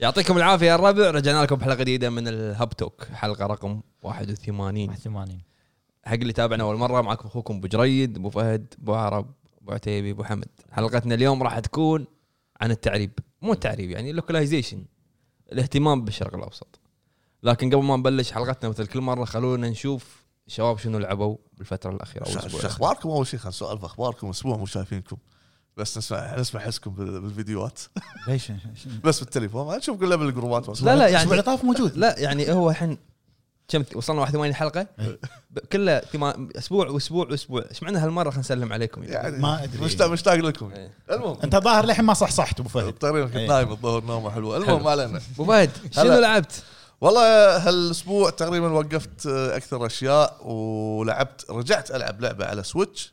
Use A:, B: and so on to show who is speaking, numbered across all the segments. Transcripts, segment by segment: A: يعطيكم العافيه يا الربع رجعنا لكم بحلقه جديده من الهاب توك حلقه رقم 81
B: 81
A: حق اللي تابعنا اول مره معكم اخوكم ابو جريد ابو فهد ابو عرب ابو عتيبي ابو حمد حلقتنا اليوم راح تكون عن التعريب مو التعريب يعني اللوكلايزيشن الاهتمام بالشرق الاوسط لكن قبل ما نبلش حلقتنا مثل كل مره خلونا نشوف الشباب شنو لعبوا بالفتره الاخيره او
C: شو
A: الاسبوع
C: شو اخباركم اول شيء خلنا نسولف اخباركم اسبوع مو شايفينكم بس نسمع نسمع حسكم بال- بالفيديوهات
B: ليش شو-
C: بس بالتليفون ما نشوف كله بالجروبات
A: لا، لا، يعني-
B: الاسبوع اللي طاف موجود
A: لا يعني هو الحين كم وصلنا 81 حلقه
C: إيه.
A: ب- كله ثما- اسبوع واسبوع واسبوع ايش معنى هالمره خلينا نسلم عليكم يعني.
C: يعني
B: ما أدري.
C: مشتاق مشتاق لكم
A: إيه.
C: المهم
B: انت ظاهر للحين ما صحصحت ابو فهد
C: الطريق كنت
B: إيه.
C: نايم الظهر نومه حلوه المهم ما علينا
A: ابو فهد شنو
C: هلا.
A: لعبت؟
C: والله هالاسبوع تقريبا وقفت آه، اكثر اشياء ولعبت رجعت العب لعبه على سويتش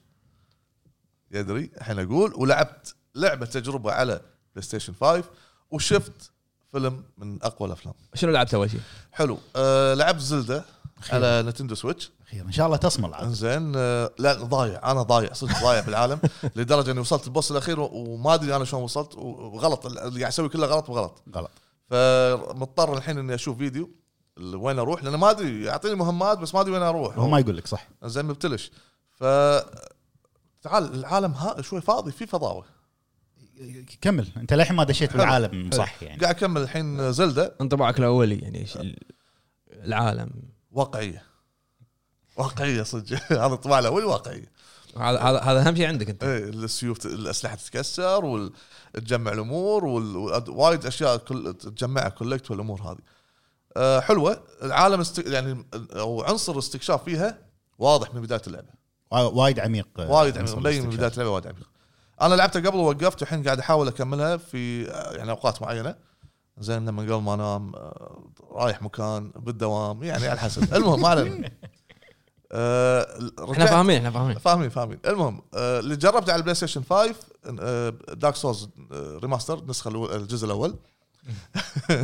C: يدري الحين اقول ولعبت لعبه تجربه على بلاي ستيشن 5 وشفت فيلم من اقوى الافلام
A: شنو لعبت اول شيء؟
C: حلو أه لعبت زلده على نتندو سويتش
B: اخيرا ان شاء الله تصمل عاد
C: انزين آه، لا ضايع انا ضايع صدق ضايع بالعالم لدرجه اني وصلت البوس الاخير و- وما ادري انا شلون وصلت و- وغلط اللي قاعد اسوي كله غلط بغلط
B: غلط
C: فمضطر الحين اني اشوف فيديو ال- وين اروح لان ما ادري يعطيني مهمات بس ما ادري وين
B: هو
C: اروح
B: ما يقول لك صح
C: زين مبتلش ف تعال العالم ها شوي فاضي في فضاوه
B: كمل انت للحين ما دشيت بالعالم صح يعني
C: قاعد اكمل الحين زلده
A: انطباعك الاولي يعني ايش ال- العالم
C: واقعيه واقعيه صدق هذا الطباع الاول واقعيه
A: هذا هذا هذا اهم شيء عندك انت
C: ايه السيوف ت- الاسلحه تتكسر وتجمع الامور وال- وال- وايد اشياء كل تجمعها كولكت والامور هذه. أه حلوه العالم است... يعني او عنصر الاستكشاف فيها واضح من بدايه اللعبه
B: وا- وايد عميق آه،
C: وايد عميق
B: عنصر
C: مبين من بدايه
B: الاستكشاف.
C: اللعبه وايد عميق. انا لعبتها قبل ووقفت والحين قاعد احاول اكملها في آه، يعني اوقات معينه زين لما قبل ما انام آه، رايح مكان بالدوام يعني على حسب المهم ما علينا أه
A: احنا
C: رجعت-
A: فاهمين احنا فاهمين
C: فاهمين فاهمين المهم آه، اللي جربته على البلاي ستيشن آه، 5 دارك سولز ريماستر النسخه الأول- الجزء الاول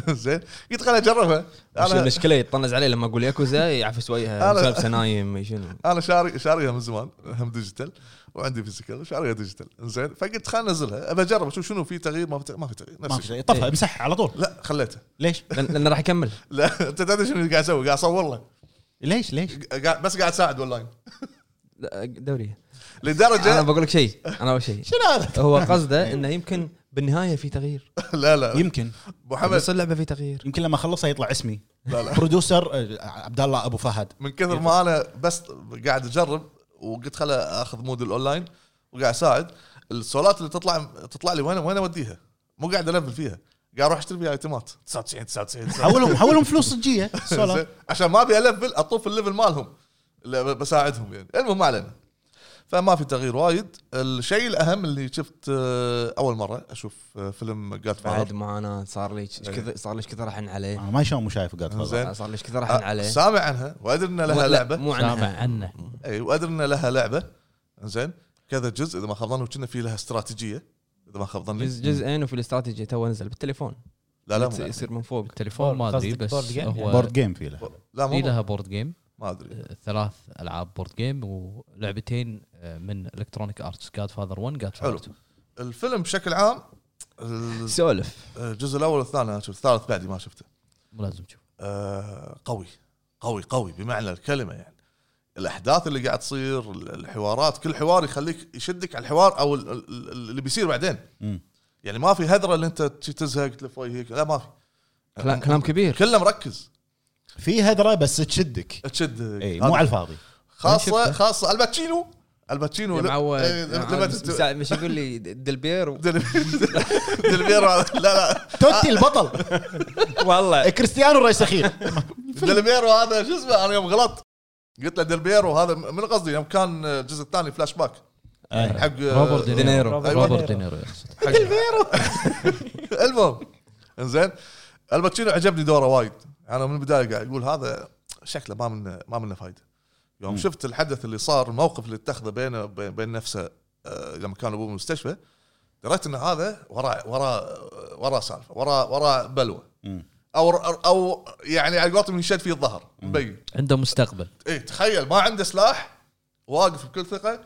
C: زين قلت خليني اجربها
A: مش
C: انا
A: المشكله يطنز علي لما اقول ياكوزا يعفس وجهه
C: أنا-
A: سالفه نايم شنو
C: انا شاري شاريها من زمان هم ديجيتال وعندي فيزيكال شاريها ديجيتال زين فقلت خليني انزلها ابى اجرب اشوف شنو في تغيير ما في تغيير ما في تغيير
B: ما
C: نفس
B: في
C: الشيء
B: شيء طفها امسحها على طول
C: لا خليته
B: ليش؟
A: لأن- لانه راح يكمل
C: لا انت تدري شنو قاعد اسوي قاعد اصور له
B: ليش ليش؟
C: قاعد- بس قاعد اساعد اونلاين
A: لا، دوريه انا
C: لدرجه
A: بقول لك شيء انا اول شيء
C: شنو هذا؟
A: هو قصده انه يمكن بالنهايه في تغيير
C: لا لا
B: يمكن
C: محمد
A: بس اللعبه في تغيير
B: يمكن لما اخلصها يطلع اسمي
C: لا لا
B: برودوسر آه، عبد الله ابو فهد
C: من كثر ما انا بس قاعد اجرب وقلت خل اخذ مود الاونلاين وقاعد اساعد السولات اللي تطلع تطلع لي وين وين اوديها مو قاعد الفل فيها قاعد اروح اشتري فيها ايتمات 99 99
B: حولهم حولهم فلوس صجيه
C: زين؟
B: سولار.
C: عشان ما ابي الفل اطوف الليفل مالهم لا، ب- بساعدهم يعني المهم ما علينا فما في تغيير وايد الشيء الاهم اللي شفت آه، اول مره اشوف آه، فيلم جاد
A: بعد
C: فاذر
A: ما انا صار لي ايش كثر صار لي ايش كثر احن عليه
B: انا ما شلون مو شايف قاعد
C: زين. أه،
A: صار لي ايش كثر احن عليه
C: آه، سامع عنها وادري انها لها
A: لا،
C: لعبه
A: مو عنها
D: عنه
C: اي وادري ان لها لعبه زين كذا جزء اذا ما خاب ظني وكنا في لها استراتيجيه اذا ما خاب ظني
A: جزء جزئين وفي الاستراتيجي تو نزل بالتليفون
C: لا لا مو
A: يصير- يصير من فوق
D: تليفون ما ادري
E: قصدك
D: بس
E: board game يعني؟
D: هو
B: بورد جيم في له
C: لا
D: في
C: مو
D: لها بورد جيم
C: ما ادري
D: آه، ثلاث العاب بورد جيم ولعبتين آه، من الكترونيك ارتس جاد فاذر 1 جاد
C: حلو.
D: فاذر 2
C: الفيلم بشكل عام ال-
A: سولف
C: الجزء الاول والثاني انا شفت الثالث بعدي ما شفته
D: مو لازم تشوف
C: آه، قوي قوي قوي بمعنى الكلمه يعني الاحداث اللي قاعد تصير ال- الحوارات كل حوار يخليك يشدك على الحوار او ال- ال- اللي بيصير بعدين
B: مم.
C: يعني ما في هذره اللي انت تزهق تلف وجهك لا ما في أه.
A: كلام كلام كبير
C: كله مركز
B: في هذره بس تشدك
C: تشد
B: اي إيه، مو على الفاضي
C: خاصه
A: شفته.
C: خاصه الباتشينو الباتشينو
A: يا
C: ل-
A: معود
C: إيه، لما تت-
A: مساع- مش يقول لي دلبير و-
C: دل- دلبيرو على- لا لا
B: توتي البطل إيه،
A: والله
B: كريستيانو الرئيس اخير
C: دلبيرو هذا شو اسمه انا يوم غلطت قلت له دلبيرو هذا من قصدي يوم كان الجزء الثاني فلاش باك
B: آه.
C: حق
D: روبرت
A: دينيرو.
D: دينيرو
C: أيوة.
D: روبرت دينيرو يقصد.
C: حق- المهم انزين الباتشينو عجبني دوره وايد انا من البدايه قاعد اقول هذا شكله ما من ما منه فايده يوم
B: مم.
C: شفت الحدث اللي صار الموقف اللي اتخذه بينه بين بين نفسه آه، لما كان ابوه بالمستشفى دريت ان هذا وراه وراه وراه سالفه وراه وراه بلوه
B: مم.
C: او او يعني على قولتهم ينشد فيه الظهر إيه، مبين
D: عنده مستقبل
C: اي تخيل ما عنده سلاح واقف بكل ثقه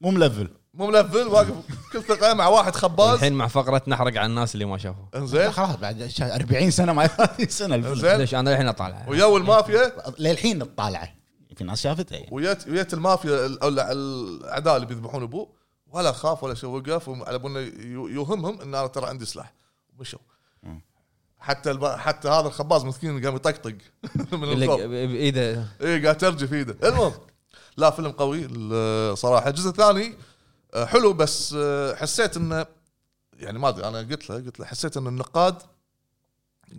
B: مو ملفل
C: مو ملفل واقف كل ثقه مع واحد خباز
A: الحين مع فقره نحرق على الناس اللي ما شافوا
C: انزين
B: خلاص بعد شا- 40 سنه ما 30 سنه الفيلم.
C: انزين
A: ليش انا الحين اطالع
C: ويا المافيا
B: للحين طالعه في ناس شافته يعني.
C: ويت ويت المافيا ال- ال- الاعداء اللي بيذبحون ابوه ولا خاف ولا شيء وقف وم- على بالنا يو- يوهمهم ان انا ترى عندي سلاح مشوا حتى الب... حتى هذا الخباز مسكين قام يطقطق من
A: اللي
C: الخوف
A: بايده
C: اي قاعد ترجف في ايده المهم لا فيلم قوي ال- صراحه الجزء الثاني آه، حلو بس آه، حسيت انه يعني ما ادري انا قلت له قلت له حسيت ان النقاد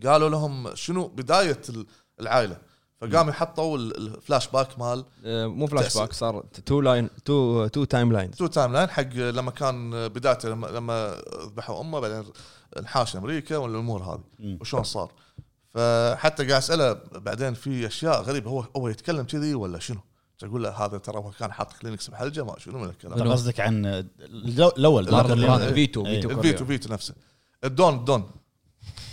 C: قالوا لهم شنو بدايه ال- العائله فقاموا حطوا ال- الفلاش باك مال
A: آه، مو فلاش باك صار تو لاين تو تو تايم لاين
C: تو تايم لاين حق لما كان بدايته لما لما ذبحوا امه بعدين انحاش امريكا والامور هذه
B: مم.
C: وشلون صار فحتى قاعد اساله بعدين في اشياء غريبه هو هو يتكلم كذي ولا شنو؟ اقول له هذا ترى هو كان حاط كلينكس بحلجه ما شنو من الكلام
B: ترى قصدك عن الجو- الاول
D: مارلون
B: دكتور
D: براندو.
B: ليون.
A: فيتو
B: إيه.
A: فيتو
C: الفيتو
A: كوريا.
C: فيتو نفسه الدون الدون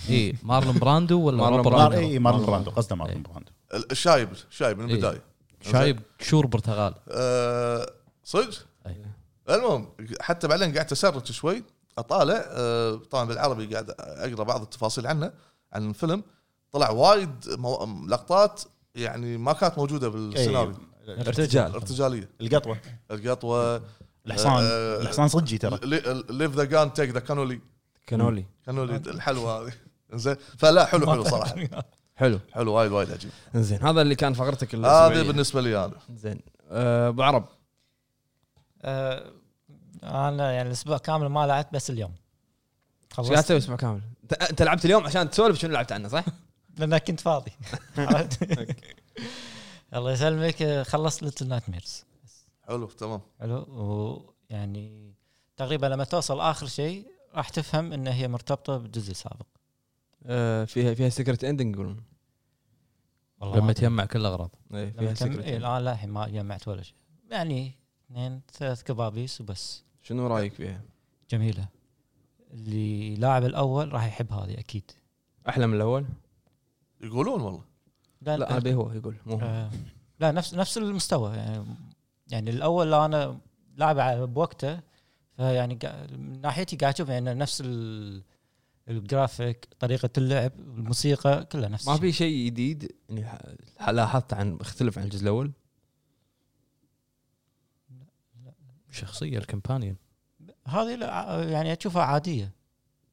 D: اي إيه، مارلون براندو ولا
A: مارلون
D: روبرت
B: مار
A: براندو.
D: براندو؟
B: اي مارلون براندو قصده مارلون
D: إيه.
B: براندو
C: الشايب شايب من
D: إيه.
C: البدايه
D: شايب شور برتغال
C: أه صدق؟
D: أي.
C: المهم حتى بعدين قعدت اسرج شوي اطالع أه طبعا بالعربي قاعد اقرا بعض التفاصيل عنه عن الفيلم طلع وايد مو... لقطات يعني ما كانت موجوده
B: إيه.
C: بالسيناريو
B: أيوة.
A: ارتجال
C: ارتجاليه
B: القطوه
C: القطوه
B: أيوة. الحصان
C: آه،
B: الحصان صجي ترى
C: ليف ذا جان تيك ذا كانولي
A: كانولي
C: كانولي الحلوه هذه زين فلا حلو حلو صراحه
A: حلو
C: حلو وايد وايد عجيب
A: زين هذا اللي كان فقرتك
C: هذا
A: الاسبوعيه
C: بالنسبه لي انا
A: زين آه، ابو عرب
E: آه، انا يعني الاسبوع كامل ما لعبت بس اليوم
A: ايش قاعد
E: خلصت
A: تسوي اسبوع كامل؟ أنت- انت لعبت اليوم عشان تسولف شنو لعبت عنه صح؟
E: لان كنت فاضي عرفت؟ الله يسلمك آه، خلصت ليتل نايت ميرز
C: حلو تمام
E: حلو ويعني تقريبا لما توصل اخر شيء راح تفهم ان هي مرتبطه بالجزء السابق
A: آه، فيها فيها سكرت اندنج يقولون
E: والله ما
D: لما
E: أدري.
D: تجمع كل الاغراض
A: إيه، فيها
E: لما تم... إيه
A: سكرت
E: الان لا الحين ما جمعت ولا شيء يعني اثنين ثلاث كبابيس وبس
A: شنو رايك فيها؟
E: جميله اللي لاعب الاول راح يحب هذه اكيد
A: احلى من الاول؟
C: يقولون والله
A: لا انا بي هو يقول مو هو.
E: آه، لا نفس نفس المستوى يعني يعني الاول لا انا لاعب على- بوقته فيعني قا- من ناحيتي قاعد اشوف يعني نفس ال- الجرافيك طريقه اللعب الموسيقى كلها نفس
A: ما
E: الشيء.
A: في شيء جديد يعني ح- لاحظت عن اختلف عن الجزء الاول
D: شخصيه الكمبانيون
E: هذه لا- يعني اشوفها عاديه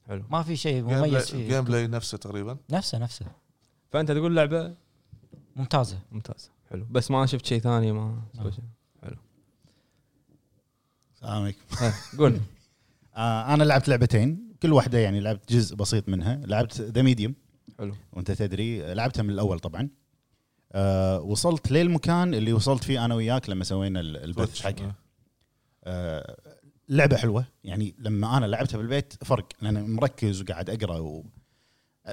A: حلو
E: ما في شيء
C: جيم
E: مميز
C: بلاي-
E: فيه
C: جيم بلاي نفسه تقريبا
E: نفسه نفسه
A: فانت تقول لعبه
E: ممتازه
A: ممتازه حلو بس ما شفت شيء ثاني ما
E: آه.
B: السلام عليكم
A: ها، قول
B: آه، انا لعبت لعبتين كل واحده يعني لعبت جزء بسيط منها لعبت ذا ميديوم
A: حلو
B: وانت تدري لعبتها من الاول طبعا آه وصلت للمكان اللي وصلت فيه انا وياك لما سوينا ال- البث
C: Twitch.
B: حقها آه لعبه حلوه يعني لما انا لعبتها بالبيت فرق لان مركز وقاعد اقرا و...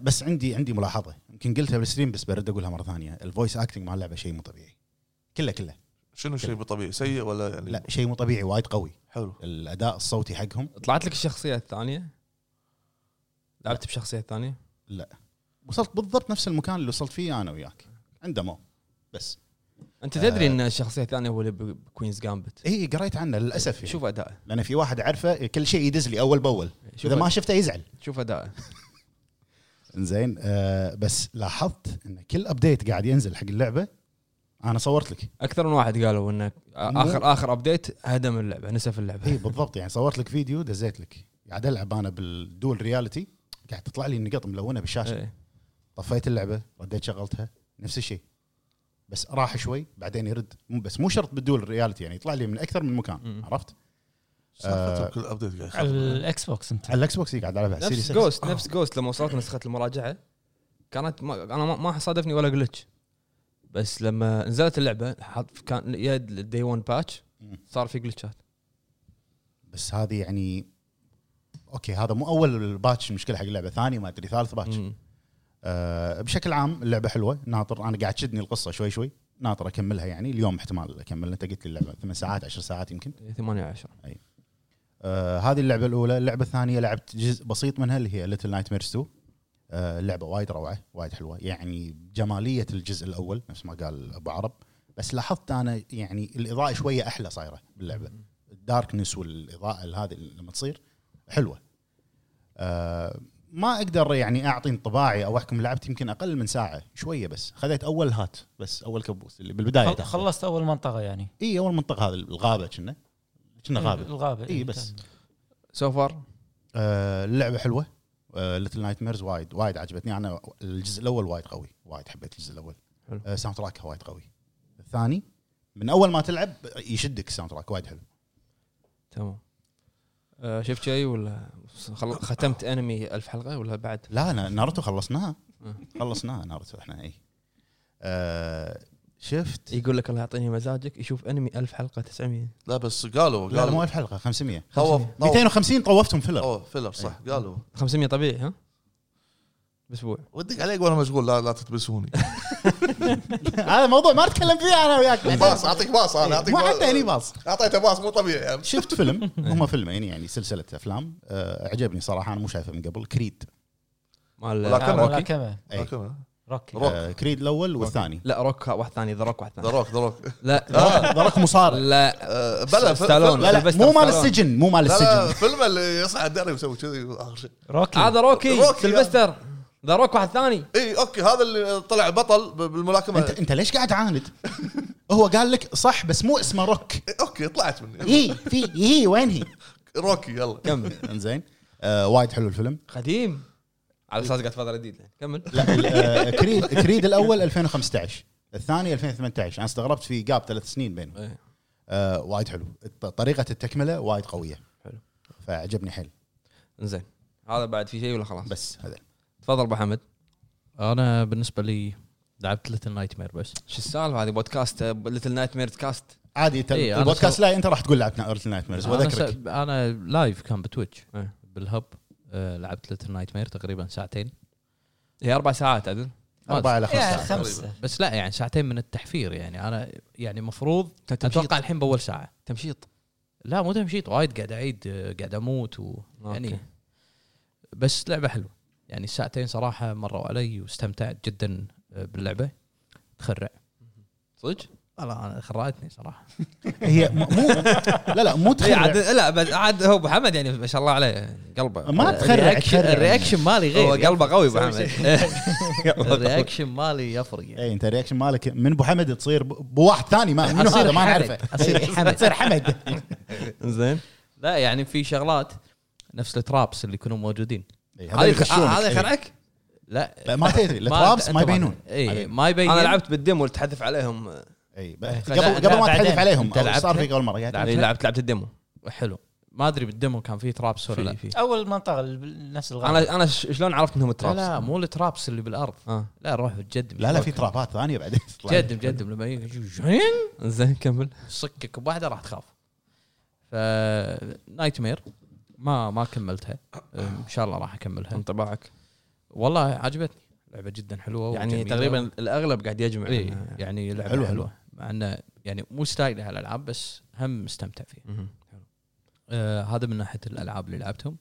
B: بس عندي عندي ملاحظه يمكن قلتها بالستريم بس برد اقولها مره ثانيه الفويس اكتنج مال اللعبه شيء مو طبيعي كله كله
C: شنو شيء مو طبيعي سيء ولا يعني
B: لا شيء مو طبيعي وايد قوي
C: حلو
B: الاداء الصوتي حقهم
A: طلعت لك الشخصيه الثانيه لعبت بشخصيه ثانيه
B: وصلت بالضبط نفس المكان اللي وصلت فيه انا وياك عند مو بس
A: انت تدري ان الشخصيه الثانيه هو اللي ب- بكوينز جامبت
B: اي قريت عنه للاسف يعني.
A: شوف اداءه
B: لان في واحد اعرفه كل شيء يدز لي اول باول
A: شوف
B: اذا ما شفته يزعل
A: شوف اداءه
B: زين آه بس لاحظت ان كل ابديت قاعد ينزل حق اللعبه انا صورت لك
A: اكثر من واحد قالوا انه اخر اخر ابديت هدم اللعبه نسف
B: اي
A: اللعبه
B: بالضبط يعني صورت لك فيديو دزيت لك قاعد العب انا بالدول رياليتي قاعد تطلع لي النقط ملونه بالشاشه
A: إيه.
B: طفيت اللعبه رديت شغلتها نفس الشيء بس راح شوي بعدين يرد مو بس مو شرط بالدول رياليتي يعني يطلع لي من اكثر من مكان
A: مم.
B: عرفت
C: سالفة
B: آه.
C: كل ابديت قاعد
E: على
C: يخرب.
E: الاكس بوكس انت
B: على الاكس بوكس قاعد العبها على
A: نفس
B: السيريس
A: جوست نفس جوست لما وصلت نسخه المراجعه كانت ما انا ما- ما صادفني ولا جلتش بس لما نزلت اللعبه حط كان يد الدي 1 باتش
B: مم.
A: صار في جلتشات
B: بس هذه يعني اوكي هذا مو اول باتش المشكله حق اللعبه ثاني ما ادري ثالث باتش
A: مم.
B: آه بشكل عام اللعبه حلوه ناطر انا قاعد تشدني القصه شوي شوي ناطر اكملها يعني اليوم احتمال اكملها انت قلت لي اللعبه ثمان ساعات عشر ساعات يمكن
A: 8 10
B: آه هذه اللعبه الاولى اللعبه الثانيه لعبت جزء بسيط منها اللي هي ليتل نايت ميرز 2 آه اللعبه وايد روعه وايد حلوه يعني جماليه الجزء الاول نفس ما قال ابو عرب بس لاحظت انا يعني الاضاءه شويه احلى صايره باللعبه الداركنس والاضاءه هذه لما تصير حلوه آه ما اقدر يعني اعطي انطباعي او احكم لعبت يمكن اقل من ساعه شويه بس خذيت اول هات بس اول كبوس اللي بالبدايه
E: خل-
B: تأخذه.
E: خلصت اول منطقه يعني
B: اي اول منطقه هذا الغابه كنا كنا
E: إيه.
B: غابه
E: الغابه
B: إي بس.
A: سو فار
B: آه، اللعبه حلوه ليتل نايت ميرز وايد وايد عجبتني انا الجزء الاول وايد قوي وايد حبيت الجزء الاول
A: حلو.
B: آه، ساوند تراكها وايد قوي الثاني من اول ما تلعب يشدك الساوند تراك وايد حلو
A: تمام آه، شفت شيء ولا خل... ختمت انمي ألف حلقه ولا بعد؟
B: لا نا- ناروتو خلصناها
A: آه.
B: خلصناها ناروتو احنا اي آه، شفت
A: يقول لك الله يعطيني مزاجك يشوف انمي ألف حلقه 900
C: لا بس قالوا
B: لا مو
C: قالوا
B: 1000 حلقه 500
C: طوف
B: 250 طوفتهم فيلر
C: اوه فيلر صح
A: أيوه.
C: قالوا
A: 500 طبيعي ها؟ باسبوع
C: ودك عليك وانا مشغول لا لا تتبسوني
B: هذا موضوع ما نتكلم فيه انا وياك
C: باص اعطيك باص انا اعطيك
B: ما حتى هني باص
C: اعطيته باص مو طبيعي يعني.
B: شفت فيلم هم فيلمين يعني سلسله افلام آه، عجبني صراحه انا مو شايفه من قبل كريد
A: مال
C: ولا كم-
A: روكي؟
E: لا كم
B: أي.
C: آه، كمل.
E: روكي
C: روك.
B: آه، كريد الاول والثاني
A: لا روك واحد ثاني ذا روك واحد ثاني
C: دروك دروك
A: لا
B: ضرك مصارع
A: لا
C: آه، بلا في-
A: ستالون.
C: فيلم-
B: لا لا مو مال السجن مو مال
C: لا لا
B: السجن
C: فيلم اللي يصعد درب يسوي كذي اخر شيء
E: روكي
A: هذا روكي
C: روكي.
A: سلفستر ذا روك واحد ثاني
C: اي اوكي هذا اللي طلع بطل ب- بالملاكمه
B: انت انت ليش قاعد تعاند؟ هو قال لك صح بس مو اسمه روك
C: إيه، اوكي طلعت مني
B: هي في هي وين هي؟
C: روكي يلا
A: كمل
B: انزين آه وايد حلو الفيلم
A: قديم على اساس قاعد فتره جديده كمل
B: لا ال- آه، كريد كريد الاول 2015 الثاني 2018 انا استغربت في جاب ثلاث سنين بينهم
A: إيه.
B: آه وايد حلو الط- طريقه التكمله وايد قويه
A: حلو.
B: فعجبني حيل
A: زين هذا بعد في شيء ولا خلاص
B: بس هذا
A: تفضل ابو حمد
D: انا بالنسبه لي لعبت ليتل نايت مير بس
A: شو السالفه هذه بودكاست ليتل نايت ميرت كاست
B: عادي انت
D: إيه، أنا
B: البودكاست
D: سو-
B: لا انت راح تقول لعبت ايرث نايت ميرز
D: انا,
B: واذكرك
D: س- أنا لايف كان بتويتش
A: إيه.
D: بالهب آه لعبت ليتل نايت مير تقريبا ساعتين
A: هي اربع ساعات عدل
D: ما
B: اربعه الى
E: يعني
B: خمسه
A: طيب.
E: خمسه
D: بس لا يعني ساعتين من التحفير يعني انا يعني مفروض
A: تمشيط.
B: طيب.
D: اتوقع الحين باول ساعه
A: تمشيط
D: لا مو تمشيط وايد قاعد اعيد آه، قاعد اموت و يعني
A: أوكي.
D: بس لعبه حلوه يعني الساعتين صراحه مروا علي واستمتعت جدا آه، باللعبه تخرع
A: صدق؟
D: والله انا خرعتني صراحه
B: هي م- مو لا لا مو
A: اي
B: تخرع
A: عاد لا بس عاد هو ابو حمد يعني ما شاء الله عليه قلبه
B: ما
D: آه،
B: تخرع
D: الرياكشن
B: تخرع
D: الرياكشن مالي غير
A: هو
D: يعني.
A: قلبه قوي ابو حمد
D: الرياكشن مالي يفرق يعني
B: اي انت الرياكشن إيه، مالك من ابو حمد تصير ب- بواحد ثاني ما منو
D: أصير
B: هذا ما
D: حمد.
B: نعرفه إيه،
D: أصير حمد.
B: تصير حمد
A: زين
D: لا يعني في شغلات نفس الترابس اللي يكونوا موجودين
B: إي، إيه، هذا
D: آه،
A: هذا
B: يخشونك.
A: هذا يخرعك؟
D: لا
B: لا، ما تدري الترابس ما
D: طبعاً.
B: يبينون
D: اي
B: عليهم.
D: ما يبين
A: انا لعبت بالديمو اللي تحذف عليهم
B: اي ب-
D: إيه.
B: قبل
D: لا،
B: قبل
D: لا،
B: ما تحذف
D: بعدين.
B: عليهم
D: أنت لعبت
B: صار
D: هيك؟
B: فيك اول مره يعني.
A: إي، إيه، لعبت لعبت الديمو
D: حلو ما ادري بالديمو كان في ترابس ولا لا
A: في في
E: اول منطقه ال- نفس الغابه
A: انا انا ش- شلون عرفت انهم
D: لا
A: ترابس؟
D: لا مو الترابس اللي بالارض
A: اه
D: لا روح تجدم
B: لا لا في طيب. ترابات ثانيه بعدين
D: جدم جدم لما يجي
A: زين كمل
D: صكك بواحده راح تخاف ف نايت مير ما ما كملتها ان شاء الله راح
B: إيه.
D: اكملها
A: انطباعك
D: والله عجبتني لعبه جدا حلوه
A: يعني
D: وجميلة.
A: تقريبا الاغلب قاعد يجمع
D: إيه يعني لعبه
B: حلوة.
D: حلوه حلوه مع انه يعني مو ستايلي هالالعاب بس هم مستمتع فيها
A: مهم.
D: آه هذا من ناحيه الالعاب اللي لعبتهم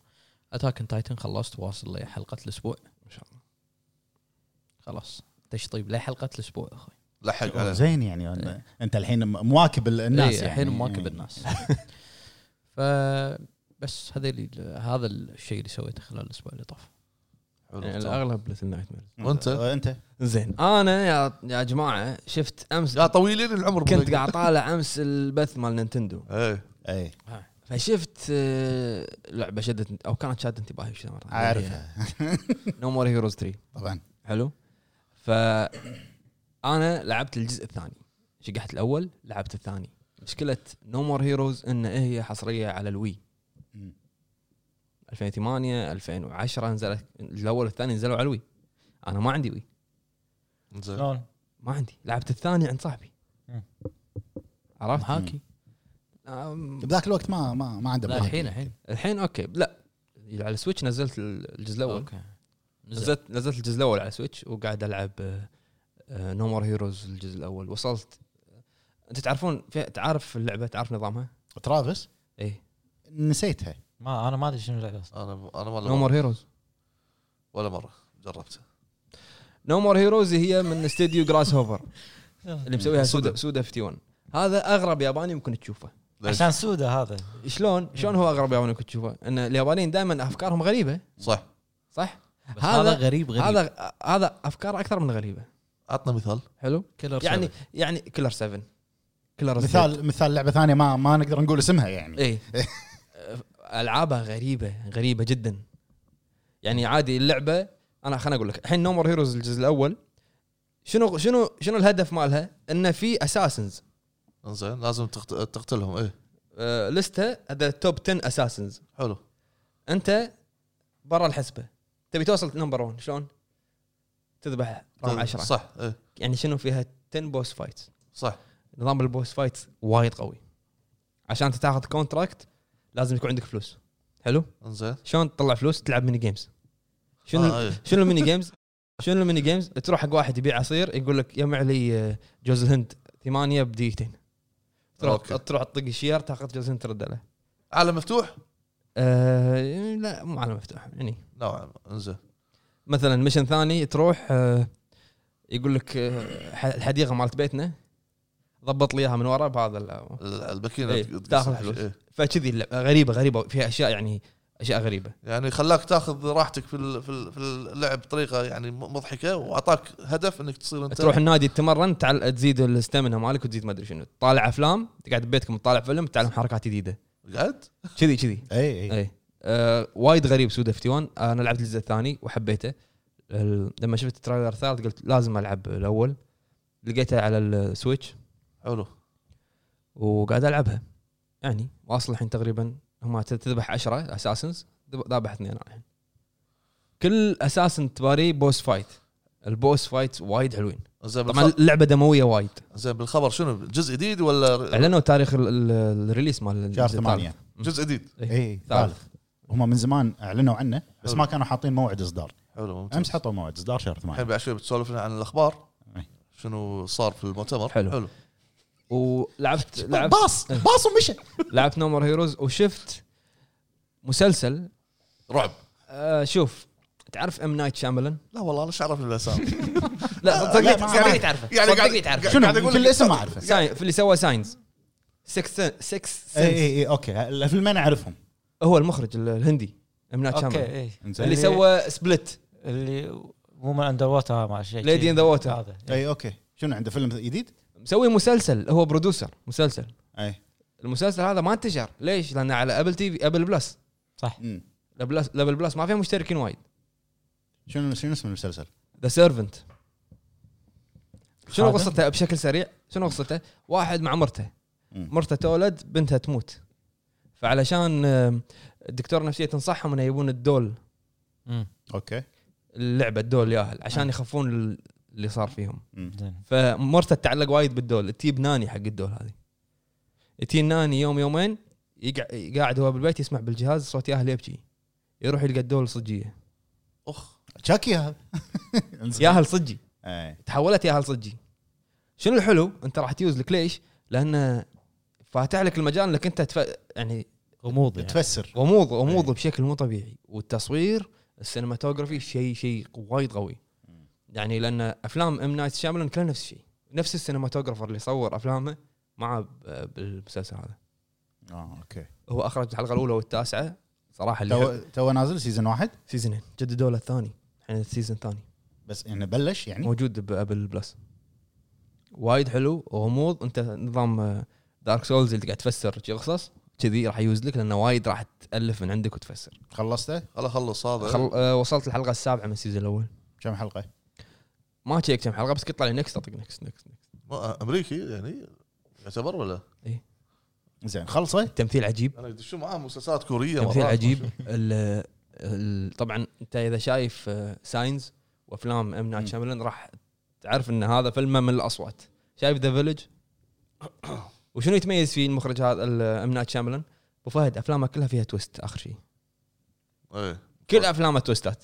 D: اتاك تايتن خلصت واصل لحلقه الاسبوع
A: ان شاء الله
D: خلاص طيب؟ تشطيب لحلقه الاسبوع اخوي
C: لحق على
B: زين يعني أن- انت الحين م- مواكب ال- الناس
D: إيه،
B: يعني
D: الحين مواكب
B: إيه.
D: الناس ف بس هذا اللي هذا الشيء اللي سويته خلال الاسبوع اللي طاف
A: يعني الاغلب ليتل نايت ميرز
C: وأنت؟
B: آه، انت
A: زين انا يا يا جماعه شفت امس
C: يا طويلين العمر
A: كنت قاعد طالع امس البث مال نينتندو
C: ايه
D: إيه.
B: اي
A: فشفت آه، لعبه شدت او كانت شادت انتباهي شو مره
B: اعرفها
A: نو مور هيروز 3
B: طبعا
D: إيه.
A: حلو ف انا لعبت الجزء الثاني شقحت الاول لعبت الثاني مشكله نو مور هيروز ان هي حصريه على الوي
B: مم.
A: 2008 2010 نزلت الاول والثاني نزلوا على الوي انا ما عندي وي آه.
C: زين
E: شلون؟
A: ما عندي لعبت الثاني عند صاحبي
E: مم.
A: عرفت
D: محاكي
A: أم،
B: بذاك الوقت ما ما ما عنده
D: لا
B: بلان.
D: الحين الحين
A: الحين اوكي لا على السويتش نزلت الجزء الاول
D: اوكي نزل
A: نزلت نزلت الجزء الاول على سويتش وقاعد آه، العب نو مور هيروز الجزء الاول وصلت انت تعرفون في تعرف اللعبه تعرف نظامها؟
B: ترافيس
D: إيه.
A: ايه
B: نسيتها
E: ما انا ما ادري شنو اللعبه اصلا
C: انا انا
A: نو
C: ولا
A: مور
C: مره
A: هيروز
C: ولا مره جربته
A: نو مور هيروز هي من استديو جراس هوفر اللي مسويها سودا سودا 51 هذا اغرب ياباني ممكن تشوفه
C: ليش؟
E: عشان سودا هذا
A: شلون شلون هو اغرب ياباني كنت تشوفه ان اليابانيين دائما افكارهم غريبه
C: صح
A: صح
D: بس هذا
A: هذا-
D: غريب غريب هذا
A: هذا هذا افكار اكثر من غريبه
C: عطنا مثال
A: حلو يعني يعني كلر 7 كلر
B: مثال مثال لعبه ثانيه ما ما نقدر نقول اسمها يعني
A: اي العابها غريبه غريبه جدا يعني عادي اللعبه انا خليني اقول لك الحين نومر هيروز الجزء الاول شنو شنو شنو الهدف مالها؟ انه في اساسنز
C: زين لازم تقت- تقتلهم ايه
A: آه، لسته هذا توب 10 اساسنز
C: حلو
A: انت برا الحسبه تبي توصل نمبر 1 شلون؟ تذبح رقم 10
C: صح ايه
A: يعني شنو فيها 10 بوس فايتس
C: صح
A: نظام البوس فايت وايد قوي عشان انت تاخذ كونتراكت لازم يكون عندك فلوس حلو
C: انزين
A: شلون تطلع فلوس تلعب ميني جيمز شنو
C: آه، إيه.
A: شنو الميني جيمز شنو الميني جيمز تروح حق واحد يبيع عصير يقول لك يجمع لي آه، جوز الهند ثمانية بدقيقتين تروح
C: أوكي.
A: تروح تطق الشير تاخذ جوز الهند ترد له
C: عالم مفتوح
A: أه لا مو على مفتوح يعني
C: نوعا ما نعم، انزين
A: مثلا مشن ثاني تروح آه، يقول لك آه، ح- الحديقه مالت بيتنا ضبط لي اياها من ورا بهذا ال-
C: ال- البكينه
A: إيه،
C: تقص
A: تاخذ
C: الفلوس.
A: فلوس.
C: إيه.
A: فكذي اللعبة غريبه غريبه فيها اشياء يعني اشياء غريبه
C: يعني خلاك تاخذ راحتك في ال- في ال- في اللعب بطريقه يعني م- مضحكه واعطاك هدف انك تصير انت
A: تروح النادي تتمرن تعال تزيد الاستامنا مالك وتزيد ما ادري شنو تطالع افلام تقعد ببيتكم تطالع فيلم تتعلم حركات جديده
C: قاعد
A: كذي كذي
C: إيه.
B: اي اي
A: اي آه وايد غريب سودا 51 انا لعبت الجزء الثاني وحبيته ال- لما شفت التريلر الثالث قلت لازم العب الاول لقيتها على السويتش
C: حلو
A: وقاعد العبها يعني واصل الحين تقريبا هم ت- تذبح 10 اساسنز ذابح اثنين الحين كل اساسن تباري بوس فايت البوس فايت وايد حلوين
C: زين
A: طبعا اللعبه دموية وايد
C: زين بالخبر شنو جزء جديد ولا
A: اعلنوا تاريخ ال- ال- الريليس مال الجزء
B: شهر
C: إيه.
A: الثالث.
B: 8
C: جزء جديد
B: اي
A: ثالث.
B: ثالث إيه. هم من زمان اعلنوا عنه بس
C: إيه. حلو.
B: ما كانوا حاطين موعد اصدار
C: حلو ممتاز
B: امس حطوا موعد اصدار شهر
C: الحين
B: 8
C: بعد شوي بتسولف لنا عن الاخبار
B: إيه.
C: شنو صار في المؤتمر
A: حلو.
C: حلو
A: ولعبت لعبت
B: باص باص ومشى
A: لعبت نومر هيروز وشفت مسلسل
C: رعب
A: آه شوف تعرف ام نايت شاملن
C: لا والله انا ايش عرفني الاسامي
A: لا
B: آه، لا،
A: صدقني
B: ما-
A: صدقني تعرفه
C: يعني
A: صدقني
C: قاعد-
A: تعرفه
B: شنو
C: قاعد أقول
B: يمكن
C: لك-
B: الاسم ما اعرفه
A: ساين- في اللي سوى ساينز 6 6
B: اي اي اي اوكي الفيلمين اعرفهم
A: هو المخرج ال- الهندي ام نايت
E: اوكي
B: يعني
A: شاملن
E: اي
B: إنزين.
A: اللي
E: اللي-
A: سوى سبلت
E: اللي وومن اندر ووتر مع شيء
A: Lady in the water.
E: هذا
B: اي اوكي إيه، شنو عنده فيلم جديد؟ إيه.
A: مسوي مسلسل هو برودوسر مسلسل
B: اي
A: المسلسل هذا ما انتشر ليش؟ لانه على ابل تي في ابل بلس
B: أمم.
A: بلس ابل بلس ما فيها مشتركين وايد
B: شنو شنو اسم المسلسل؟
A: ذا سيرفنت شنو
E: خادم؟
A: قصته بشكل سريع شنو قصته واحد مع مرته
B: مم.
A: مرته تولد بنتها تموت فعلشان آم، الدكتور النفسيه تنصحهم انه يبون الدول
E: أمم.
B: اوكي
A: اللعبه الدول الياهل عشان يخفون ال- اللي صار فيهم
B: أمم.
E: زين.
A: فمرته تتعلق وايد بالدول تجيب ناني حق الدول هذه تجي ناني يوم يومين يقع- قاعد هو بالبيت يسمع بالجهاز صوت ياهل يبكي يروح يلقى الدول صجيه
C: اخ
B: تشاكي هذا إنزين.
A: ياهل صجي
C: إيه.
B: إي.
A: تحولت ياهل صجي شنو الحلو انت راح تيوز لك ليش لان فاتح لك المجال انك انت تف... يعني
D: غموض يعني
B: إيه. تفسر
A: غموض غموض
B: إيه.
A: بشكل مو طبيعي والتصوير السينماتوغرافي شيء شيء وايد قوي يعني لان افلام ام نايت شاملن كلها نفس الشيء نفس السينماتوغرافر اللي صور افلامه معه ب- آه، بالمسلسل هذا
B: اه اوكي
A: هو اخرج الحلقه الاولى والتاسعه صراحه
B: تو
A: اللي
B: تو نازل سيزون واحد
A: سيزونين جددوا له الثاني الحين السيزون الثاني
B: بس يعني بلش يعني
A: موجود بابل بلس وايد حلو وغموض انت نظام دارك سولز اللي قاعد تفسر شي قصص كذي راح يوز لك لانه وايد راح تالف من عندك وتفسر
B: خلصته
C: خل اخلص هذا
A: خل... آه، وصلت الحلقه السابعه من السيزون الاول
B: كم حلقه؟
A: ما تشيك كم حلقه بس كنت طالع نكست اطق نكست نكست
C: ما- امريكي يعني يعتبر ولا
B: زين خلصه
A: التمثيل عجيب
C: انا شو معاه مسلسلات كوريه
A: تمثيل
C: مرات.
A: عجيب ال... ال... طبعا انت اذا شايف آه، ساينز وافلام ام نايت
B: مم.
A: شاملن راح تعرف ان هذا فيلمه من الاصوات شايف ذا فيلج وشنو يتميز فيه المخرج هذا ال- ام نايت شاملن ابو فهد افلامه كلها فيها تويست اخر شيء
C: ايه
A: كل افلامه تويستات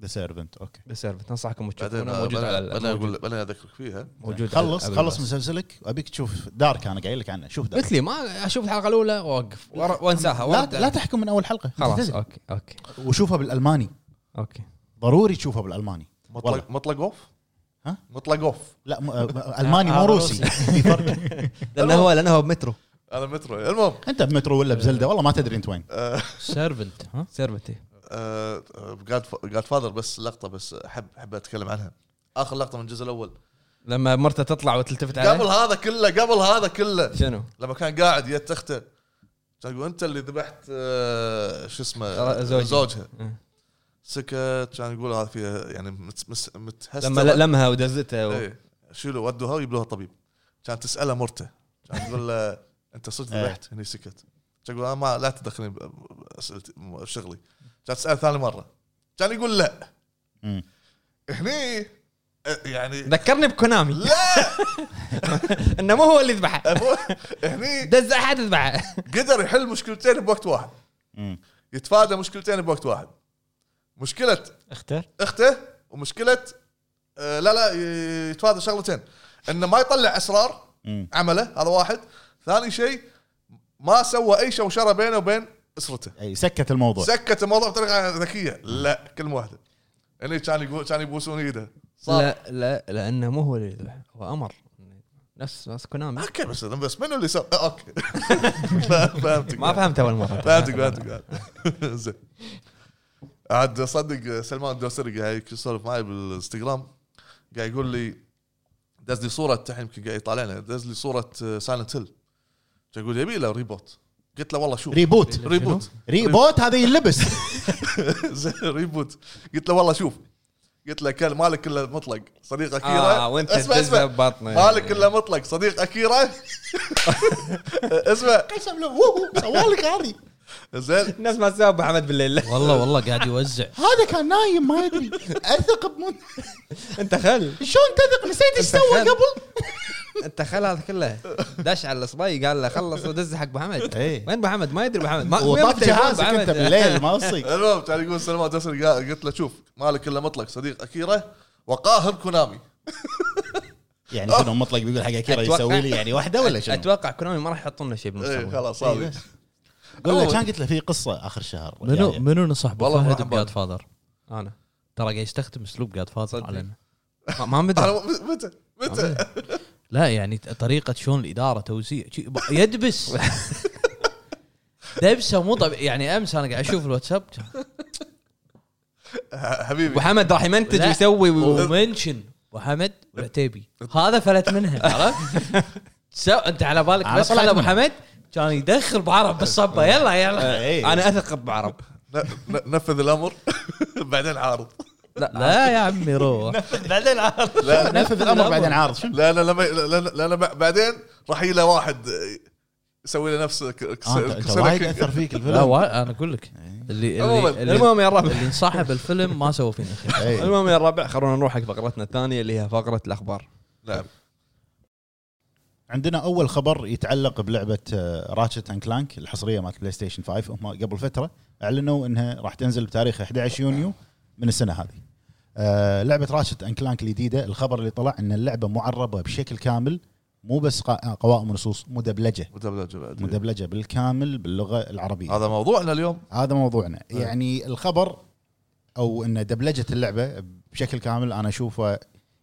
B: ذا سيرفنت اوكي
A: ذا سيرفنت انصحكم
C: بعدين
A: تشوفونه موجود على
C: انا
A: موجود-
C: اقول انا اذكرك فيها
A: موجود
B: خلص
A: على-
B: خلص مسلسلك وابيك تشوف دارك انا قايل لك عنه شوف دارك
A: قلت لي ما اشوف الحلقه الاولى واوقف ورا- وانساها
B: لا
A: وارد-
B: لا تحكم من اول حلقه
A: خلاص اوكي اوكي
B: وشوفها بالالماني
A: اوكي
B: ضروري تشوفها بالالماني والله.
C: مطلق مطلق اوف
B: ها؟
C: مطلق اوف
B: لا م- آه، الماني
E: آه،
B: مو روسي في فرق
A: لانه هو لانه هو بمترو
C: انا مترو المهم آه،
B: انت بمترو ولا بزلده والله ما تدري انت وين
D: سيرفنت ها
A: سيرفتي
C: جاد فاذر بس لقطه بس احب احب اتكلم عنها اخر لقطه من الجزء الاول
A: لما مرته تطلع وتلتفت عليه
C: قبل هذا كله قبل هذا كله
A: شنو؟
C: لما كان قاعد يد تخته كان يقول انت اللي ذبحت آه، شو اسمه آه،
A: زوجي.
C: زوجها
A: إيه.
C: سكت كان يقول هذا فيها يعني مت- مس- متهسته
A: لما لمها ودزته و...
C: إيه. شيلوا ودوها ويجيب لها طبيب كان تساله مرته كان تقول له انت صدق
B: إيه.
C: ذبحت هني سكت كان يقول انا ما لا تدخلني ب- باسئلتي شغلي كان تساله ثاني مره كان يقول لا
B: مم.
C: هني آه، يعني
A: ذكرني بكونامي لا انه مو هو اللي ذبحه
C: هني
A: دز احد ذبحه
C: قدر يحل مشكلتين بوقت واحد
B: مم.
C: يتفادى مشكلتين بوقت واحد مشكله
E: اختر
C: اخته ومشكله آه لا لا ي- يتفادى شغلتين انه ما يطلع اسرار
B: مم.
C: عمله هذا واحد ثاني شيء ما سوى اي شوشره بينه وبين اسرته
B: اي سكت الموضوع
C: سكت الموضوع بطريقه ذكيه لا كلمه واحده هني كان يقول كان يبوسون ايده صار
A: لا لا لانه مو هو اللي ذبح هو امر نفس نفس كونامي
C: اوكي بس بس منو اللي سوى آه، اوكي لا، فهمتك
A: ما فهمت اول مره
C: فهمتك فهمتك زين عاد صدق سلمان الدوسري قاعد يسولف معي بالانستغرام قاعد يقول لي دز لي صوره الحين يمكن قاعد يطالعنا دز لي آه، صوره سايلنت هيل يقول يبي له ريبوت قلت له والله شوف
B: ريبوت
C: ريبوت
B: ريبوت هذا يلبس
C: زين، ريبوت قلت له والله شوف قلت له كان مالك الا مطلق صديق اكيرا
A: آه، وأنت
C: اسمع
A: تدزه
C: اسمع
A: ببطنه.
C: مالك الا مطلق صديق اكيرا اسمع
B: قسم له وهو سوالك هذه
C: زين
A: الناس ما تسوى حمد بالليل
D: والله والله قاعد يوزع
B: هذا كان نايم ما يدري اثق بمن
A: انت خل
B: شلون تثق نسيت ايش سوى
A: أنت خل.
B: قبل
A: انت خل هذا كله داش على الصبي قال له خلص ودز حق ابو حمد
B: إيه.
A: وين ابو حمد ما يدري ابو حمد ما وين
B: وطاف
A: بالتليفون
B: جهازك
A: أبو
B: انت
A: حمد؟
B: بالليل ما يصيق
C: المهم كان يقول سلمان تسري قا- قلت له شوف مالك الا مطلق صديق اكيرا وقاهر كونامي
B: يعني شنو مطلق بيقول حق اكيرا
A: أتوقع-
B: يسوي لي يعني واحده ولا شنو؟
A: اتوقع كونامي ما راح يحطون لنا شيء
B: إيه،
C: اي
A: بالمستقبل
C: خلاص هذه
B: قول له كان قلت له في قصه اخر شهر
D: منو
B: يعني-
D: منو نصح
C: والله
D: بفهد
C: مرحبا.
D: بجاد فاذر
A: انا
D: ترى قاعد يستخدم اسلوب جاد فاذر
A: صدق.
D: علينا
A: ما- ما
C: أنا
A: مدري
C: م- متى متى
D: عمي. لا يعني ت- طريقه شلون الاداره توزيع شي- ب- يدبس دبسه مو طبيعي يعني امس انا قاعد اشوف الواتساب
C: ح-
A: ابو
C: حبيبي
A: حمد راح يمنتج
D: لا.
A: ويسوي و-
D: ومنشن وحمد والعتيبي هذا فلت منها عرفت؟ سو انت على بالك
B: أنا
D: بس
B: طلعت
D: خلى ابو
B: منها.
D: حمد كان يدخل بعرب بالصبه يلا يلا
B: إيه.
A: انا اثق بعرب
C: ن- ن- نفذ الامر بعدين عارض
D: لا يا عمي روح
E: بعدين عارف
C: لا لا
B: نفذ الامر بعدين عارض شنو؟
C: لا لما لأن- لأن ب- بعدين راح يجي له واحد يسوي له نفس ك- ك-
B: آه، انت أنت
C: كسر
B: وايد
C: كينج.
B: اثر فيك
D: لا
B: الفيلم
D: وا- انا اقول لك اللي
C: عموماً،
D: اللي اللي,
A: المهم يا الربع
D: اللي صاحب الفيلم ما سوى فينا خير
B: إيه.
A: المهم يا الربع خلونا نروح حق فقرتنا الثانيه اللي هي فقره الاخبار
C: نعم
B: عندنا اول خبر يتعلق آه، بلعبه راتشت اند كلانك الحصريه مالت بلاي ستيشن 5 هم قبل فتره اعلنوا انها راح تنزل بتاريخ 11 يونيو من السنه هذه. آه، لعبه راتشت اند كلانك الجديده الخبر اللي طلع ان اللعبه معربه بشكل كامل مو بس قا- قوائم ونصوص مدبلجه
C: مدبلجة بعد.
B: مدبلجه بالكامل باللغه العربيه.
C: هذا موضوعنا اليوم
B: هذا موضوعنا
C: إيه.
B: يعني الخبر او ان دبلجه اللعبه بشكل كامل انا اشوفه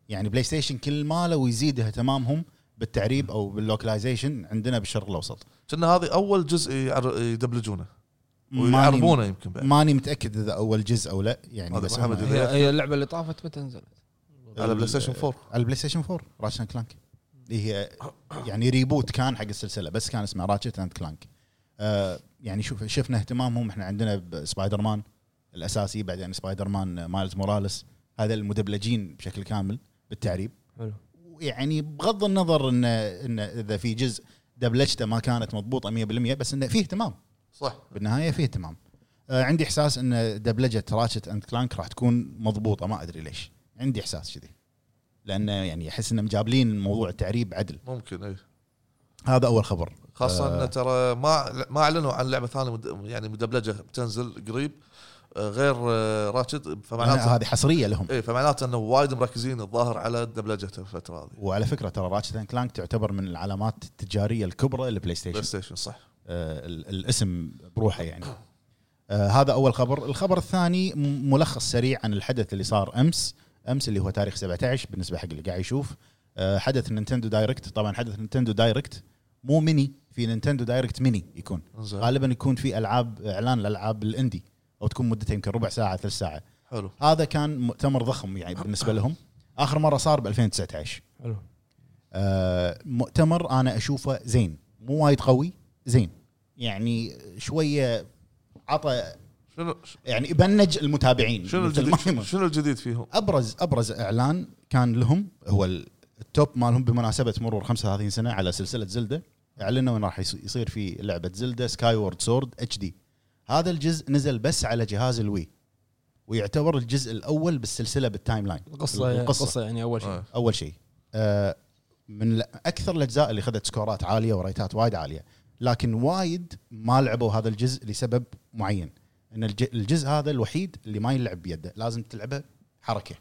B: يعني بلاي ستيشن كل ماله ويزيد اهتمامهم بالتعريب او باللوكلايزيشن عندنا بالشرق الاوسط
C: كنا هذه اول جزء يعر- يدبلجونه
B: ماني,
C: ويعربونه يمكن بعد
B: ماني متاكد اذا اول جزء او لا يعني
C: هذا
B: بس
C: محمد
B: هم-
C: إذا-
A: هي هي اللعبه اللي طافت متى نزلت؟
C: على بلاي ستيشن 4
B: على البلاي ستيشن 4 راشن كلانك اللي هي يعني ريبوت كان حق السلسله بس كان اسمه راتشت اند كلانك آه يعني شوف شفنا اهتمامهم احنا عندنا بسبايدر مان الاساسي بعدين سبايدر مان مايلز موراليس هذا المدبلجين بشكل كامل بالتعريب
A: حلو
B: يعني بغض النظر ان ان اذا في جزء دبلجته ما كانت مضبوطه 100% بس انه في اهتمام
C: صح
B: بالنهايه في اهتمام آه عندي احساس ان دبلجه راتشت اند كلانك راح تكون مضبوطه ما ادري ليش عندي احساس كذي لانه يعني احس انهم جابلين موضوع التعريب عدل
C: ممكن إيه. اي
B: هذا اول خبر
C: خاصه
B: آه.
C: انه ترى ما ما اعلنوا عن لعبه ثانيه مد- يعني مدبلجه بتنزل قريب آه، غير آه، راتشد فمعناته
B: يعني هذه حصريه لهم
C: اي فمعناته انه وايد مركزين الظاهر على دبلجته الفتره هذه
B: وعلى فكره ترى راتشت اند كلانك تعتبر من العلامات التجاريه الكبرى للبلاي
C: بلاي
B: ستيشن
C: ستيشن صح
B: آه، ال- الاسم بروحه يعني آه، هذا اول خبر الخبر الثاني م- ملخص سريع عن الحدث اللي صار امس امس اللي هو تاريخ 17 بالنسبه حق اللي قاعد يشوف آه، حدث نينتندو دايركت طبعا حدث نينتندو دايركت مو ميني في نينتندو دايركت ميني يكون
C: زين
B: غالبا يكون في العاب اعلان الالعاب الاندي او تكون مدتها يمكن ربع ساعه ثلث ساعه
C: حلو
B: هذا كان مؤتمر ضخم يعني بالنسبه لهم اخر مره صار ب 2019
A: حلو
B: آه مؤتمر انا اشوفه زين مو وايد قوي زين يعني شويه عطى
C: شنو
B: يعني بنج المتابعين
C: شنو
B: مثل ما
C: الجديد
B: يقولون.
C: شنو الجديد فيهم؟
B: ابرز ابرز اعلان كان لهم هو ال- التوب مالهم بمناسبه مرور 35 سنه على سلسله زلده اعلنوا انه راح يص- يصير في لعبه زلده سكاي وورد سورد اتش دي هذا الجزء نزل بس على جهاز الوي ويعتبر الجزء الاول بالسلسله بالتايم لاين
A: القصه القصه يعني اول شيء
C: آه.
B: اول شيء آه، من ال- اكثر الاجزاء اللي خذت سكورات عاليه وريتات وايد عاليه لكن وايد ما لعبوا هذا الجزء لسبب معين ان الج- الجزء هذا الوحيد اللي ما يلعب بيده لازم تلعبه حركه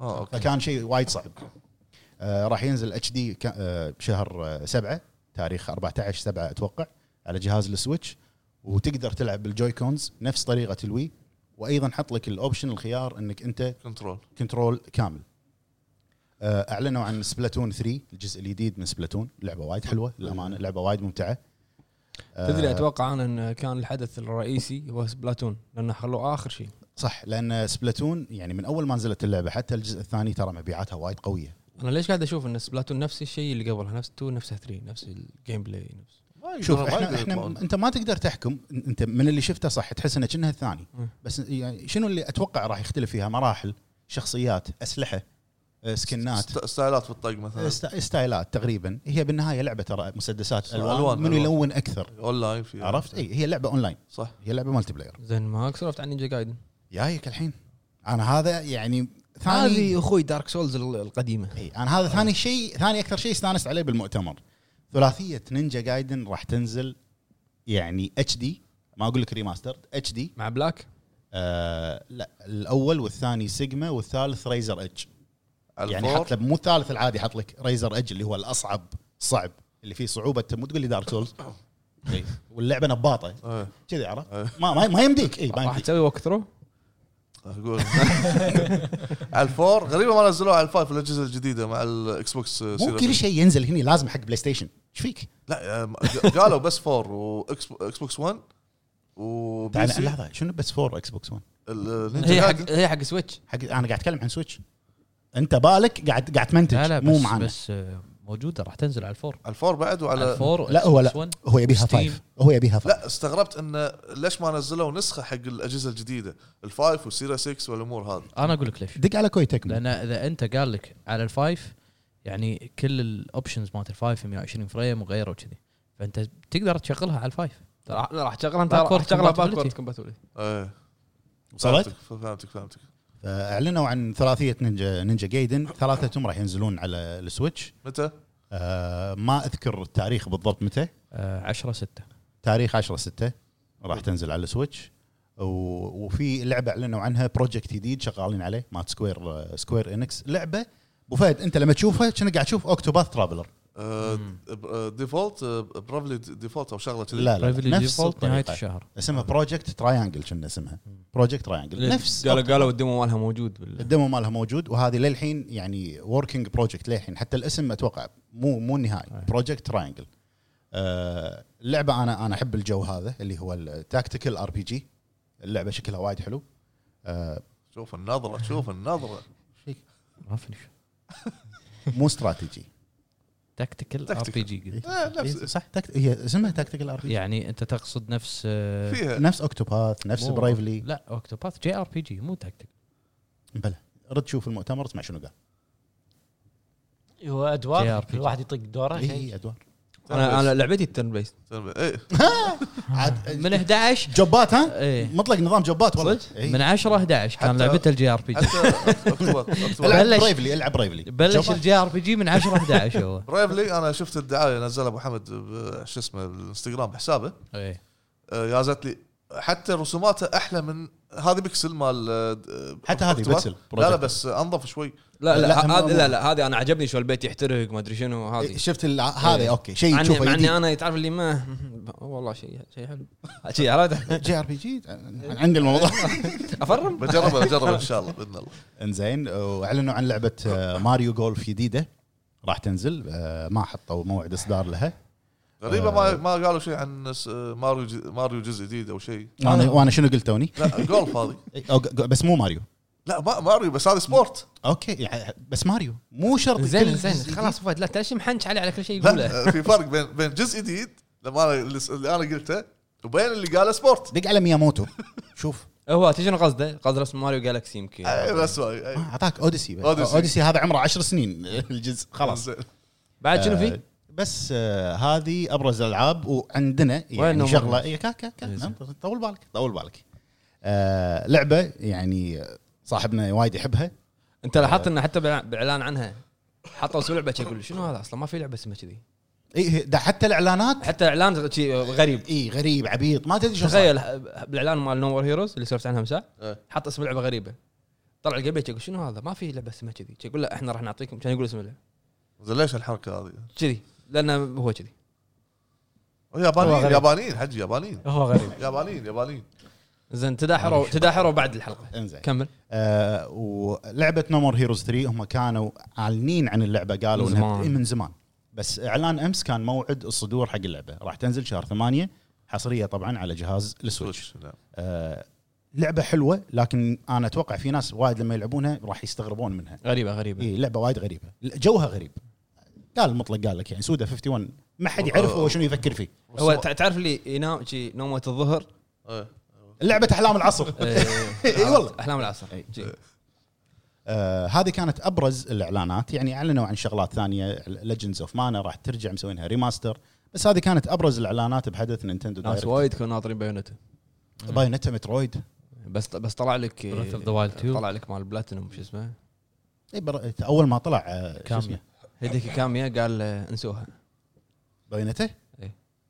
C: اه اوكي
B: فكان شيء وايد صعب آه راح ينزل اتش دي بشهر آه، سبعة تاريخ 14 سبعة اتوقع على جهاز السويتش وتقدر تلعب بالجوي كونز نفس طريقه الوي وايضا حط لك الاوبشن الخيار انك انت
C: كنترول
B: كنترول كامل آه، اعلنوا عن سبلاتون 3 الجزء الجديد من سبلاتون لعبه وايد حلوه للامانه لعبه وايد ممتعه آه،
A: تدري اتوقع انا ان كان الحدث الرئيسي هو سبلاتون لانه خلوه اخر شيء
B: صح لان سبلاتون يعني من اول ما نزلت اللعبه حتى الجزء الثاني ترى مبيعاتها وايد قويه
A: انا ليش قاعد اشوف ان سبلاتون نفس الشيء اللي قبلها نفس 2 نفس 3 نفس الجيم بلاي نفس
C: ما
B: شوف
C: يقدرون- ما
B: احنا,
C: يقدرون
B: احنا
C: يطلعون.
B: انت ما تقدر تحكم انت من اللي شفته صح تحس انه كأنها الثاني
A: مم.
B: بس يعني شنو اللي اتوقع راح يختلف فيها مراحل شخصيات اسلحه آه، سكنات
C: ست- ستايلات بالطق مثلا
B: است- ستايلات تقريبا هي بالنهايه لعبه ترى مسدسات الوان,
C: ألوان،
B: منو
C: ألوان.
B: يلون اكثر
C: اونلاين في
B: عرفت إيه. اي هي لعبه اونلاين
C: صح
B: هي لعبه مالتي بلاير
A: زين ما عرفت عن نينجا جايدن
B: جايك الحين انا هذا يعني
A: هذه
B: ثاني
A: اخوي دارك سولز ال- القديمه
B: اي انا هذا ثاني شيء ثاني اكثر شيء استانست عليه بالمؤتمر ثلاثيه نينجا جايدن راح تنزل يعني اتش دي ما اقول لك ريماستر اتش دي
A: مع بلاك
B: آه لا الاول والثاني سيجما والثالث ريزر ايدج يعني
C: الفور
B: حط لك مو الثالث العادي حط لك ريزر ايدج اللي هو الاصعب صعب اللي فيه صعوبه مو تقول لي دارك سولز إي. واللعبه نباطه
C: إيه،
B: كذي عرفت ما ما, ما يمديك اي ما
A: راح
B: يمديك
A: تسوي وك ثرو
C: اقول على الفور غريبه ما نزلوه على الفايف الاجهزه الجديده مع الاكس بوكس
B: مو كل شيء ينزل هني لازم حق بلاي ستيشن ايش فيك؟
C: لا آه، قالوا بس فور واكس اكس بوكس 1 وبي
B: تعال-
C: سي
B: لحظه شنو بس فور اكس بوكس 1
A: هي
C: النينجا
A: حق
C: جايدن
A: هي حق سويتش
B: حق انا قاعد اتكلم عن سويتش انت بالك قاعد قاعد
D: لا
B: تمنتج
D: لا
B: مو
D: بس,
B: معنا
D: بس آه، موجوده راح تنزل على الفور
C: على الفور بعد
D: على
C: وعلى
D: الفور
B: لا هو لا.
D: Xbox One.
B: هو يبيها
D: Steam.
B: فايف هو يبيها فايف
C: لا استغربت انه ليش ما نزلوا نسخه حق الاجهزه الجديده الفايف والسيريا 6 والامور هذه
D: انا اقول لك ليش
B: دق على كوي تكمو
D: لان اذا انت قال لك على الفايف يعني كل الاوبشنز مالت الفايف 120 فريم وغيره وكذي فانت تقدر تشغلها على الفايف
A: راح راح تشغلها انت
D: Backward
A: راح تشغلها
D: compatibility.
A: باكورد كومباتبلتي
C: ايه
B: وصلت؟
C: فهمتك فهمتك فهمتك
B: اعلنوا عن ثلاثيه نينجا نينجا جايدن ثلاثتهم راح ينزلون على السويتش
C: متى؟
B: آه، ما اذكر التاريخ بالضبط متى
D: آه 10 6
B: تاريخ 10 6 راح تنزل على السويتش و... وفي لعبه اعلنوا عنها بروجكت جديد شغالين عليه مات سكوير آه، سكوير انكس لعبه ابو فهد انت لما تشوفها كنا قاعد تشوف اوكتوباث ترافلر
C: آه،
D: مم.
C: آه، ديفولت آه، برافلي ديفولت او شغله كذي
B: لا لا نفس
D: ديفولت نهايه
B: الطريقه
D: الشهر
B: اسمها بروجكت تراينجل كنا اسمها بروجكت تراينجل نفس
A: قالوا قالوا الدمو مالها موجود بال-
B: الدمو مالها موجود وهذه للحين يعني وركينج بروجكت للحين حتى الاسم اتوقع مو مو النهائي آه، بروجكت تراينجل اللعبه انا انا احب الجو هذا اللي هو التاكتيكال ار بي جي اللعبه شكلها وايد حلو آه،
C: شوف النظره شوف النظره
D: ما في شيء
B: مو استراتيجي
D: تكتيكال ار بي
C: Tactical.
D: جي
C: آه،
D: إيه،
C: نفس
B: صح تاكت- هي اسمها تاكتيكال ار بي جي
D: يعني انت تقصد نفس آه،
C: فيها
B: نفس اوكتوباث نفس
D: مو-
B: برايفلي
D: لا اوكتوباث جي ار بي جي مو تكتيك
B: بلى رد شوف المؤتمر اسمع شنو قال
E: هو
D: جي آر
E: ادوار
D: بي جي.
E: كل واحد يطق دوره
D: إيه. طيب.
B: اي إي، ادوار
A: انا انا لعبتي الترن بيست
C: ايه
B: عاد
D: آه. من 11
B: جوبات ها
D: ايه
B: مطلق نظام جوبات والله إيه.
D: صدق؟
B: إي.
D: من 10 11 كان
C: حتى-
D: لعبته الجي ار بي جي
C: حتى أكتوبر- أكتوبر.
B: العب
D: بلش-
B: برايفلي العب برايفلي
D: بلش
B: جوبات.
D: الجي ار بي جي من 10 11 هو
C: برايفلي انا شفت الدعايه نزلها ابو حمد ب- شو اسمه الانستغرام بحسابه
A: إيه.
D: ايه
C: آه، يازت لي حتى رسوماتها احلى من هذه بيكسل مال آه،
B: حتى هذه
C: أكتوبر.
B: بيكسل.
C: لا لا بس آه، انظف شوي
A: لا
B: لا،
A: لا
B: ما-
A: هذا
B: ما-
A: لا لا هذه انا عجبني شو البيت يحترق ما ادري شنو هذه
B: شفت ال-
D: إيه.
B: هذا اوكي شيء
A: مع إني-
B: تشوفه
A: مع
B: جديد
A: اني انا تعرف اللي ما والله شيء شيء حلو شيء عرفت
B: جي ار بي جي عندي الموضوع
A: افرم
C: بجربها بجربها ان شاء الله باذن الله
B: انزين واعلنوا عن لعبه آه، ماريو جولف جديده راح تنزل آه، ما حطوا موعد اصدار لها
C: غريبه ما ما قالوا شيء عن س- ماريو ج- ماريو جزء جديد او شيء
B: انا وانا شنو قلت توني؟
C: لا جولف هذه
B: أو ج- ج- بس مو ماريو
C: لا ما ماريو بس هذا سبورت
B: اوكي يعني بس ماريو مو شرط
A: زين
B: كل
A: زين
B: جزء
A: خلاص فهد لا انت ليش محنش عليه على كل شيء يقوله
C: لا في فرق بين بين جزء جديد لما انا اللي س- اللي انا قلته وبين اللي قاله سبورت
B: دق على مياموتو شوف
A: هو تدري شنو قصده؟ قصده رسم ماريو جالكسي يمكن
C: أي بس أي-
B: آه، اعطاك اوديسي بس.
C: أوديسي.
B: اوديسي, هذا عمره عشر سنين الجزء خلاص
C: زين.
A: بعد شنو
B: آه،
A: في؟
B: بس آه، هذه ابرز الالعاب وعندنا
A: وين
B: يعني
A: نمر؟
B: شغله إيه، كا كا كا
A: إيه،
B: نعم، طول بالك طول بالك آه، لعبه يعني آه، صاحبنا وايد يحبها
A: انت لاحظت انه حتى بالإعلان- بالاعلان عنها حطوا اسم لعبه يقول شنو هذا اصلا ما في لعبه اسمها كذي
B: اي ده إيه، حتى الاعلانات
A: حتى اعلان شي غريب
B: اي غريب عبيط ما تدري شو صار.
A: تخيل بالاعلان مال نوور هيروز اللي سولفت عنها مساء
C: إيه.
A: حط اسم لعبه غريبه طلع القبيل يقول شنو هذا ما في لعبه اسمها كذي يقول لا احنا راح نعطيكم كان يقول اسم اللعبه
C: زين ليش الحركه هذه؟
A: كذي لانه هو كذي
E: هو
C: يابانيين
E: غريب.
C: يابانيين حجي يابانيين
E: هو غريب
C: يابانيين يابانيين
A: زين تداحروا تداحروا بعد الحلقه
B: انزين
A: كمل
B: آه ولعبه نومور هيروز 3 هم كانوا اعلنين عن اللعبه قالوا
A: من
B: إنها
A: زمان.
B: بت- إيه، من زمان بس اعلان امس كان موعد الصدور حق اللعبه راح تنزل شهر 8 حصريه طبعا على جهاز السويتش
C: سويتش، نعم.
B: آه لعبه حلوه لكن انا اتوقع في ناس وايد لما يلعبونها راح يستغربون منها
A: غريبه غريبه
B: اي لعبه وايد غريبه جوها غريب قال المطلق قال لك يعني سودا 51 ما حد يعرف هو شنو يفكر فيه
A: هو تع- تعرف اللي ينام شي نومه الظهر
C: إيه.
B: لعبه احلام العصر
A: إيه،
B: إي والله.
A: احلام العصر
B: إي.
A: شي.
D: إيه.
B: آه هذه كانت ابرز الاعلانات يعني اعلنوا عن شغلات ثانيه ليجندز اوف مانا راح ترجع مسوينها ريماستر بس هذه كانت ابرز الاعلانات بحدث نينتندو
A: ناس
B: دايركت
A: وايد كانوا ناطرين بايونته
B: بايونيتا مترويد
A: بس بس طلع لك آه،
D: Breath of the Wild 2.
A: طلع لك مال بلاتينوم شو اسمه
B: إي إيه، بر- اول ما طلع آه، شو
D: كاميا.
B: اسمه
A: هيديكي كاميا قال آه، انسوها
B: بايونيتا
A: آه.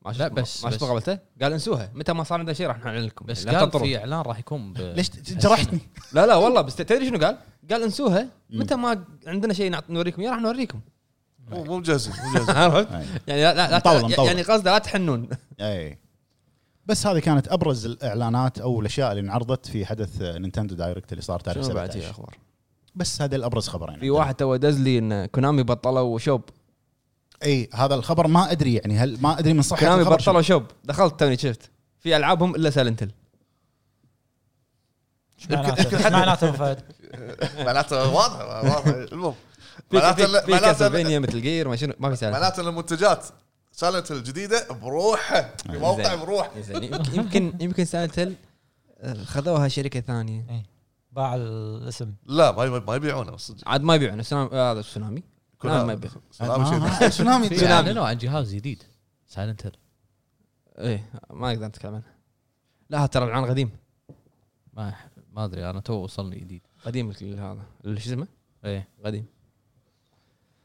A: ما
D: لا،
A: شفت
D: بس-
A: ما شفت
D: بس.
A: مقابلته قال انسوها متى ما صار عندنا شيء راح نعلن لكم
D: بس
A: لا
D: قال
A: تنطرون.
D: في اعلان راح يكون ب-
B: ليش ت- جرحتني
A: لا لا والله بس تدري شنو قال؟ قال انسوها متى ما عندنا شيء نعط- نوريكم اياه راح نوريكم نعم.
C: مو مو مجهزين مو مجهزين
A: عرفت؟
B: أي.
A: يعني لا لا,
B: مطولة-
A: لا
B: مطولة.
A: يعني قصده لا تحنون
B: اي إيه. بس هذه كانت ابرز الاعلانات او الاشياء اللي انعرضت في حدث آه، نينتندو دايركت اللي صار تاريخ
A: شنو بعد في
B: 17
A: اخبار؟
B: بس هذا الابرز خبرين
A: في واحد تو دز لي ان كونامي بطلوا شوب
B: اي إيه، هذا الخبر ما ادري يعني هل ما ادري من صحه
A: كونامي
B: الخبر
A: بطلوا
B: شنو.
A: شوب دخلت توني شفت في العابهم الا سالنتل
E: إيش معناته إيش معناته أبو فهد
C: معناته واضحه واضحه المهم
A: في في-
C: معناته
A: في
C: معناته-
A: كاسلفينيا مثل جير ما شنو ما في سالنتل
C: معناته ان المنتجات سالت الجديده بروحه بموقع
A: زين.
C: بروحه
A: زين، يمكن- يمكن يمكن سالنتل خذوها شركه ثانيه
E: باع الاسم
C: لا ما يبي- ما يبيعونه صدق عاد
A: عاد ما يبيعون السلام- هذا السونامي كونامي آه، ما يبيع
C: سلام شيء
B: آه، سونامي
D: في اعلنوا عن جهاز جديد سايلنت هيل
A: ايه ما اقدر اتكلم عنها لا هذا ترى العان قديم
D: ما أح- ما ادري انا تو وصلني جديد
A: قديم ال- هذا ال- شو اسمه
D: ايه
A: قديم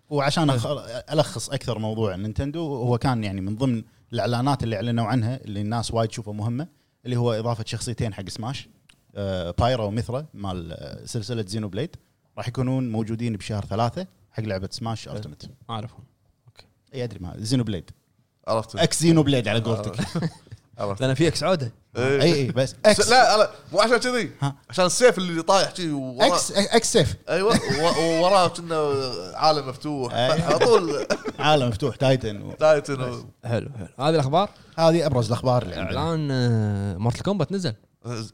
B: وعشان أخ- الخص اكثر موضوع نينتندو هو كان يعني من ضمن الاعلانات اللي اعلنوا عنها اللي الناس وايد تشوفها مهمه اللي هو اضافه شخصيتين حق سماش آه، بايرا وميثرا مال آه، سلسله زينو بليد راح يكونون موجودين بشهر ثلاثة حق لعبه سماش التيمت
A: ما اعرفهم
B: اي ادري إيه، ما زينو بليد
A: آه.
C: عرفت
B: اكس زينو بليد على قولتك
C: عرفت
A: لان في اكس عوده
C: إيه.
B: اي اي بس اكس
C: لا لا مو عشان كذي
B: ها.
C: عشان السيف اللي طايح كذي وراه
B: اكس اكس سيف
C: ايوه و- ووراه كنا عالم مفتوح
B: أي.
C: على طول
B: عالم مفتوح تايتن و-
C: دايتن و-
A: حلو حلو هذه الاخبار
B: هذه ابرز الاخبار اللي عندنا
A: اعلان مارتل كومبات نزل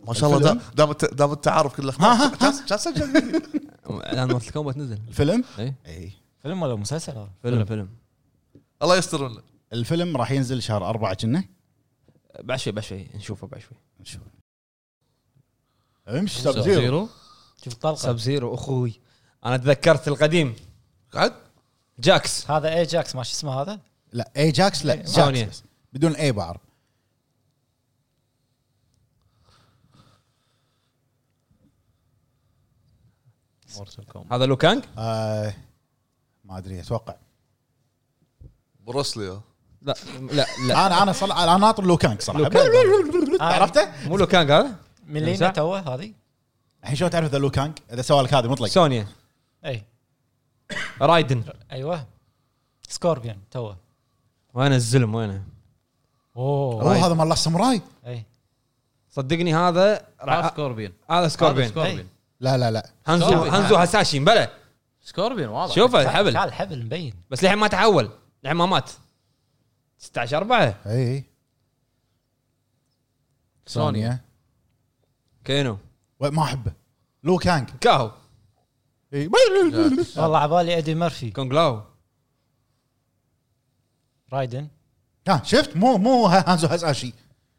C: ما شاء الله
B: الفيلم؟
C: دا- دام الت- دام التعارف كله
B: ها، ها،
C: كان كان سجل
A: اعلان مارتل كومبات نزل
B: الفيلم
A: إي.
B: اي
E: فيلم ولا مسلسل هذا؟
A: فيلم فيلم
C: الله يستر لنا
B: الفيلم راح ينزل شهر أربعة كنا
A: بعد شوي بعد شوي نشوفه بعد شوي
B: نشوف امشي سب
D: سب
B: زيرو
D: زيرو
E: شوف طلقه
A: سب زيرو اخوي انا تذكرت القديم
C: قعد
A: جاكس
E: هذا اي جاكس ما شو اسمه هذا؟
B: لا اي جاكس لا
A: سوني.
B: جاكس بس. بدون اي بعر
D: مورتل كومبات
A: هذا لو كانج
B: آه ما ادري اتوقع
C: بروسلي
A: لا لا لا
B: انا انا صل... انا ناطر لو كانك صراحه عرفته؟
A: مو لو كانج هذا
E: من لينا آه، توه هذه؟
B: الحين شلون تعرف ذا لو كانك؟ اذا سوالك هذا مطلق
A: سونيا
E: اي
A: رايدن
E: ايوه سكوربيون توه
A: وين الزلم وينه
B: هو
E: اوه
B: هذا مال لاست ساموراي
E: اي
A: صدقني هذا
D: هذا
A: راح-
D: سكوربين
A: هذا
D: هذا
A: سكوربين إيه.
D: سكوربين
B: لا لا لا
A: هنزو
D: سكوربين.
A: هنزو هساشي بلى
D: سكوربين واضح
A: شوفه
E: تعال
A: الحبل
E: تعال حبل مبين
A: بس لحين ما تحول لحين ما مات 16 4
B: اي
D: سونيا.
A: كينو
B: و- ما احبه لو كانج
A: كاهو
B: اي
E: والله عبالي ادي مورفي
A: كونغ لاو
E: رايدن
B: ها شفت مو مو ها- هانزو هازاشي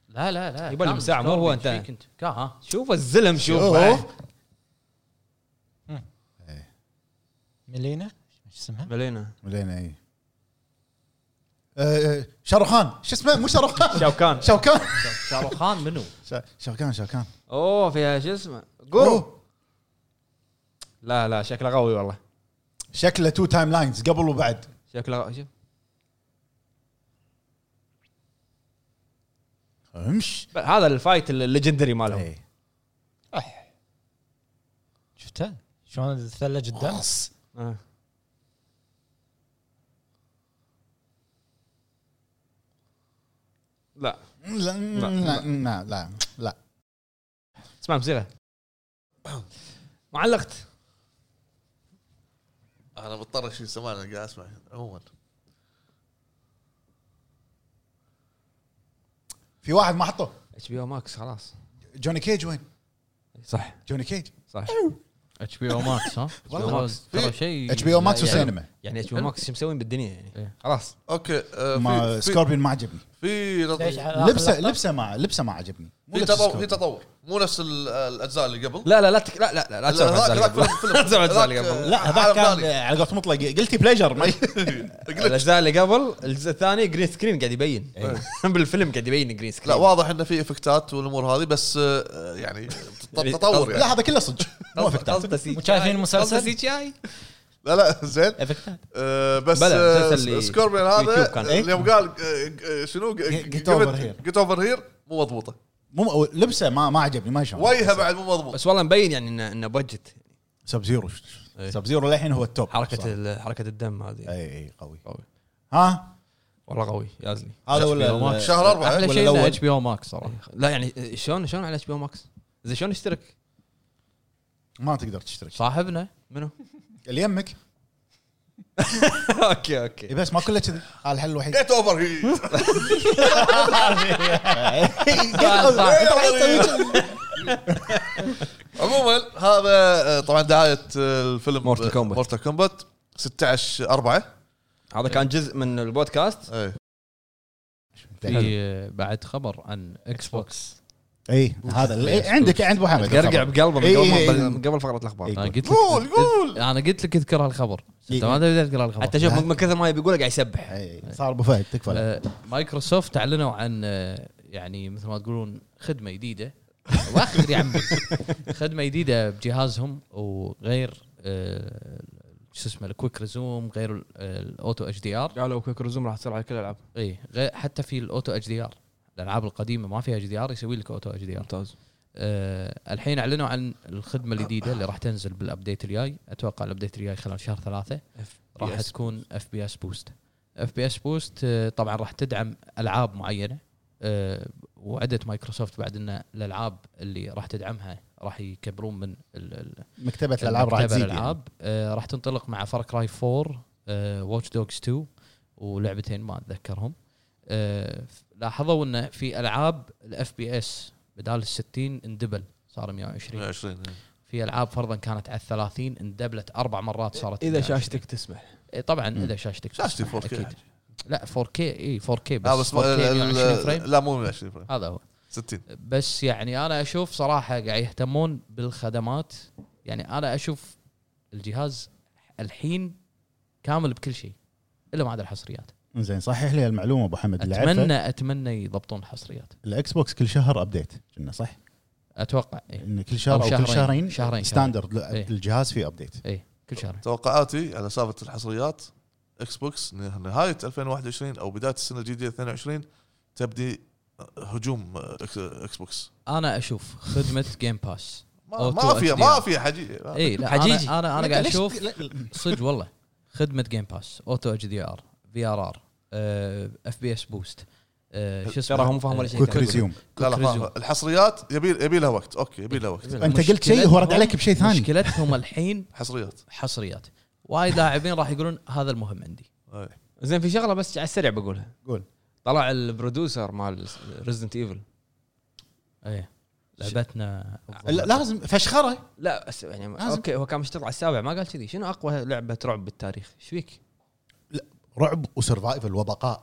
D: لا لا لا
A: يبا لي
D: كان
A: مساعة، مو
D: دوربي،
A: هو
D: إيش
A: انت.
D: فيك انت كا ها
A: شوف الزلم شوف
B: شوف.
E: ميلينا ايش اسمها؟
A: ملينا
B: بعدين اي آه، شاروخان شو اسمه مو شاروخان
A: شاوكان
B: شاوكان
D: شاروخان منو؟
B: شا- شاوكان شاوكان
A: اوه فيها شو اسمه جو
B: أوه،
A: لا لا شكله قوي والله
B: شكله تو تايم لاينز قبل وبعد
A: شكله قوي. شوف
B: امش
A: بل- هذا الفايت الليجندري مالهم
C: إيه.
B: إي.
E: أح. شفتها؟ شلون تثلج الدم؟
B: خص.
A: آه. لا
B: لا
A: لا،
B: لا لا لا لا
A: اسمع موسيقى معلقت
C: انا مضطر اشيل سماعه انا قاعد اسمع عموما
B: في واحد ما حطه
A: اتش بي او ماكس خلاص
B: جوني كيج وين؟
A: صح
B: جوني كيج
A: صح
D: اتش بي او ماكس ها؟
B: والله.
D: والله ترى شيء
B: اتش بي او ماكس
D: لا، يعني-
B: وسينما
A: يعني اتش بي او ماكس شو مسوين بالدنيا يعني
D: إيه.
A: خلاص
C: اوكي آه،
B: ما
C: في آه، في-
B: سكوربين ما عجبني
C: في
E: ليش
C: نظ-
E: على آخر
B: لبسه
E: لقطة؟
B: لبسه ما لبسه ما عجبني مو
C: في
B: لبس
C: تطور في
B: سكوربين.
C: تطور مو نفس ال- الاجزاء اللي قبل
A: لا لا لا تك... لا لا لا لا تسوي
C: هذاك-
A: أجزاء
C: هذاك
A: اللي
C: فيلم-
A: قبل.
C: فيلم.
A: لا تسوي أجزاء اللي
C: هذاك،
A: قبل
C: آه،
B: لا هذاك
C: عالم
B: كان
C: ثاني.
B: على قولة مطلق قلتي بليجر ما
A: الاجزاء اللي قبل الجزء الثاني جرين سكرين قاعد يبين
D: إيه.
A: بالفيلم قاعد يبين جرين سكرين
C: لا واضح انه في افكتات والامور هذه بس آه، يعني تط- تطور يعني
B: إيه، لا هذا كله صدق مو افكتات
A: مو
E: وشايفين المسلسل؟
A: سي جي اي
C: لا لا زين
B: إيه.
E: إيه،
D: افكتات
C: آه، بس
A: بلا،
C: آه،
A: مسلسل اللي
C: سكوربيون
A: يوتيوب كان.
C: هذا
A: إيه؟
C: اليوم قال آه، آه، شنو
B: Get over here.
C: جيت اوفر هير مو مضبوطه
B: مو لبسه ما ما عجبني ما شلون
C: وجهه بعد مو مضبوط
A: بس والله مبين يعني انه انه بجت
B: سب زيرو
D: إيه.
B: سب زيرو للحين هو التوب
A: حركه ال- حركه الدم
C: إيه.
A: هذه
B: اي اي إيه، قوي
A: قوي.
B: ها
A: والله قوي يازلي
B: هذا
D: HBO
B: ولا
D: Max.
C: شهر أربعة.
D: احلى
B: ولا
D: شيء انه
B: الأول؟
D: اتش بي او ماكس صراحه
A: لا يعني شلون شلون على اتش بي او ماكس؟ زين شلون اشترك؟
B: ما تقدر تشترك
D: صاحبنا
A: منو؟
B: اللي يمك
A: اوكي اوكي
B: إي بس ما كله كذي هذا الحل الوحيد
C: جيت اوفر هير عموما هذا آه، طبعا دعايه آه، الفيلم
A: Mortal Kombat.
C: مورتال كومبات 16 4
A: هذا كان جزء من البودكاست
C: اي
D: في آه، بعد خبر عن اكس بوكس
B: اي إيه، هذا اللي- عندك عند ابو حمد
A: تقرقع بقلبه من
B: إي
A: قبل
B: إي إي.
A: ما- قبل فقره الاخبار
B: إي.
D: انا قلت
C: قول
D: لك
C: قول
D: انا قلت لك اذكر هالخبر بس انت ما تبي تذكر هالخبر
A: حتى شوف من من كثر ما يبي يقوله قاعد يسبح
B: إي، صار ابو فهد تكفى لا.
D: آه، مايكروسوفت اعلنوا عن آه، يعني مثل ما تقولون خدمه جديده واخر يا عمي خدمه جديده بجهازهم وغير آه، شو اسمه الكويك ريزوم غير الاوتو اتش دي ار
A: قالوا كويك رزوم راح تصير على كل الالعاب
D: اي غير حتى في الاوتو اتش دي ار الالعاب القديمه ما فيها اتش دي ار يسوي لك اوتو اتش دي ار
A: ممتاز
D: آه، الحين اعلنوا عن الخدمه الجديده اللي راح تنزل بالابديت الجاي اتوقع الابديت الجاي خلال شهر ثلاثه راح تكون اف بي اس بوست اف بي اس بوست طبعا آه، راح تدعم العاب معينه آه، وعدت مايكروسوفت بعد ان الالعاب اللي راح تدعمها راح يكبرون من ال- ال-
B: مكتبه الالعاب راح
D: مكتبة
B: تزيد يعني.
D: الالعاب آه، راح تنطلق مع فار كراي 4 واتش دوجز 2 ولعبتين ما اتذكرهم آه، ف- لاحظوا انه في العاب الاف بي اس بدال ال 60 اندبل صار 120
C: 20
D: في العاب فرضا كانت على 30 اندبلت اربع مرات صارت
A: اذا
D: 120.
A: شاشتك تسمح
D: إيه طبعا
B: مم.
D: اذا شاشتك
C: شاشتي
D: تسمح،
C: 4K.
D: أكيد. لا 4K اي 4K بس,
C: لا بس
D: 4K
A: يعني
D: 120 فريم
C: لا مو 120 فريم
D: هذا هو
C: 60
D: بس يعني انا اشوف صراحه قاعد يهتمون بالخدمات يعني انا اشوف الجهاز الحين كامل بكل شيء الا ما عدا الحصريات
B: زين صحح لي المعلومه ابو حمد اللي عرفه،
D: اتمنى اتمنى يضبطون الحصريات
B: الاكس بوكس كل شهر ابديت كنا صح؟
D: اتوقع إيه.
B: ان كل شهر
D: أو
B: او كل
D: شهرين.
B: شهرين
D: شهرين.
B: ستاندرد
D: إيه.
B: الجهاز فيه ابديت
D: إيه. كل شهر
C: توقعاتي على سالفه الحصريات اكس بوكس نهايه 2021 او بدايه السنه الجديده 22 تبدي آه، هجوم اكس إكس بوكس
D: انا اشوف خدمه جيم باس
C: ما,
D: أو
C: ما
D: تو
C: في
D: HDR.
C: ما في حقيقه
D: اي إيه، لا
A: حجيجي.
D: انا انا, أنا قاعد
B: ليش-
D: اشوف
B: لا-
D: صدق والله خدمه جيم باس اوتو اتش دي ار في ار ار اف بي اس بوست آه، شو اسمه
A: ترى هم فاهموا ولا شيء
B: كويك ريزيوم
C: لا لا
D: Quick
C: ما-
D: resume.
C: الحصريات يبي يبي لها وقت اوكي يبي لها وقت
B: انت قلت شيء هو رد عليك بشيء ثاني
D: مشكلتهم الحين
C: حصريات
D: حصريات وايد لاعبين راح يقولون هذا المهم عندي
C: أي.
A: زين في شغله بس على السريع بقولها
B: قول
A: طلع البرودوسر مال ريزدنت ايفل
D: ايه لعبتنا
B: لا- لازم فشخره
A: لا أس- يعني
B: لازم.
A: اوكي هو كان مشتغل على السابع ما قال كذي شنو اقوى لعبه رعب بالتاريخ ايش فيك؟
B: رعب وسرفايفل وبقاء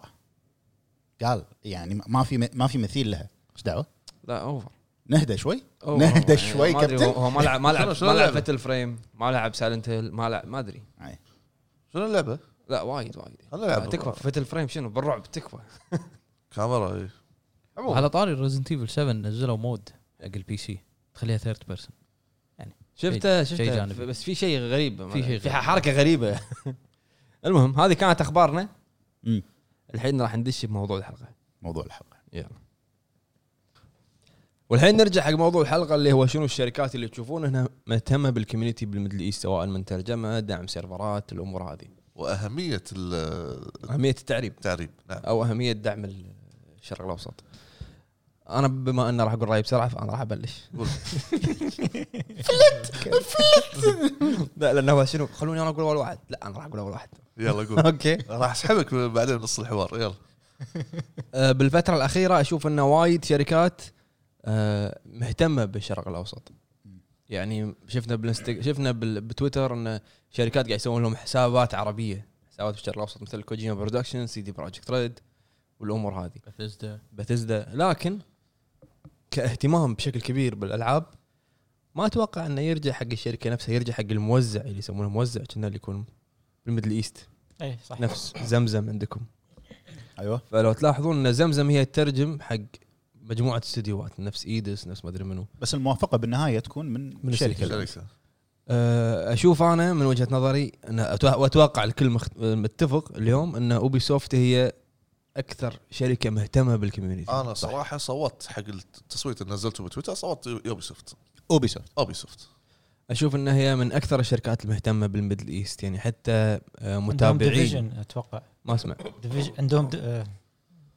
B: قال يعني ما- ما في ما في مثيل لها ايش دعوه؟
A: لا اوفر
B: نهدى شوي
A: أوفر.
B: نهدى
A: يعني
B: شوي
A: ما أدري، هو-
B: كابتن
A: هو ما لعب ما لعب
C: شنو- شنو
A: ما لعب
C: اللعبة؟
A: فتل فريم ما لعب سايلنت هيل ما لعب ما ادري
C: شنو اللعبه؟
A: لا وايد وايد
C: خلنا نلعب
A: تكفى
C: بالرعب.
A: فتل فريم شنو بالرعب تكفى
C: كاميرا إيه.
D: على طاري ريزنت ايفل 7 نزلوا مود حق البي سي تخليها ثيرد بيرسون
A: شفته
D: شيء
A: شفته
D: جانبي.
A: بس في شيء غريب
D: في شيء
A: في
D: غريب.
A: حركه غريبه المهم هذه كانت اخبارنا
B: مم.
A: الحين راح ندش بموضوع الحلقه
B: موضوع الحلقه
A: يلا والحين نرجع حق موضوع الحلقه اللي هو شنو الشركات اللي تشوفون انها مهتمه بالكوميونتي بالميدل ايست سواء من ترجمه دعم سيرفرات الامور هذه
C: واهميه ال-
A: اهميه التعريب
C: التعريب نعم
A: او اهميه دعم الشرق الاوسط انا بما ان راح اقول رايي بسرعه فانا راح ابلش
C: قول.
A: لا لانه هو شنو خلوني انا اقول اول واحد لا انا راح اقول اول واحد
C: يلا قول
A: اوكي
C: راح اسحبك بعدين نص الحوار يلا
A: آه، بالفتره الاخيره اشوف انه وايد شركات آه، مهتمه بالشرق الاوسط يعني شفنا بالانستج... شفنا بال... بتويتر ان شركات قاعد يسوون لهم حسابات عربيه حسابات بالشرق الاوسط مثل كوجيما برودكشن سي دي بروجكت ريد والامور هذه بثزدا لكن كاهتمام بشكل كبير بالالعاب ما اتوقع انه يرجع حق الشركه نفسها يرجع حق الموزع اللي يسمونه موزع كنا اللي يكون بالميدل ايست
E: اي إيه، صح
A: نفس زمزم عندكم
B: ايوه
A: فلو تلاحظون ان زمزم هي تترجم حق مجموعه استديوهات نفس ايدس نفس ما ادري منو
B: بس الموافقه بالنهايه تكون من,
A: من
B: الشركه
C: شركه
A: أه، اشوف انا من وجهه نظري أنا أتو- واتوقع الكل مخت- متفق اليوم ان اوبي سوفت هي اكثر شركه مهتمه بالكوميونتي
C: انا صراحه صوتت حق التصويت اللي نزلته بتويتر صوتت يوبي سوفت
B: اوبي سوفت
C: اوبي سوفت
A: اشوف انها هي من اكثر الشركات المهتمه بالميدل ايست يعني حتى أه،
E: عندهم
A: متابعين
E: ديفيجن اتوقع
A: ما اسمع
E: ديفيجن عندهم آه،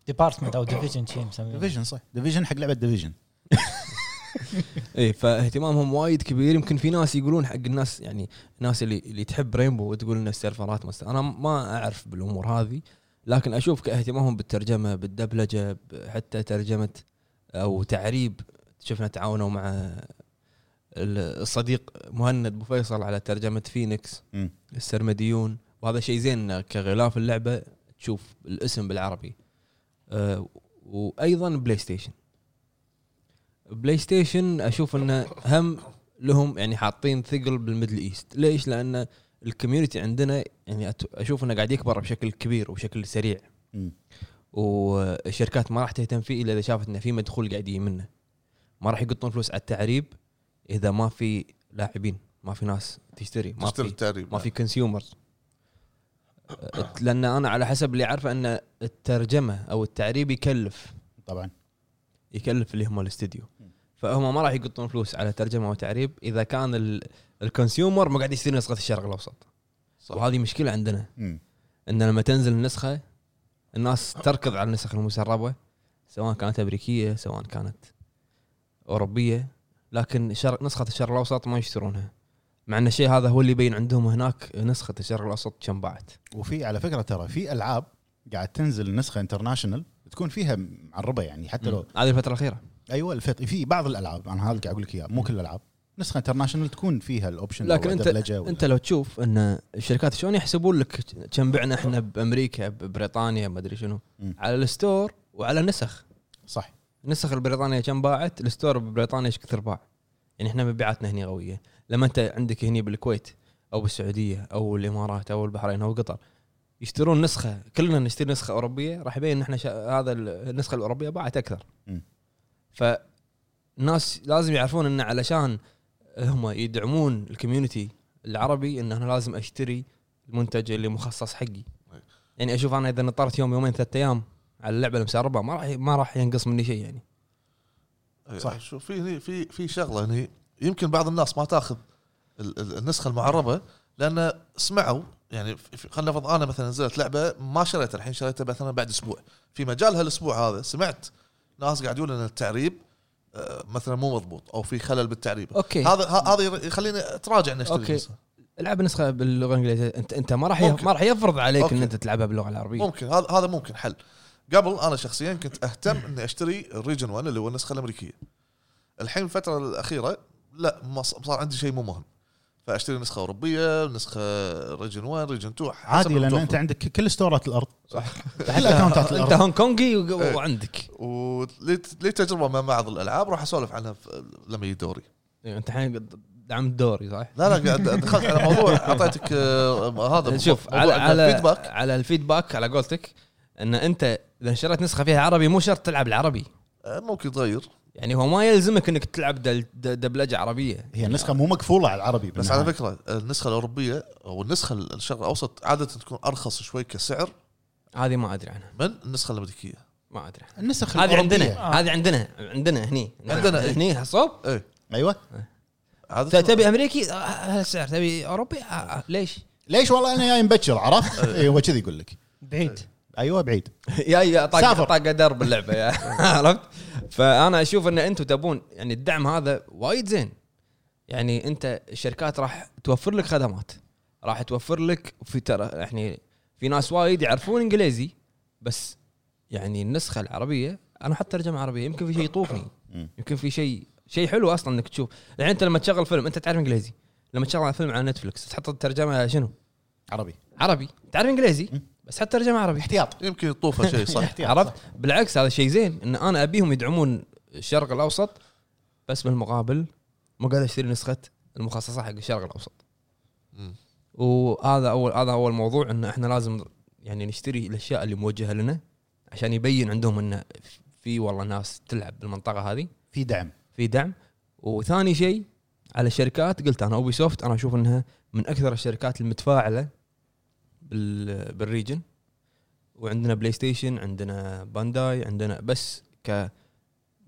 E: ديبارتمنت او ديفيجن شيء مسمينه
B: ديفيجن صح ديفيجن حق لعبه ديفيجن
A: اي إيه، فاهتمامهم وايد كبير يمكن في ناس يقولون حق الناس يعني الناس اللي اللي تحب رينبو وتقول ان السيرفرات مثلا انا ما اعرف بالامور هذه لكن اشوف كاهتمامهم بالترجمه بالدبلجه ب- حتى ترجمه او تعريب شفنا تعاونوا مع ال- الصديق مهند ابو فيصل على ترجمه فينيكس
B: مم.
A: السرمديون وهذا شيء زين إنه كغلاف اللعبه تشوف الاسم بالعربي أه وايضا بلاي ستيشن بلاي ستيشن اشوف انه هم لهم يعني حاطين ثقل بالميدل ايست ليش لان الكوميونتي عندنا يعني أت- اشوف انه قاعد يكبر بشكل كبير وبشكل سريع
B: مم.
A: والشركات ما راح تهتم فيه الا اذا شافت انه في مدخول قاعد يجي منه ما راح يقطون فلوس على التعريب اذا ما في لاعبين ما في ناس تشتري ما
C: تشتري
A: في
C: التعريب
A: ما في كونسيومرز لان انا على حسب اللي عارفه ان الترجمه او التعريب يكلف
B: طبعا
A: يكلف اللي هم الاستديو فهم ما راح يقطون فلوس على ترجمه وتعريب اذا كان ال- الكونسيومر ما قاعد يشتري نسخه الشرق الاوسط
C: صح.
A: صح. وهذه مشكله عندنا
B: مم.
A: ان لما تنزل النسخه الناس تركض على النسخ المسربه سواء كانت امريكيه سواء كانت اوروبيه لكن شر... نسخه الشرق الاوسط ما يشترونها مع ان الشيء هذا هو اللي يبين عندهم هناك نسخه الشرق الاوسط كم باعت
B: وفي على فكره ترى في العاب قاعد تنزل نسخه انترناشونال تكون فيها معربه يعني حتى لو
A: هذه الفتره الاخيره
B: ايوه الفت... في بعض الالعاب انا هذا اللي قاعد اقول لك اياه مو كل الالعاب نسخه انترناشونال تكون فيها الاوبشن
A: لكن
B: أو
A: انت
B: الدبلجة ولا-
A: انت لو تشوف ان الشركات شلون يحسبون لك كم بعنا احنا بامريكا ببريطانيا ما ادري شنو
B: مم.
A: على الستور وعلى النسخ
B: صح
A: النسخ البريطانيه كم باعت الستور ببريطانيا ايش كثر باع يعني احنا مبيعاتنا هني قويه لما انت عندك هني بالكويت او بالسعوديه او الامارات او البحرين او قطر يشترون نسخه كلنا نشتري نسخه اوروبيه راح يبين ان احنا شا... هذا ال- النسخه الاوروبيه باعت اكثر
B: مم.
A: فالناس لازم يعرفون ان علشان هم يدعمون الكوميونتي العربي ان انا لازم اشتري المنتج اللي مخصص حقي
C: أي.
A: يعني اشوف انا اذا نطرت يوم يومين ثلاثة ايام على اللعبه المسربه ما راح ما راح ينقص مني شيء يعني
B: صح.
C: صح شوف إيه. في هني في في شغله هني يمكن بعض الناس ما تاخذ ال- ال- النسخه المعربه لان سمعوا يعني في- في- خلينا نفرض انا مثلا نزلت لعبه ما شريتها الحين شريتها مثلا بعد اسبوع في مجال هالاسبوع هذا سمعت ناس قاعد يقولون ان التعريب آه، مثلا مو مضبوط او في خلل بالتعريب
A: اوكي
C: هذا ه- هذا ير- يخليني اتراجع اني اشتري
A: أوكي.
C: النسخة.
A: العب نسخه باللغه الانجليزيه انت انت ما راح يف-
C: ممكن.
A: ما راح يفرض عليك
C: أوكي.
A: إيه. ان انت تلعبها باللغه العربيه
C: ممكن هذا هذا ممكن حل قبل انا شخصيا كنت اهتم اني اشتري الريجن 1 اللي هو النسخه الامريكيه الحين الفتره الاخيره لا ما ص- صار عندي شيء مو مهم فاشتري نسخه اوروبيه نسخه ريجن 1 ريجن 2 حسب
B: عادي لان
C: المتوفر.
B: انت عندك كل ستورات الارض
C: صح.
B: حتى اكونتات
A: انت
B: الارض
A: هونغ كونجي و-
C: إيه.
A: وعندك
C: ولي لي تجربه مع بعض الالعاب راح اسولف عنها في- لما يجي دوري
A: إيه، انت الحين قد- دعم الدوري صح؟
C: لا لا قاعد دخلت على موضوع اعطيتك آه، هذا
A: يعني شوف
C: موضوع
A: على على
C: الفيدباك
A: على الفيدباك على قولتك ان انت اذا شريت نسخه فيها عربي مو شرط تلعب العربي
C: آه، ممكن تغير
A: يعني هو ما يلزمك انك تلعب دل- د- دبلجه عربيه
B: هي النسخه مو مقفوله على العربي
C: بس
B: بالنهاية.
A: نعم.
C: على فكره النسخه الاوروبيه او النسخه الشرق الاوسط عاده تكون ارخص شوي كسعر
A: هذه ما ادري عنها
C: من النسخه الامريكيه
A: ما ادري عنها.
B: النسخ
A: هذه
B: الأوروبية.
A: عندنا هذه عندنا عندنا هني
C: آه. عندنا، إيه.
A: هني صوب
C: ايه
B: ايوه
C: عاده
A: تبي امريكي آه، هذا السعر تبي اوروبي آه، آه، ليش؟
B: ليش والله انا جاي مبكر عرفت؟ إيه، هو كذي يقول لك
E: بعيد
B: ايوه بعيد
A: جاي طاق
B: سافر.
A: طاق درب اللعبه يا عرفت؟ فانا اشوف ان انتم تبون يعني الدعم هذا وايد زين يعني انت الشركات راح توفر لك خدمات راح توفر لك في ترى يعني في ناس وايد يعرفون انجليزي بس يعني النسخه العربيه انا حتى ترجمه عربيه يمكن في شيء يطوفني
B: مم.
A: يمكن في شيء شيء حلو اصلا انك تشوف يعني انت لما تشغل فيلم انت تعرف انجليزي لما تشغل فيلم على نتفلكس تحط الترجمه شنو؟
B: عربي
A: عربي تعرف انجليزي
B: مم.
A: بس حط ترجمه عربي
B: احتياط
C: يمكن يطوفه شيء صح
B: احتياط
A: عرفت بالعكس هذا شيء زين ان انا ابيهم يدعمون الشرق الاوسط بس بالمقابل مو قاعد اشتري نسخه المخصصه حق الشرق الاوسط
C: مم.
A: وهذا اول هذا اول موضوع ان احنا لازم يعني نشتري الاشياء اللي موجهه لنا عشان يبين عندهم ان في والله ناس تلعب بالمنطقه هذه
B: في دعم
A: في دعم وثاني شيء على الشركات قلت انا اوبي سوفت انا اشوف انها من اكثر الشركات المتفاعله بال بالريجن وعندنا بلاي ستيشن عندنا بانداي عندنا بس ك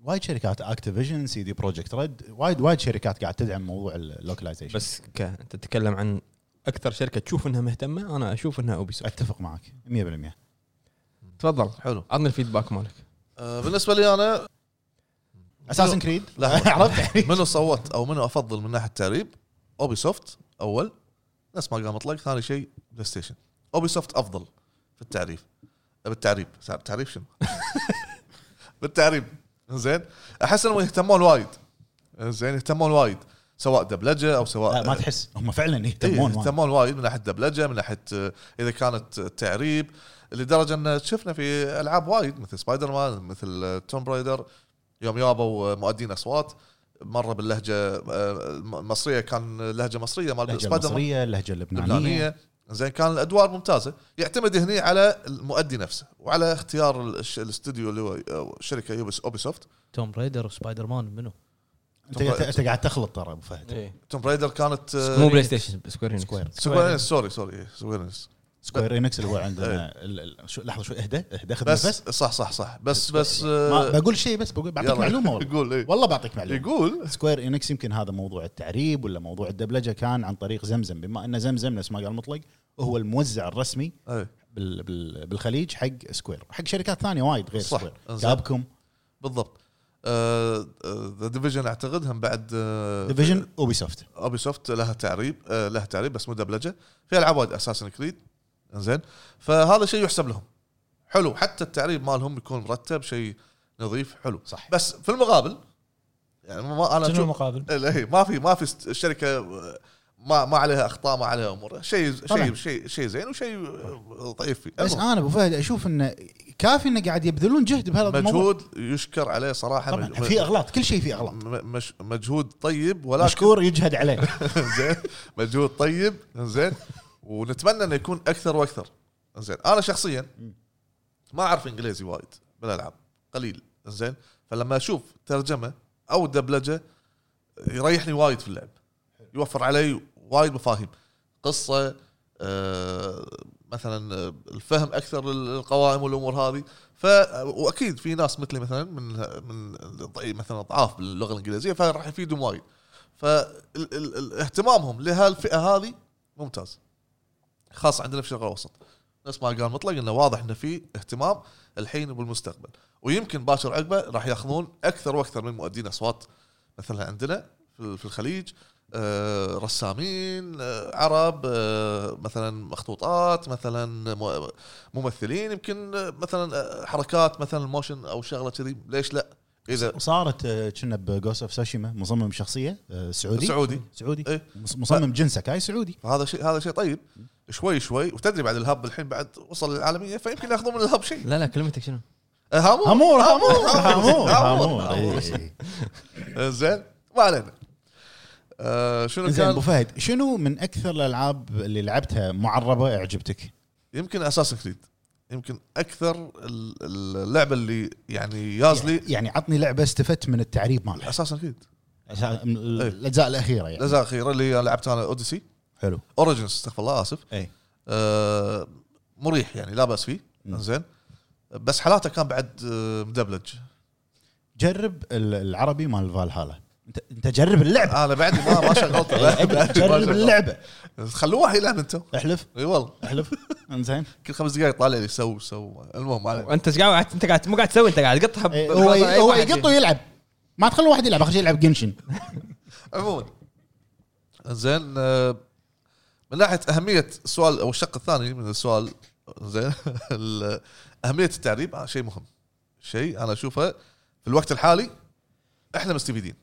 B: وايد شركات اكتيفيجن سي دي بروجكت ريد وايد وايد شركات قاعد تدعم موضوع اللوكلايزيشن بس
A: بس ك انت تتكلم عن اكثر شركه تشوف انها مهتمه انا اشوف انها اوبي سوفت
B: اتفق معك 100%
A: تفضل
C: حلو
A: عطني الفيدباك مالك
C: آه، بالنسبه لي انا
B: اساسن كريد
C: لحظة.
B: عرفت يعني
C: منو صوت او منو افضل من ناحيه التعريب اوبي سوفت اول نفس ما قام اطلق ثاني شيء بلاي ستيشن اوبي سوفت افضل في التعريف بالتعريب سع- تعريب شنو؟ بالتعريب زين احس انهم يهتمون وايد زين يهتمون وايد سواء دبلجه او
B: لا
C: سواء آه،
B: ما تحس هم فعلا
C: يهتمون
B: يهتمون وايد.
C: إيه، يهتمون وايد من ناحيه الدبلجه من ناحيه آه، اذا كانت تعريب لدرجه ان شفنا في العاب وايد مثل سبايدر مان مثل توم برايدر يوم يابوا آه، مؤدين اصوات مره باللهجه آه، المصريه كان لهجه مصريه مال
B: اللهجه
C: سبايدر مان
B: المصريه اللهجه اللبنانيه
C: لبنانيه زين كان الادوار ممتازه يعتمد هني على المؤدي نفسه وعلى اختيار ال- الش- الاستوديو اللي هو آه، شركه يوبس اوبي سوفت
D: توم ريدر وسبايدر مان منو؟
B: انت انت قاعد تخلط ترى ابو فهد
C: توم برايدر كانت آه،
A: مو بلاي ستيشن سكوير سكوير
B: سكوير
C: سكوير إنكس، سوري سوري إيه، سكوير إنكس.
B: سكوير انكس اللي هو عندنا ال- ال- شو- لحظه شو اهدى اهدى خذ
C: إيه. بس
B: نفس
C: صح صح صح بس بس آه،
B: ما- بقول شيء بس بقول بعطيك
C: يلا.
B: معلومه والله
C: يقول إيه.
B: والله بعطيك معلومه
C: يقول
B: سكوير انكس يمكن هذا موضوع التعريب ولا موضوع الدبلجه كان عن طريق زمزم بما ان زمزم نفس ما قال مطلق هو الموزع الرسمي
C: اي
B: بال بال بالخليج حق سكوير حق شركات ثانيه وايد غير
C: صح.
B: سكوير
C: زين. آه،
B: كابكم
C: بالضبط آه، ذا ديفيجن اعتقد هم بعد
B: ديفيجن اوبي سوفت
C: اوبي سوفت لها تعريب آه، لها تعريب بس مو دبلجه في العاب وايد اساسن كريد زين فهذا شيء يحسب لهم حلو حتى التعريب مالهم يكون مرتب شيء نظيف حلو
B: صح.
C: بس في المقابل يعني ما انا
E: شنو
C: أشوف-
E: المقابل؟
C: لا، هي ما في ما في است- الشركه آه، ما ما عليها اخطاء ما عليها امور شيء
B: طبعاً.
C: شيء شيء شيء زين وشيء آه، ضعيف فيه
B: بس
C: المهم.
B: انا ابو فهد اشوف انه كافي انه قاعد يبذلون جهد بهذا الموضوع
C: مجهود يشكر عليه صراحه
B: طبعا
C: مج-
B: في اغلاط كل شيء في اغلاط
C: م- مش مجهود طيب ولكن
B: مشكور يجهد عليه
C: زين مجهود طيب زين ونتمنى انه يكون اكثر واكثر زين انا شخصيا ما اعرف انجليزي وايد بالالعاب قليل زين فلما اشوف ترجمه او دبلجه يريحني وايد في اللعب يوفر علي وايد مفاهيم قصه آه، مثلا آه، الفهم اكثر للقوائم والامور هذه ف واكيد في ناس مثلي مثلا من من ضعيف- مثلا ضعاف باللغه الانجليزيه فراح يفيدهم وايد فاهتمامهم لهالفئه هذه ممتاز خاص عندنا في الشرق الاوسط نفس ما قال مطلق انه واضح انه في اهتمام الحين وبالمستقبل ويمكن باكر عقبه راح ياخذون اكثر واكثر من مؤدين اصوات مثلا عندنا في في الخليج آه، رسامين آه، عرب آه، مثلا مخطوطات مثلا مو- ممثلين يمكن آه، مثلا آه، حركات مثلا موشن او شغله كذي ليش لا اذا
B: صارت آه، كنا بجوست اوف ساشيما مصمم شخصيه آه، سعودي
C: سعودي
B: سعودي
C: إيه.
B: مص- مصمم جنسك هاي سعودي
C: فهذا شيء هذا شيء طيب شوي شوي وتدري بعد الهب الحين بعد وصل للعالميه فيمكن ياخذون من الهب شيء
A: لا لا كلمتك شنو؟
C: آه، هامور
B: هامور هامور هامور
C: هامور.
B: هامور إيه.
C: آه، زين ما علينا آه، شنو
B: زين ابو
C: كان
B: فهد شنو من اكثر الالعاب اللي لعبتها معربه اعجبتك؟
C: يمكن اساسن كريد يمكن اكثر ال- اللعبه اللي يعني يازلي
B: يعني عطني لعبه استفدت من التعريب مالها
C: اساسن كريد
B: أسا- من ال- الاجزاء الاخيره يعني
C: الاجزاء الاخيره اللي لعبتها انا اوديسي
B: حلو
C: اوريجنز استغفر الله اسف
B: اي
C: آه، مريح يعني لا باس فيه
B: مم.
C: زين بس حالاته كان بعد آه، مدبلج
B: جرب ال- العربي مال فالهالا انت انت جرب اللعبه
C: انا بعدي آه، ما ما شغلته لا، بعدني ما
B: جرب
C: شغلته.
B: اللعبه
C: خلوه يلعن انتم
B: احلف
C: اي والله
B: احلف انزين
C: كل خمس دقائق طالع لي سو سو المهم ما علينا.
A: انت ايش قاعد انت قاعد مو قاعد تسوي انت قاعد تقطها ب-
B: إيه، هو
A: بخلاص أي
B: هو
A: واحد
B: يقط ويلعب ما تخلي واحد يلعب اخر شيء يلعب جنشن
C: عموما زين آه، من ناحيه اهميه السؤال او الشق الثاني من السؤال زين ال- اهميه التعريب آه، شيء مهم شيء انا اشوفه في الوقت الحالي احنا مستفيدين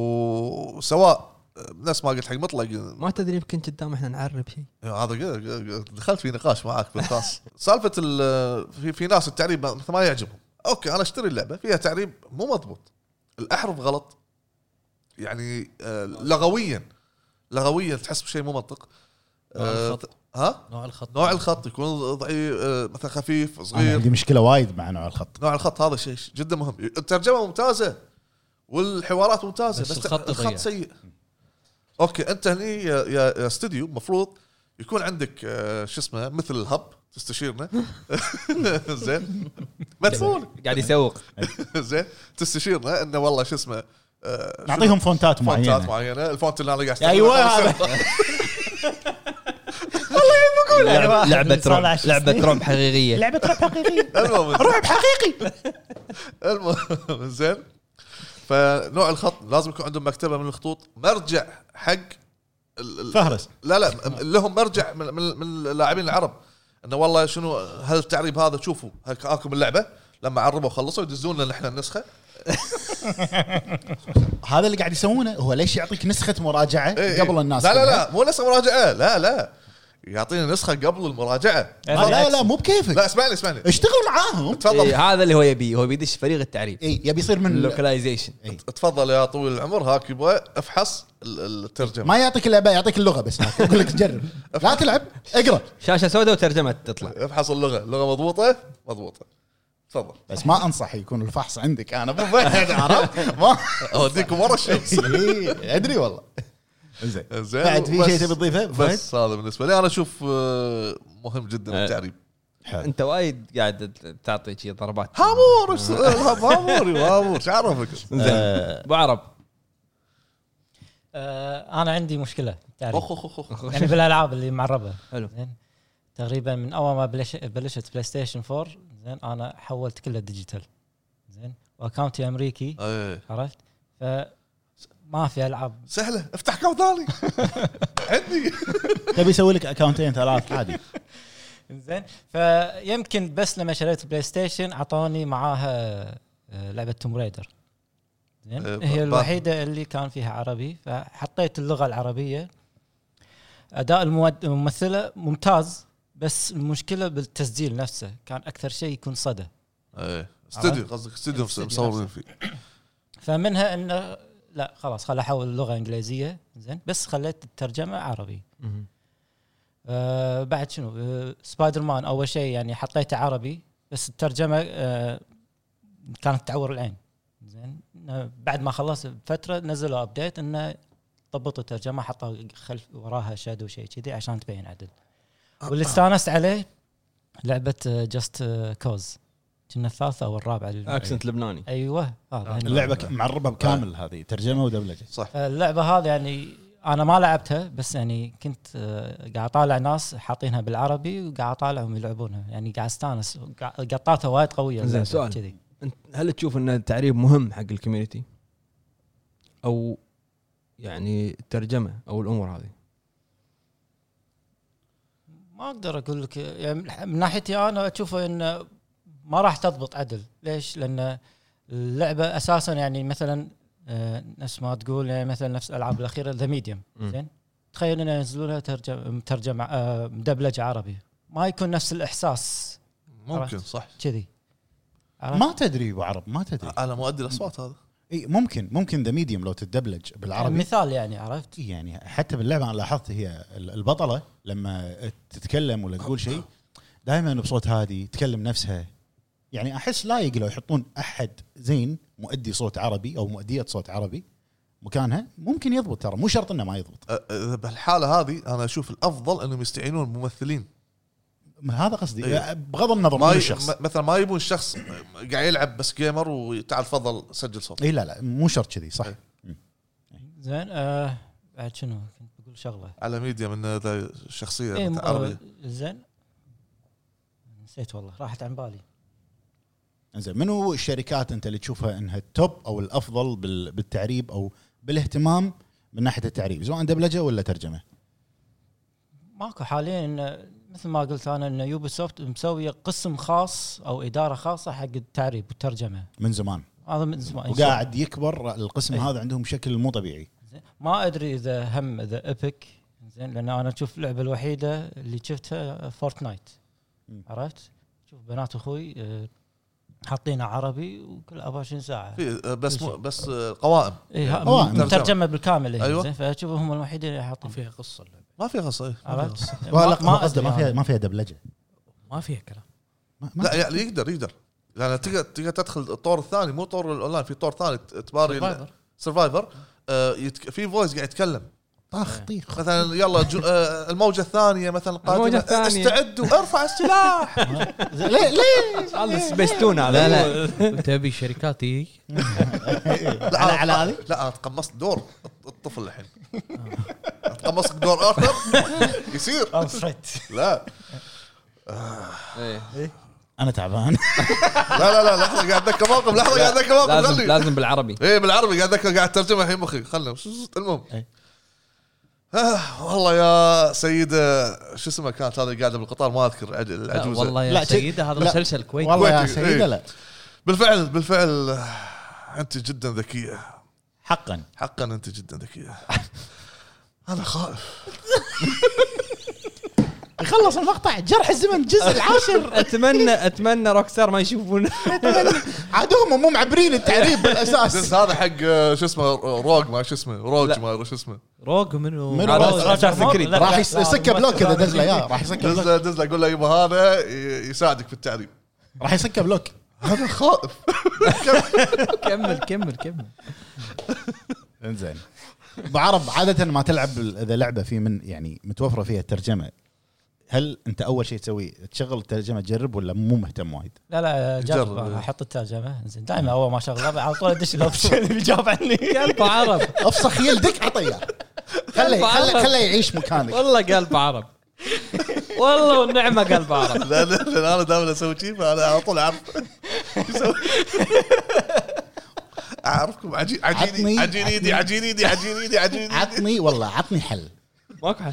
C: وسواء آه، نفس ما قلت حق مطلق
A: ما تدري يمكن قدام احنا نعرب شيء
C: هذا قل- قل- دخلت في نقاش معاك بالخاص سالفه ال- في في ناس التعريب ما- مثل ما يعجبهم اوكي انا اشتري اللعبه فيها تعريب مو مضبوط الاحرف غلط يعني آه، لغويا لغويا تحس بشيء مو منطق آه،
D: الخط.
C: ها
D: نوع الخط
C: نوع الخط يكون ضعيف آه، مثلا خفيف
B: انا
C: صغير
B: عندي مشكله وايد مع نوع الخط
C: نوع الخط هذا شيء جدا مهم الترجمه ممتازه والحوارات ممتازه
D: بس
C: بس,
D: الخط
C: الخط,
D: ضيق.
C: الخط سيء اوكي انت هني يا- يا يا استوديو المفروض يكون عندك آه، شو اسمه مثل الهب تستشيرنا زين مدفون
A: قاعد يسوق
C: زين تستشيرنا انه والله شو اسمه آه، شو
B: نعطيهم فونتات
C: فونتات
B: معينه
C: معينه الفونت اللي انا قاعد
B: أيوة
C: أستخدمه.
B: يعني.
A: لعبة- لعبه رعب لعبه رعب حقيقيه
E: لعبه رعب حقيقيه
C: المهم رعب حقيقي المهم زين فنوع الخط لازم يكون عندهم مكتبه من الخطوط مرجع حق ال- ال-
B: فهرس
C: لا لا م- لهم مرجع من من, من اللاعبين العرب انه والله شنو هل التعريب هذا شوفوا هل اكم اللعبه لما عربوا خلصوا يدزون لنا احنا النسخه
B: هذا اللي قاعد يسوونه هو ليش يعطيك نسخه مراجعه
C: إيه، إيه.
B: قبل الناس
C: لا لا
B: كلها؟
C: لا مو نسخه مراجعه لا لا يعطينا نسخه قبل المراجعه
B: لا لا لا مو بكيفك
C: لا اسمعني اسمعني
B: اشتغل معاهم
C: تفضل
A: إيه، هذا اللي هو يبيه هو بيدش فريق التعريب
B: اي يبي يصير من
A: اللوكلايزيشن
B: إيه.
C: تفضل يا طويل العمر هاك يبغى افحص ال- الترجمه
B: ما يعطيك اللعبه يعطيك اللغه بس هاك. يقول لك جرب لا تلعب اقرا
A: شاشه سوداء وترجمه تطلع
C: افحص اللغه اللغه مضبوطه مضبوطه تفضل
B: بس ما انصح يكون الفحص عندك انا ابو فهد عرفت ما
C: اوديكم ورا الشمس
B: إيه، ادري والله زين
C: زين
B: بعد في
C: بس-
B: شيء تبي تضيفه أبو فهد؟
C: بس هذا بالنسبه لي انا اشوف آه، مهم جدا
A: آه.
C: التعريب
B: حلو
A: انت وايد قاعد تعطي شي ضربات
C: هامور إيش- الهب هامور يا هامور ايش عرفك؟
B: آه،
A: ابو عرب
E: آه انا عندي مشكله تعرف
C: اخ اخ اخ
E: يعني بالالعاب اللي معربه
A: حلو.
E: زين تقريبا من اول ما بلش بلشت بلاي ستيشن 4 زين انا حولت كله ديجيتال زين واكونتي امريكي
C: إيه.
E: عرفت ف ما في العاب
C: سهله افتح كم ثاني عندي
B: تبي يسوي لك اكونتين ثلاث عادي
E: زين فيمكن بس لما شريت بلاي ستيشن اعطوني معاها آه، لعبه توم رايدر زين
C: آه، ب-
E: هي
C: ب-
E: الوحيده اللي كان فيها عربي فحطيت اللغه العربيه اداء المود- الممثله ممتاز بس المشكله بالتسجيل نفسه كان اكثر شيء يكون صدى
C: إيه. استوديو قصدك استوديو مس- مصورين فيه
E: فمنها انه لا خلاص خل احول اللغه انجليزيه زين بس خليت الترجمه عربي آه بعد شنو آه سبايدر مان اول شيء يعني حطيته عربي بس الترجمه آه كانت تعور العين زين آه، بعد ما خلصت بفتره نزلوا ابديت انه ضبطوا الترجمه حطوا خلف وراها شادو شيء كذي عشان تبين عدل واللي استانست عليه لعبه جاست كوز كنا الثالثه او الرابعه لل-
A: اكسنت لبناني
E: ايوه هذا
B: اللعبه ك- معربه بكامل هذه ترجمه ودبلجه
C: صح
E: اللعبه آه، هذه يعني انا ما لعبتها بس يعني كنت آه، قاعد اطالع ناس حاطينها بالعربي وقاعد اطالعهم يلعبونها يعني قاعد استانس قاع- قطاتها وايد قويه
A: زين،
E: اللعبة
A: سؤال.
E: كذي
A: انت هل تشوف ان التعريب مهم حق الكوميونتي او يعني الترجمه او الامور هذه
E: ما اقدر اقول لك يعني من ناحيتي انا اشوفه انه ما راح تضبط عدل ليش؟ لان اللعبه اساسا يعني مثلا آه، نفس ما تقول يعني مثلا نفس الالعاب الاخيره ذا ميديوم
A: مم.
E: زين تخيل انه ينزلونها ترجم مترجم آه، مدبلج عربي ما يكون نفس الاحساس
C: ممكن صح
E: كذي عرفت؟
B: ما تدري ابو عرب ما تدري
C: انا مؤدي الاصوات هذا
B: اي ممكن ممكن ذا ميديوم لو تدبلج بالعربي
E: مثال يعني عرفت؟
B: إي يعني حتى باللعبه انا لاحظت هي ال- البطله لما تتكلم ولا تقول شيء دائما بصوت هادي تكلم نفسها يعني احس لايق لو يحطون احد زين مؤدي صوت عربي او مؤديه صوت عربي مكانها ممكن يضبط ترى مو شرط انه ما يضبط
C: أ- أ- بالحاله هذه انا اشوف الافضل انهم يستعينون بممثلين
B: ما هذا قصدي
C: إيه.
B: بغض النظر
C: ما
B: من
C: ي...
B: الشخص
C: م- مثلا ما يبون شخص قاعد يلعب بس جيمر وتعال تفضل سجل صوت
B: اي إيه، لا لا مو شرط كذي صح
C: إيه.
E: زين آه بعد شنو كنت بقول شغله
C: على ميديا من ذا الشخصيه
E: إيه، م-
C: إيه عربيه
E: آه، زين نسيت والله راحت عن بالي
B: زين منو الشركات انت اللي تشوفها انها التوب او الافضل بال- بالتعريب او بالاهتمام من ناحيه التعريب سواء دبلجه ولا ترجمه
E: ماكو حاليا إنه مثل ما قلت انا ان يوبي سوفت مسويه قسم خاص او اداره خاصه حق التعريب والترجمه
B: من زمان
E: هذا من زمان
B: وقاعد يكبر القسم
E: إيه.
B: هذا عندهم بشكل مو طبيعي
E: زين. ما ادري اذا هم اذا ايبك زين لان انا اشوف اللعبه الوحيده اللي شفتها فورتنايت
B: مم.
E: عرفت؟ شوف بنات اخوي آه، حاطينه عربي وكل 24 ساعه
C: في آه، بس مو بس آه، قوائم
E: إيه ها-
B: أوه،
E: مترجمه ترجمة بالكامل إيه
C: أيوة.
E: أيوة. زين فاشوف هم الوحيدين اللي حاطين
D: فيها قصه اللعبه
C: ما في قصه إيه، ما في
E: عرفت؟
C: قصة.
E: ما-
B: لا ما قصده ما
E: أدري
B: فيها
E: أنا.
B: ما فيها دبلجه
D: ما فيها كلام
B: ما ما
C: لا يعني يقدر يقدر لان تقدر تقدر تدخل الطور الثاني مو طور الاونلاين في طور ثاني ت- تباري
D: Survivor.
C: سرفايفر في فويس قاعد يتكلم
B: طاخ
A: إيه.
B: طيخ
C: مثلا يلا جو آه، الموجه الثانيه مثلا قادمه
A: الموجة الثانية.
C: استعدوا ارفع السلاح
B: ليه ليه
A: هذا سبيستون هذا
D: لا لا تبي شركات
A: إيه.
D: إي.
C: على على هذه لا انا تقمصت دور الطفل الحين تقمصت دور ارثر يصير
E: Oh,
C: لا
A: إيه.
B: انا تعبان
C: لا لا لا لحظه قاعد اتذكر موقف لحظه قاعد اتذكر موقف
A: لازم
C: خلي
A: لازم بالعربي
C: ايه بالعربي قاعد اتذكر قاعد اترجمها الحين مخي خلنا المهم
B: إيه.
C: آه والله يا سيدة شو اسمها كانت هذه قاعدة بالقطار ما اذكر العج-
D: لا
C: العجوزة
D: والله يا
B: لا، شي-
D: سيده هذا
B: لا.
D: مسلسل كويتي
B: والله يا
C: كويتي.
B: سيده
C: إيه.
B: لا
C: بالفعل بالفعل آه، انت جدا ذكية
B: حقا
C: حقا انت جدا ذكية انا خائف
B: يخلص المقطع جرح الزمن الجزء العاشر
A: اتمنى اتمنى روكسار ما يشوفون
B: عاد هم مو معبرين التعريب
C: بس
B: بالاساس
C: هذا حق آه، شو اسمه روج ما شو اسمه روج
A: لا.
C: ما أدري شو اسمه
D: روج منو
B: منو؟
A: هذا
E: راجع
A: Assassin's Creed.
E: لا،
B: راح
E: لا،
B: يس-
E: لا،
B: يسكه
E: لا،
B: بلوك
E: لا،
B: اذا
E: لا،
B: دز له اياه راح يسكه
C: دز
B: بلوك
C: له دز له اقول له يبا هذا ي- يساعدك في التعريب
B: راح يسكه بلوك
C: هذا خائف
D: كمل كمل كمل
B: انزين بعرب عاده ما تلعب ال- اذا لعبه في من يعني متوفره فيها الترجمه هل انت اول شيء تسوي تشغل الترجمه تجرب ولا مو مهتم وايد؟
E: لا لا
C: جرب.
E: جرب أنا احط الترجمه زين دائما اول ما اشغله على طول ادش الاوبشن اللي بيجاوب عني
D: قلب عرب
B: افسخ يلدك عطيه خله خله خله يعيش مكانك
D: والله قلب عرب والله والنعمه قلب عرب
C: لا لا لأن انا دائما اسوي شيء فانا على طول اعرف شو أسوي. اعرفكم عجين
B: عطني-
C: عجين عجين ايدي عجين ايدي عجين ايدي عجين ايدي
B: عطني والله عطني حل
A: ماكو حل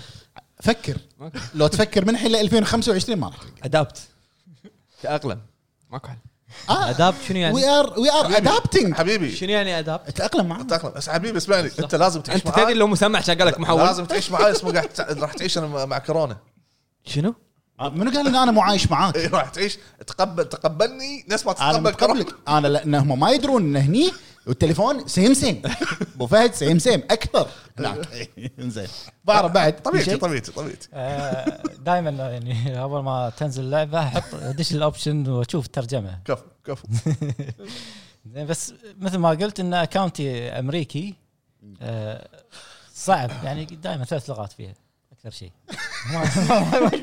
B: فكر
A: ماكو حل.
B: لو تفكر من الحين ل 2025 ما راح تلقى
A: ادابت تاقلم ماكو حل
B: آه،
D: ادابت شنو يعني
B: وي ار وي ار ادابتنج
C: حبيبي
D: شنو يعني ادابت
B: تاقلم معاه
C: تاقلم بس حبيبي اسمعني انت لازم تعيش
A: انت تدري
C: معاي
A: لو مسمع شغال لك محول
C: لازم تعيش معاي اسمه قاعد تع- راح تعيش انا مع كورونا
D: شنو
B: منو قال ان انا مو عايش معاك؟
C: إيه، راح تعيش تقبل تقبلني نفس ما
B: انا
C: تتقبل كورونا
B: متقبلك انا لانهم ما يدرون ان هني والتليفون سيم سيم ابو فهد سيم سيم اكثر هناك
C: إيه.
B: انزين بعرف بعد في
C: طبيعتي
B: شيء؟
C: طبيعتي طبيعتي
E: دائما آه، يعني اول ما تنزل اللعبه احط ادش الاوبشن واشوف الترجمه
C: كفو كفو
E: زين بس مثل ما قلت ان اكونتي امريكي آه، صعب يعني دائما ثلاث لغات فيها اكثر شيء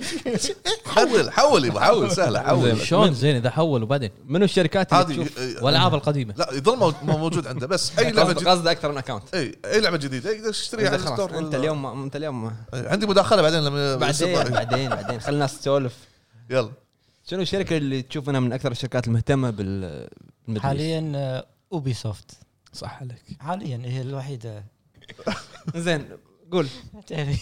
C: حول حول يبا حول سهله حول
A: زين.
D: شلون زين اذا حول وبعدين
A: منو الشركات اللي
C: هذه
A: تشوف
B: أه،
C: إيه،
D: والالعاب القديمه
C: لا يظل مو- مو موجود عنده بس اي لعبه
A: قصد
C: جديدة
A: قصد اكثر من اكونت
C: اي اي لعبه جديده يقدر يشتريها على
A: خلاص
C: الستور
A: انت اليوم ما انت اليوم ما
C: إيه، عندي مداخله بعدين لما
A: بعدين
C: يصير-
A: بعدين بعدين خلي الناس تسولف
C: يلا
A: شنو الشركه اللي تشوف انها من اكثر الشركات المهتمه بال بالمدريد؟
E: آه، حاليا اوبي سوفت
A: صح عليك
E: حاليا هي الوحيده
A: زين قول
E: تدري.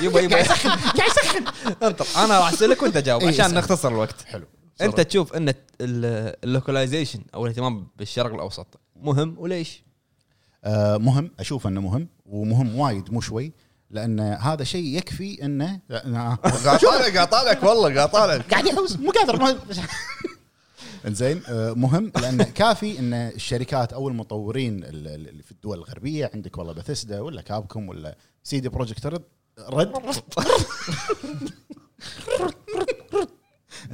A: يبا يبا قاعد يسخن انطر انا راح اسالك وانت جاوب
B: إيه،
A: عشان
B: اسأل.
A: نختصر الوقت
B: حلو
A: انت تشوف ان اللوكلايزيشن او الاهتمام بالشرق الاوسط مهم وليش؟
B: آه، مهم اشوف انه مهم ومهم وايد مو شوي لان هذا شيء يكفي آه. انه لأن-
C: قاعد طالع قاعد طالعك والله قاعد طالعك
B: قاعد يحوس مو قادر ما انزين آه، مهم لان كافي ان الشركات او المطورين ال- ال- اللي في الدول الغربيه عندك والله بثسدا ولا كابكم ولا سيدي بروجكت رد رد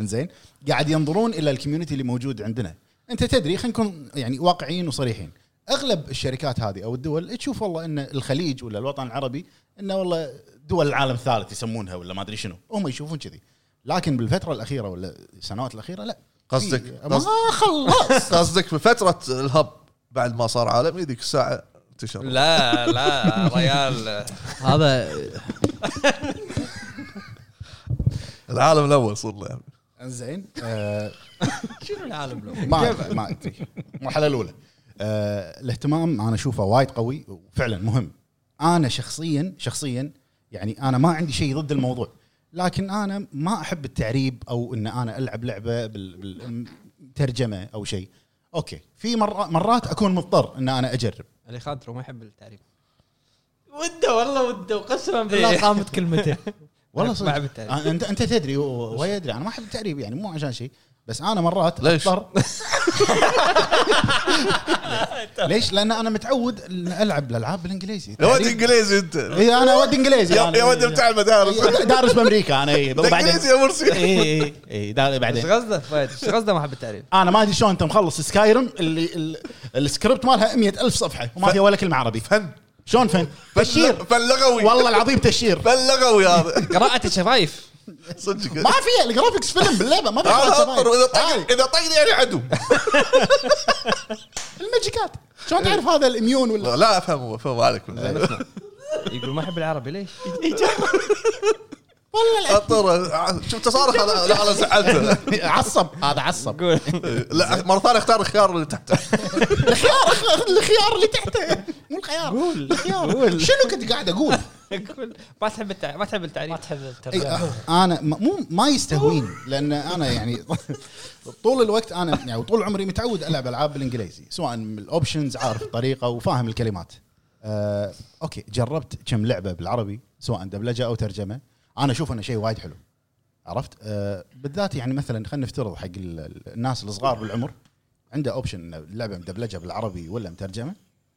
B: انزين قاعد ينظرون الى الكوميونتي اللي موجود عندنا انت تدري خلينا نكون يعني واقعيين وصريحين اغلب الشركات هذه او الدول تشوف والله ان الخليج ولا الوطن العربي انه والله دول العالم الثالث يسمونها ولا ما ادري شنو هم يشوفون كذي لكن بالفتره الاخيره ولا السنوات الاخيره لا
C: قصدك-
B: في- ما
C: قصد-
B: خلص
C: قصدك في فتره الهب بعد ما صار عالمي ذيك الساعه انتشر
A: لا لا ريال
D: هذا
C: العالم الاول صرنا يعني.
B: زين آه
D: شنو العالم لو
B: ما ما ادري المرحله الاولى آه الاهتمام انا اشوفه وايد قوي وفعلا مهم انا شخصيا شخصيا يعني انا ما عندي شيء ضد الموضوع لكن انا ما احب التعريب او ان انا العب لعبه بالترجمه او شيء اوكي في مرة مرات اكون مضطر ان انا اجرب
A: اللي خاطره ما يحب التعريب
E: وده والله وده
A: إيه.
E: وقسما
D: لا
E: بالله
D: قامت كلمته
B: والله
A: ما
B: صدق
A: أحب التعريب.
B: أنا- انت انت تدري و- ويا يدري انا ما احب التعريب يعني مو عشان شيء بس انا مرات
C: ليش؟
B: أضطر- ليش؟ لان انا متعود ان العب الالعاب بالانجليزي
C: يا ولد انجليزي انت يا
B: اي انا ود انجليزي إيه، أنا- يعني
C: يا ولد بتاع المدارس
B: دارس بامريكا انا اي
C: انجليزي
B: إيه، بعدين
C: يا
D: إيه.
C: مرسي
B: اي
A: إيه،
B: اي اي دا-
A: ايش
B: بعدين
A: قصده فهد ايش قصده ما احب التعريب؟
B: انا ما ادري شلون انت مخلص سكايرم اللي ال- السكريبت مالها 100 الف صفحه وما فيها ولا كلمه عربي
C: فن
B: شلون فن؟ تشير
C: فاللغوي
B: والله العظيم تشير
C: فاللغوي هذا
A: قراءة الشفايف
C: صدق
B: ما فيها الجرافكس فيلم باللعبه ما
C: هذا اطر واذا
B: فيها
C: طق اذا طقني يعني عدو
B: الماجيكات شلون تعرف هذا الاميون ولا
C: لا افهم افهم عليك
A: يقول ما احب العربي ليش؟
C: اطر شفت صارخ لا لا، انا زعلت
B: عصب هذا عصب
A: قول
C: لا مره ثانيه اختار الخيار اللي تحته
B: الخيار أخ- الخيار اللي تحته مو الخيار قول الخيار شنو كنت قاعد اقول؟
A: قول ما تحب التعريب ما تحب التعريب
E: ما تحب
B: أي،
E: الترجمه
D: إيه، آه.
B: أه، انا م- مو ما يستهويني لان انا يعني طول الوقت انا يعني طول عمري متعود العب العاب بالانجليزي سواء من الاوبشنز عارف الطريقه وفاهم الكلمات أه اوكي جربت كم لعبه بالعربي سواء دبلجه او ترجمه انا اشوف انه شيء وايد حلو عرفت أه بالذات يعني مثلا خلينا نفترض حق ال- الناس الصغار بالعمر عنده اوبشن انه اللعبه مدبلجه بالعربي ولا مترجمه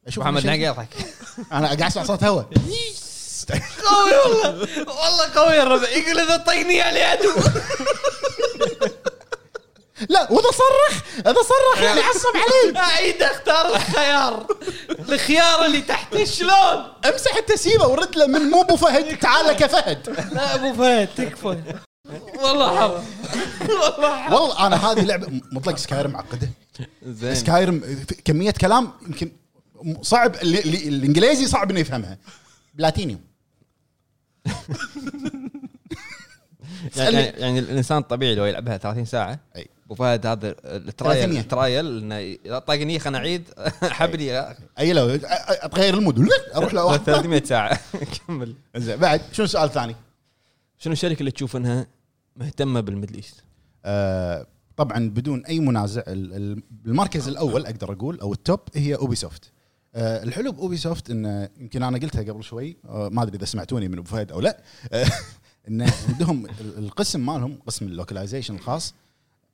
B: اشوف إنه
A: محمد
B: شيء-
A: ناقي يضحك
B: انا قاعد اسمع صوت هواء
A: قوي والله والله قوي الربع يقول اذا طقني يعني عدو
B: لا واذا صرخ اذا صرخ يعني عصب علي
A: اعيد اختار الخيار الخيار اللي تحته شلون؟
B: امسح التسييبه ورد له من مو ابو فهد تعال لك يا فهد
E: لا ابو فهد تكفى
A: والله حرام
B: والله انا هذه لعبه مطلق سكايرم معقده
A: زين
B: سكايرم في كميه كلام يمكن صعب اللي اللي- الانجليزي صعب انه يفهمها بلاتينيوم
A: يعني,
B: اسألني.
A: يعني الانسان الطبيعي لو يلعبها 30 ساعه
B: أي.
A: ابو فهد هذا الترايل
B: ثلاثينية.
A: الترايل انه اذا طاقني خلنا اعيد حبني
B: اي لو أ- أ- اتغير المود اروح لواحد
A: 300 ساعه كمل
B: زين بعد شنو السؤال الثاني؟
A: شنو الشركه اللي تشوف انها مهتمه بالميدل ايست؟
B: آه، طبعا بدون اي منازع ال- ال- المركز الاول اقدر اقول او التوب هي اوبي سوفت الحلو باوبي سوفت انه يمكن انا قلتها قبل شوي آه، ما ادري اذا سمعتوني من ابو فهد او لا آه، انه عندهم ال- القسم مالهم قسم اللوكلايزيشن الخاص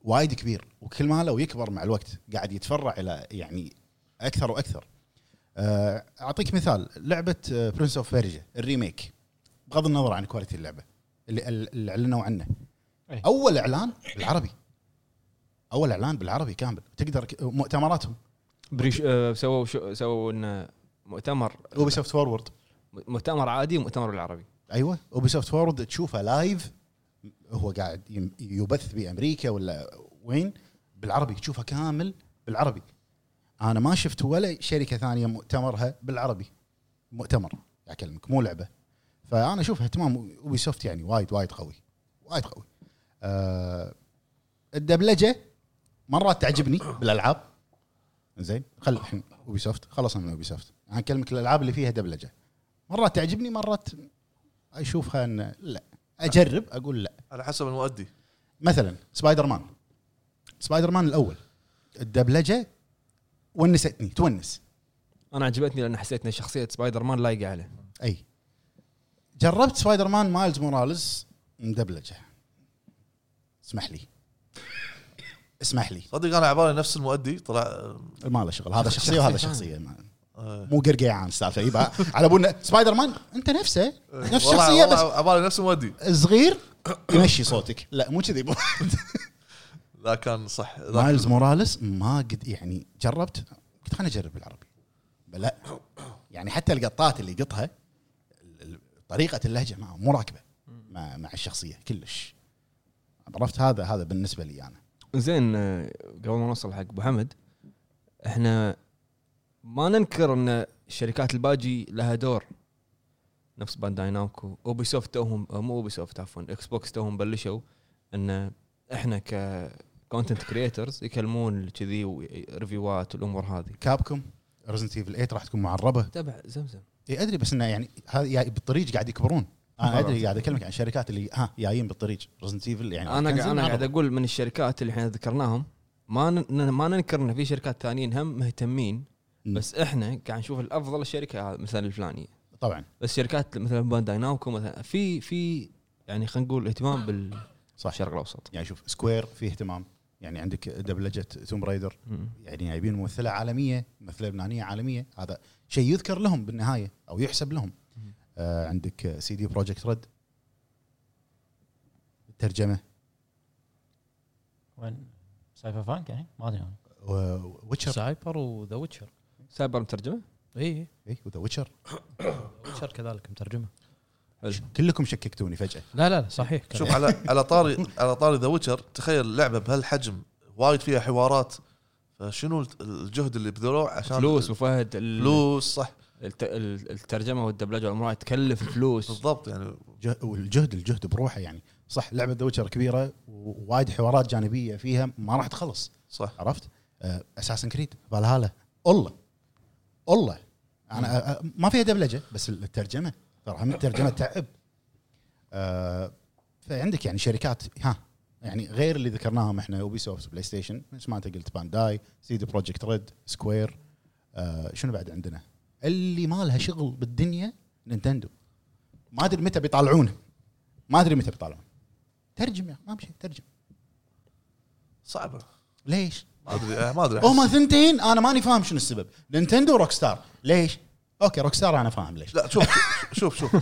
B: وايد كبير وكل ما لو يكبر مع الوقت قاعد يتفرع الى يعني اكثر واكثر آه، اعطيك مثال آه، لعبه برنس اوف بيرجا الريميك بغض النظر عن كواليتي اللعبه اللي, اللي اعلنوا عنه
E: أي.
B: اول اعلان بالعربي اول اعلان بالعربي كامل تقدر ك- مؤتمراتهم
A: بريش آه، سووا شو سووا انه مؤتمر
B: اوبي سوفت فورورد
A: مؤتمر عادي ومؤتمر بالعربي
B: ايوه اوبي سوفت فورورد تشوفه لايف هو قاعد يم- يبث بامريكا ولا وين بالعربي تشوفه كامل بالعربي انا ما شفت ولا شركه ثانيه مؤتمرها بالعربي مؤتمر قاعد اكلمك مو لعبه فانا اشوف اهتمام اوبي سوفت يعني وايد وايد قوي وايد قوي آه الدبلجه مرات تعجبني بالالعاب زين خل الحين اوبي سوفت خلصنا من اوبي سوفت انا اكلمك الالعاب اللي فيها دبلجه مرات تعجبني مرات اشوفها ان لا اجرب اقول لا
C: على حسب المؤدي
B: مثلا سبايدر مان سبايدر مان الاول الدبلجه ونستني تونس
A: انا عجبتني لان حسيت ان شخصيه سبايدر مان لايقه عليه
B: اي جربت سبايدر مان مايلز موراليز مدبلجه اسمح لي اسمح لي
C: صدق انا على بالي نفس المؤدي طلع
B: ما له شغل هذا شخصيه وهذا شخصيه ما-
C: آه.
B: مو قرقيعان السالفه يبا على ابونا سبايدر مان انت نفسه نفس
C: آه. والله-
B: الشخصيه
C: والله
B: بس
C: على بالي نفس المؤدي
B: صغير يمشي صوتك لا مو كذي
C: لا كان صح ذاك
B: مايلز موراليس ما قد يعني جربت قلت خليني اجرب بالعربي لا يعني حتى القطات اللي يقطها ال- ال- طريقه اللهجه ما مو راكبه مع, مع الشخصيه كلش عرفت هذا هذا بالنسبه لي انا
A: زين آه، قبل ما نوصل حق ابو حمد احنا ما ننكر ان الشركات الباجي لها دور نفس بانداي نامكو اوبي سوفت توهم آه، مو اوبي سوفت عفوا اكس بوكس توهم بلشوا ان احنا ك كونتنت كريترز يكلمون كذي وريفيوات والامور هذه
B: كابكم ريزنت ايفل 8 راح تكون معربه
A: تبع زمزم
B: اي ادري بس انه يعني هذا يعني بالطريق قاعد يكبرون انا ادري قاعد اكلمك عن الشركات اللي ها جايين بالطريق ريزنت ايفل يعني
A: انا قاعد-
B: كنزل
A: انا قاعد
B: معربة.
A: اقول من الشركات اللي احنا ذكرناهم ما ن- ما ننكر ان في شركات ثانيين هم مهتمين
B: مم.
A: بس احنا قاعد نشوف الافضل الشركه هذا مثلا الفلانيه
B: طبعا
A: بس شركات مثلا بانداي نامكو مثلا في في يعني خلينا نقول اهتمام بالشرق
B: صح
A: الاوسط
B: يعني شوف سكوير في اهتمام يعني عندك دبلجه توم رايدر
A: مم.
B: يعني جايبين ممثله عالميه ممثله لبنانيه عالميه هذا شيء يذكر لهم بالنهايه او يحسب لهم
A: مم.
B: آه عندك آه، سي دي بروجكت ريد ترجمه
E: وين سايبر فانك يعني ما ادري أنا.
B: ويتشر
D: سايبر وذا ويتشر
A: سايبر مترجمه إيه.
D: اي
B: اي إيه، وذا ويتشر
D: ويتشر كذلك مترجمه
B: كلكم شككتوني فجاه
D: لا لا لا صحيح كلام.
C: شوف على على طاري على طاري ذا ويتشر تخيل لعبه بهالحجم وايد فيها حوارات فشنو الجهد اللي بذلوه عشان
A: فلوس وفهد ال-
C: فلوس صح
A: الت- ال- الترجمه والدبلجه والامور هاي تكلف فلوس
C: بالضبط يعني
B: جه- والجهد الجهد بروحه يعني صح لعبه ذا ويتشر كبيره ووايد حوارات جانبيه فيها ما راح تخلص
C: صح
B: عرفت آه، اساسن كريد فالهالا الله الله انا أ- أ- آه، ما فيها دبلجه بس الترجمه ترى هم الترجمه تعب أه، فعندك يعني شركات ها يعني غير اللي ذكرناهم احنا اوبي سوفت بلاي ستيشن مثل ما انت قلت بانداي سيدي بروجكت ريد سكوير أه، شنو بعد عندنا اللي ما لها شغل بالدنيا نينتندو ما ادري متى بيطالعونه ما ادري متى بيطالعونه ترجم يا أخي، ما بشي ترجم
C: صعبه
B: ليش؟
C: ما ادري ما ادري
B: هما
C: أحس-
B: ثنتين انا ماني فاهم شنو السبب نينتندو وروك ستار ليش اوكي روك ستار انا فاهم ليش
C: لا شوف شوف شوف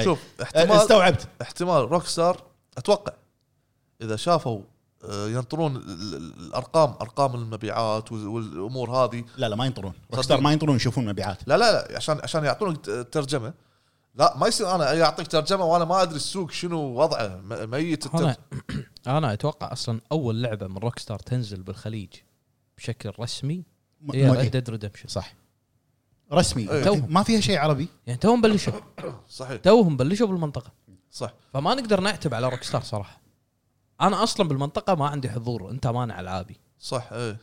C: شوف
B: أه،
C: احتمال
B: استوعبت
C: احتمال روك ستار اتوقع اذا شافوا آه، ينطرون ال- ال- الارقام ارقام المبيعات وال- والامور هذه
B: لا لا ما ينطرون روك ستار
C: صدق.
B: ما ينطرون يشوفون مبيعات
C: لا لا لا عشان عشان يعطونك ت- ترجمه لا ما يصير انا اعطيك ترجمه وانا ما ادري السوق شنو وضعه م- ميت الترجمه
D: انا انا اتوقع اصلا اول لعبه من روك ستار تنزل بالخليج بشكل رسمي
B: م-
D: هي
B: م-
D: ريد ديد ريدمشن
B: صح رسمي
C: إيه.
D: أيوة.
B: تو- ما فيها شيء عربي
D: يعني توهم بلشوا
C: صحيح
D: توهم بلشوا بالمنطقه
C: صح
D: فما نقدر نعتب على روك ستار صراحه انا اصلا بالمنطقه ما عندي حضور انت مانع العابي
C: صح ايه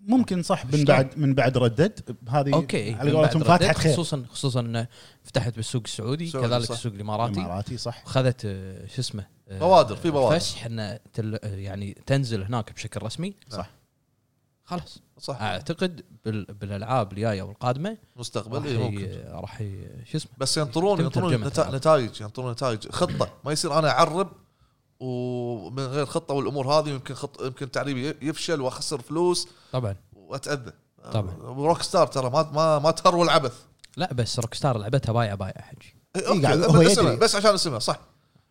B: ممكن صح من
D: شلون؟
B: بعد من بعد ردد هذه
D: اوكي
B: إيه، على
D: من بعد
B: قولتهم
D: Red
B: فاتحه
D: Dead،
B: خير
D: خصوصا خصوصا انه فتحت بالسوق السعودي
C: سعودي،
D: كذلك
C: صح.
D: السوق الاماراتي
B: اماراتي صح
D: وخذت آه، شو اسمه آه،
C: بوادر، في بوادر.
D: فسح انه تل- يعني تنزل هناك بشكل رسمي
B: صح.
D: خلاص
C: صح
D: اعتقد بال- بالالعاب الجايه والقادمه
C: مستقبل
D: راح
C: اي ممكن
D: ي- راح ي- شو اسمه
C: بس ينطرون
D: يتم
C: ينطرون
D: ترجمة
C: نتا-
D: الألعاب.
C: نتائج ينطرون نتائج خطه ما يصير انا اعرب ومن غير خطه والامور هذه يمكن خط يمكن تعريبي ي- يفشل واخسر فلوس
D: طبعا
C: واتاذى
D: طبعاً.
C: وروك ستار ترى ما ما ما تهروا العبث
D: لا بس روك ستار لعبتها بايع بايع حجي
C: إيه،
B: قاعد-
C: اوكي
B: هو
C: بس اسمها
B: يدري.
C: بس عشان اسمها صح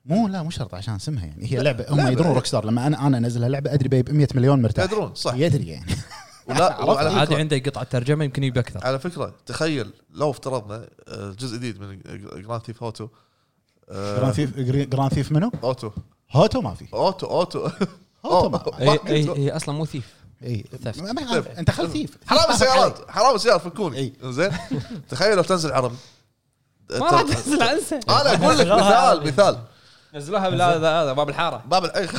B: مو لا مو شرط عشان اسمها يعني هي لعبه هم
C: لعبة،
B: يدرون
C: إيه.
B: روك ستار لما انا انا انزلها لعبه ادري بيب 100 مليون مرتاح
C: يدرون صح
B: يدري يعني
C: ولا وعلى فكرة-
D: عادي عنده يقطع الترجمه يمكن يجيب اكثر
C: على فكره تخيل لو افترضنا آه، جزء جديد من جراند ثيف اوتو
B: جراند ثيف جراند ثيف منو؟
C: اوتو
B: هوتو ما في
C: اوتو اوتو
B: هوتو ما
C: أوه.
B: ما-
A: اي اي اي اصلا إيه، مو ثيف
B: اي
D: ثفت.
B: ما- ما يعرف. انت خل ثيف
C: حرام السيارات حرام السيارات
B: إي.
C: فكوني زين تخيل لو تنزل عربي
A: ما راح تنزل انسى
C: انا اقول لك مثال مثال
A: نزلوها بهذا هذا باب الحاره
C: باب الحي-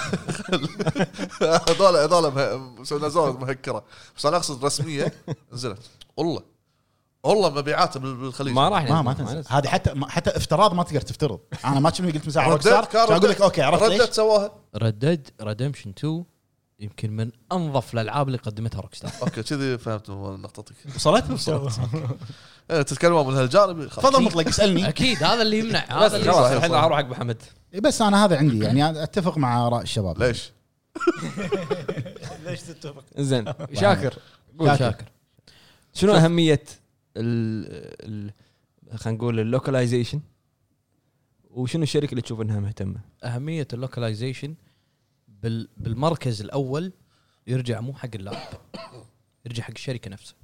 C: هذول هذول مه- سونازون مهكره بس انا اقصد رسميه نزلت والله والله مبيعاته بال- بالخليج
A: ما
D: إيه،
A: راح
B: ما
A: ننزل،
B: ما
A: ننزل.
B: تنزل هذه حتى ما- حتى افتراض ما تقدر تفترض انا ما كنت قلت مساعد روك
C: ردت
B: ستار
C: كان
B: اقول لك
C: ردت-
B: اوكي عرفت ليش
C: ردت سواها
D: ردد ريدمشن 2 يمكن من انظف الالعاب اللي قدمتها روك ستار
C: اوكي كذي فهمت نقطتك
B: وصلت وصلت
C: إيه، تتكلمون من هالجانب خلاص.
B: تفضل مطلق اسالني
D: اكيد هذا اللي يمنع
A: بس
D: هذا اللي
A: خلاص
C: صحيح
A: الحين راح
C: صراحة.
A: اروح حق محمد
B: بس انا هذا عندي يعني أنا اتفق مع اراء الشباب
C: ليش؟
E: ليش تتفق؟
A: زين شاكر
D: قول شاكر
A: شنو اهميه ال ال- خلينا نقول اللوكلايزيشن وشنو الشركه اللي تشوف انها مهتمه؟
D: اهميه اللوكلايزيشن بال بالمركز الاول يرجع مو حق اللاعب يرجع حق الشركه نفسها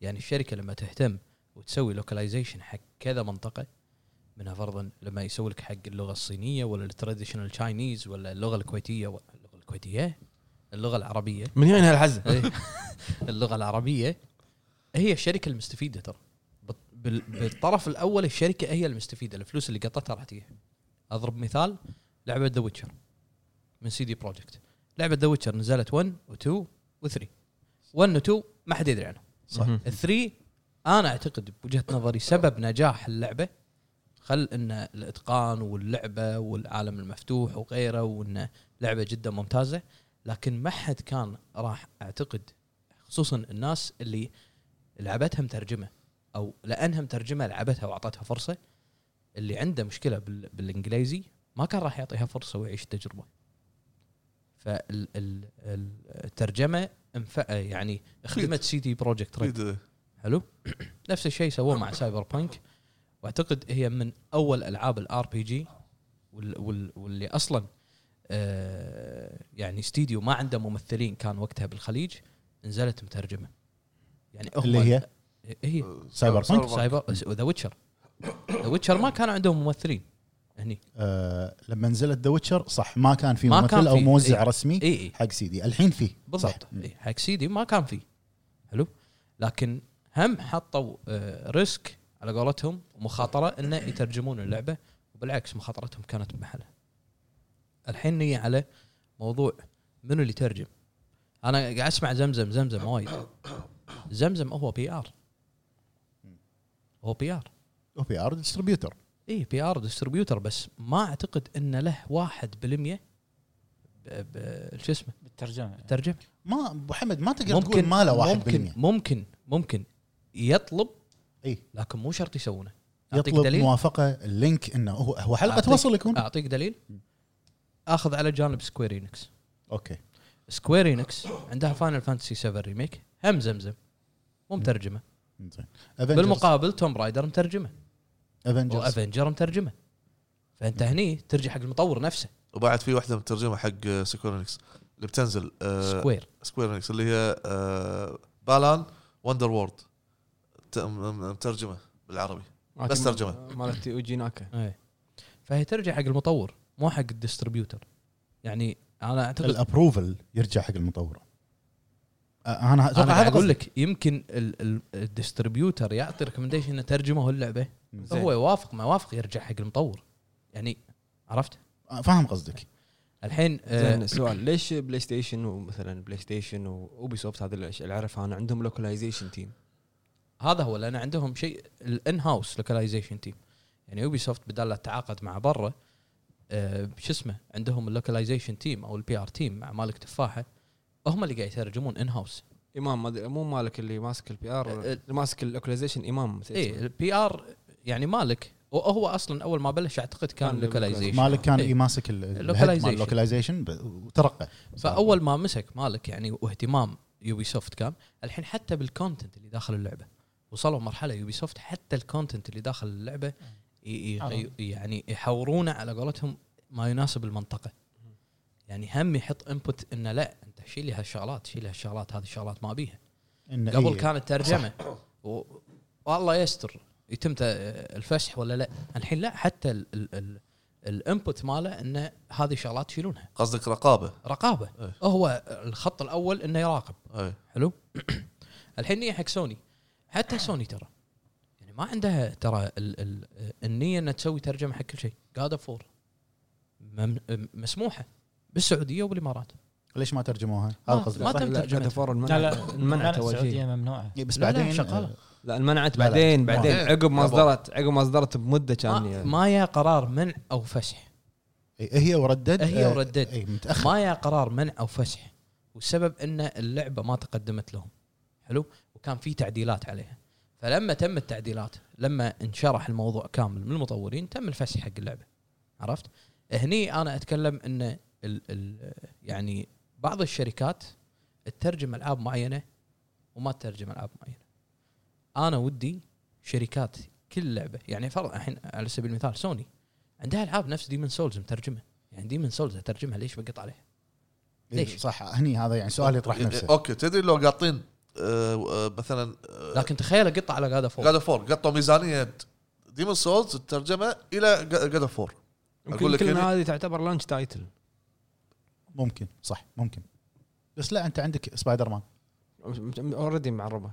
D: يعني الشركه لما تهتم وتسوي لوكلايزيشن حق كذا منطقه منها فرضا لما يسوي لك حق اللغه الصينيه ولا التراديشنال تشاينيز ولا اللغه الكويتيه ولا اللغه الكويتيه اللغه العربيه
A: من وين هالحزه؟
D: إيه. اللغه العربيه هي الشركه المستفيده ترى بال- بال- بالطرف الاول الشركه هي المستفيده الفلوس اللي قطتها راح تجيها اضرب مثال لعبه ذا ويتشر من سي دي بروجكت لعبه ذا ويتشر نزلت 1 و2 و3 1 و2 ما حد يدري عنها
A: صح
D: الثري انا اعتقد بوجهه نظري سبب نجاح اللعبه خل ان الاتقان واللعبه والعالم المفتوح وغيره وان لعبه جدا ممتازه لكن ما حد كان راح اعتقد خصوصا الناس اللي لعبتها مترجمه او لانها مترجمه لعبتها واعطتها فرصه اللي عنده مشكله بال بالانجليزي ما كان راح يعطيها فرصه ويعيش التجربه. فالترجمه يعني خدمت سي دي بروجكت
B: إيه. طيب.
D: ريد
C: أكيد.
D: حلو نفس الشيء سووه مع سايبر بانك واعتقد هي من اول العاب الار بي جي واللي اصلا آه يعني استديو ما عنده ممثلين كان وقتها بالخليج نزلت مترجمه يعني هم
B: اللي هي
D: هي
B: سايبر بانك؟
D: سايبر ذا ويتشر ذا ويتشر ما كان عندهم ممثلين هني
B: آه لما نزلت ذا ويتشر صح ما كان في
D: ما كان
B: ممثل او
D: في.
B: موزع
D: إيه.
B: رسمي
D: اي اي
B: حق سيدي الحين فيه
D: بالضبط إي، حق سيدي ما كان فيه حلو لكن هم حطوا آه، ريسك على قولتهم ومخاطره انه يترجمون اللعبه وبالعكس مخاطرتهم كانت بمحلها الحين نيجي على موضوع منو اللي يترجم انا قاعد اسمع زمزم زمزم وايد زمزم هو بي ار هو إيه، بي ار
B: او بي ار ديستربيوتر
D: اي بي ار ديستربيوتر بس ما اعتقد ان له 1% ب- ب- شو اسمه
E: بالترجمه
D: ترجم
B: ما ابو حمد ما تقدر تقول ما له 1%
D: ممكن ممكن ممكن يطلب
B: إي.
D: لكن مو شرط يسوونه اعطيك
B: يطلب
D: دليل
B: موافقه اللينك انه هو هو حلقه
D: أعطيك-
B: توصل يكون
D: اعطيك دليل اخذ على جانب سكويرينكس
B: اوكي
D: سكويرينكس عندها فاينل فانتسي 7 ريميك هم زمزم مو مترجمه
B: زين
D: بالمقابل توم رايدر مترجمه
B: افنجرز
D: وافنجر مترجمه فانت هني ترجع حق المطور نفسه
C: وبعد في واحده مترجمه حق سكويرينكس اللي بتنزل آه،
D: سكوير
C: سكويرينكس اللي هي آه، بالان وندر وورد ت- م- مترجمه بالعربي بس ترجمة.
A: مالت يوجي ناكا
D: ايه فهي ترجع حق المطور مو حق الديستربيوتر يعني انا اعتقد
B: الابروفل يرجع حق المطور آه، انا
D: انا
B: اتوقع
D: قاعد
B: هذا
D: اقول
B: قصدي.
D: لك يمكن ال- ال- الديستربيوتر يعطي ريكومنديشن انه ترجمه هو اللعبه
A: زين.
D: فهو يوافق ما يوافق يرجع حق المطور يعني عرفت
B: آه، فاهم قصدك
D: الحين آه،
A: زين سؤال ليش بلاي ستيشن ومثلا بلاي ستيشن واوبي سوفت هذه الاشياء اللي اعرفها انا عندهم لوكلايزيشن تيم
D: هذا هو لان عندهم شيء الان هاوس لوكاليزيشن تيم يعني يوبي سوفت بدال لا تتعاقد مع برا آه، شو اسمه عندهم اللوكاليزيشن تيم او البي ار تيم مع مالك تفاحه هم اللي قاعد يترجمون ان هاوس
A: امام ما أدري- مو مالك اللي ماسك البي ار
D: أه، أه.
A: اللي ماسك اللوكلايزيشن امام
D: اي البي ار يعني مالك وهو اصلا اول ما بلش اعتقد كان
A: كان
D: لوكاليزيشن
B: مالك كان
D: إيه.
B: إيه ماسك
D: Localization.
B: اللوكلايزيشن وترقى
D: فاول ما مسك مالك يعني واهتمام يوبي سوفت كان الحين حتى بالكونتنت اللي داخل اللعبه وصلوا مرحله يوبي سوفت حتى الكونتنت اللي داخل اللعبه ي- ي-
E: عرض.
D: يعني يحورونه على قولتهم ما يناسب المنطقه يعني هم يحط انبوت انه لا انت شيل لي هالشغلات شيل لي هالشغلات هذه الشغلات ما بيها
B: إن
D: قبل
B: إيه،
D: كانت ترجمه و... والله يستر يتم ت- الفسح ولا لا الحين لا حتى ال- ال- ال- الانبوت ماله انه هذه شغلات يشيلونها
C: قصدك رقابه
D: رقابه
C: إيه.
D: هو الخط الاول انه يراقب
C: اي
D: حلو الحين نية حق سوني حتى سوني ترى يعني ما عندها ترى ال ال النيه انها تسوي ترجمه حق كل شيء جاد اوف فور مسموحه بالسعوديه والامارات
B: ليش ما ترجموها؟
D: ما-
B: هذا قصدي
D: ما تم
A: لا،
D: ترجمتها.
A: تفور
E: لا
A: المنع
E: لا
A: المنعت اول
E: السعوديه
A: شيء
E: ممنوعه
B: إيه، بس
D: لا، لا،
B: بعدين
D: شغالة.
A: لا انمنعت
B: لا، لا.
A: بعدين بعدين
C: ما-
A: عقب ما
C: لا،
A: اصدرت عقب ما اصدرت بمده كان
D: ما,
A: يعني.
D: ما يا قرار منع او فسح
B: إي، إيه، هي وردد
D: هي
B: آه،
D: وردد.
B: اي متاخر
D: ما يا قرار منع او فسح والسبب ان اللعبه ما تقدمت لهم حلو وكان في تعديلات عليها فلما تم التعديلات لما انشرح الموضوع كامل من المطورين تم الفسح حق اللعبه عرفت هني انا اتكلم ان ال ال يعني بعض الشركات تترجم العاب معينه وما تترجم العاب معينه انا ودي شركات كل لعبه يعني فرض الحين على سبيل المثال سوني عندها العاب نفس ديمن سولز مترجمه يعني ديمن سولز اترجمها ليش بقط عليها ليش؟ إيه،
B: إي، صح هني هذا يعني سؤال يطرح نفسه
C: اوكي إيه، تدري لو قاطين آه، آه، مثلا
D: لكن تخيل اقطع على قاعده فوق
C: جاد اوف فور قطوا ميزانيه ديمون سولز الترجمه الى جاد اوف فور
B: إيه،
A: يمكن
C: أقول لك
A: يمكن
C: يعني-
A: هذه تعتبر لانش تايتل
B: ممكن صح ممكن بس لا انت عندك سبايدر مان
A: اوريدي معربه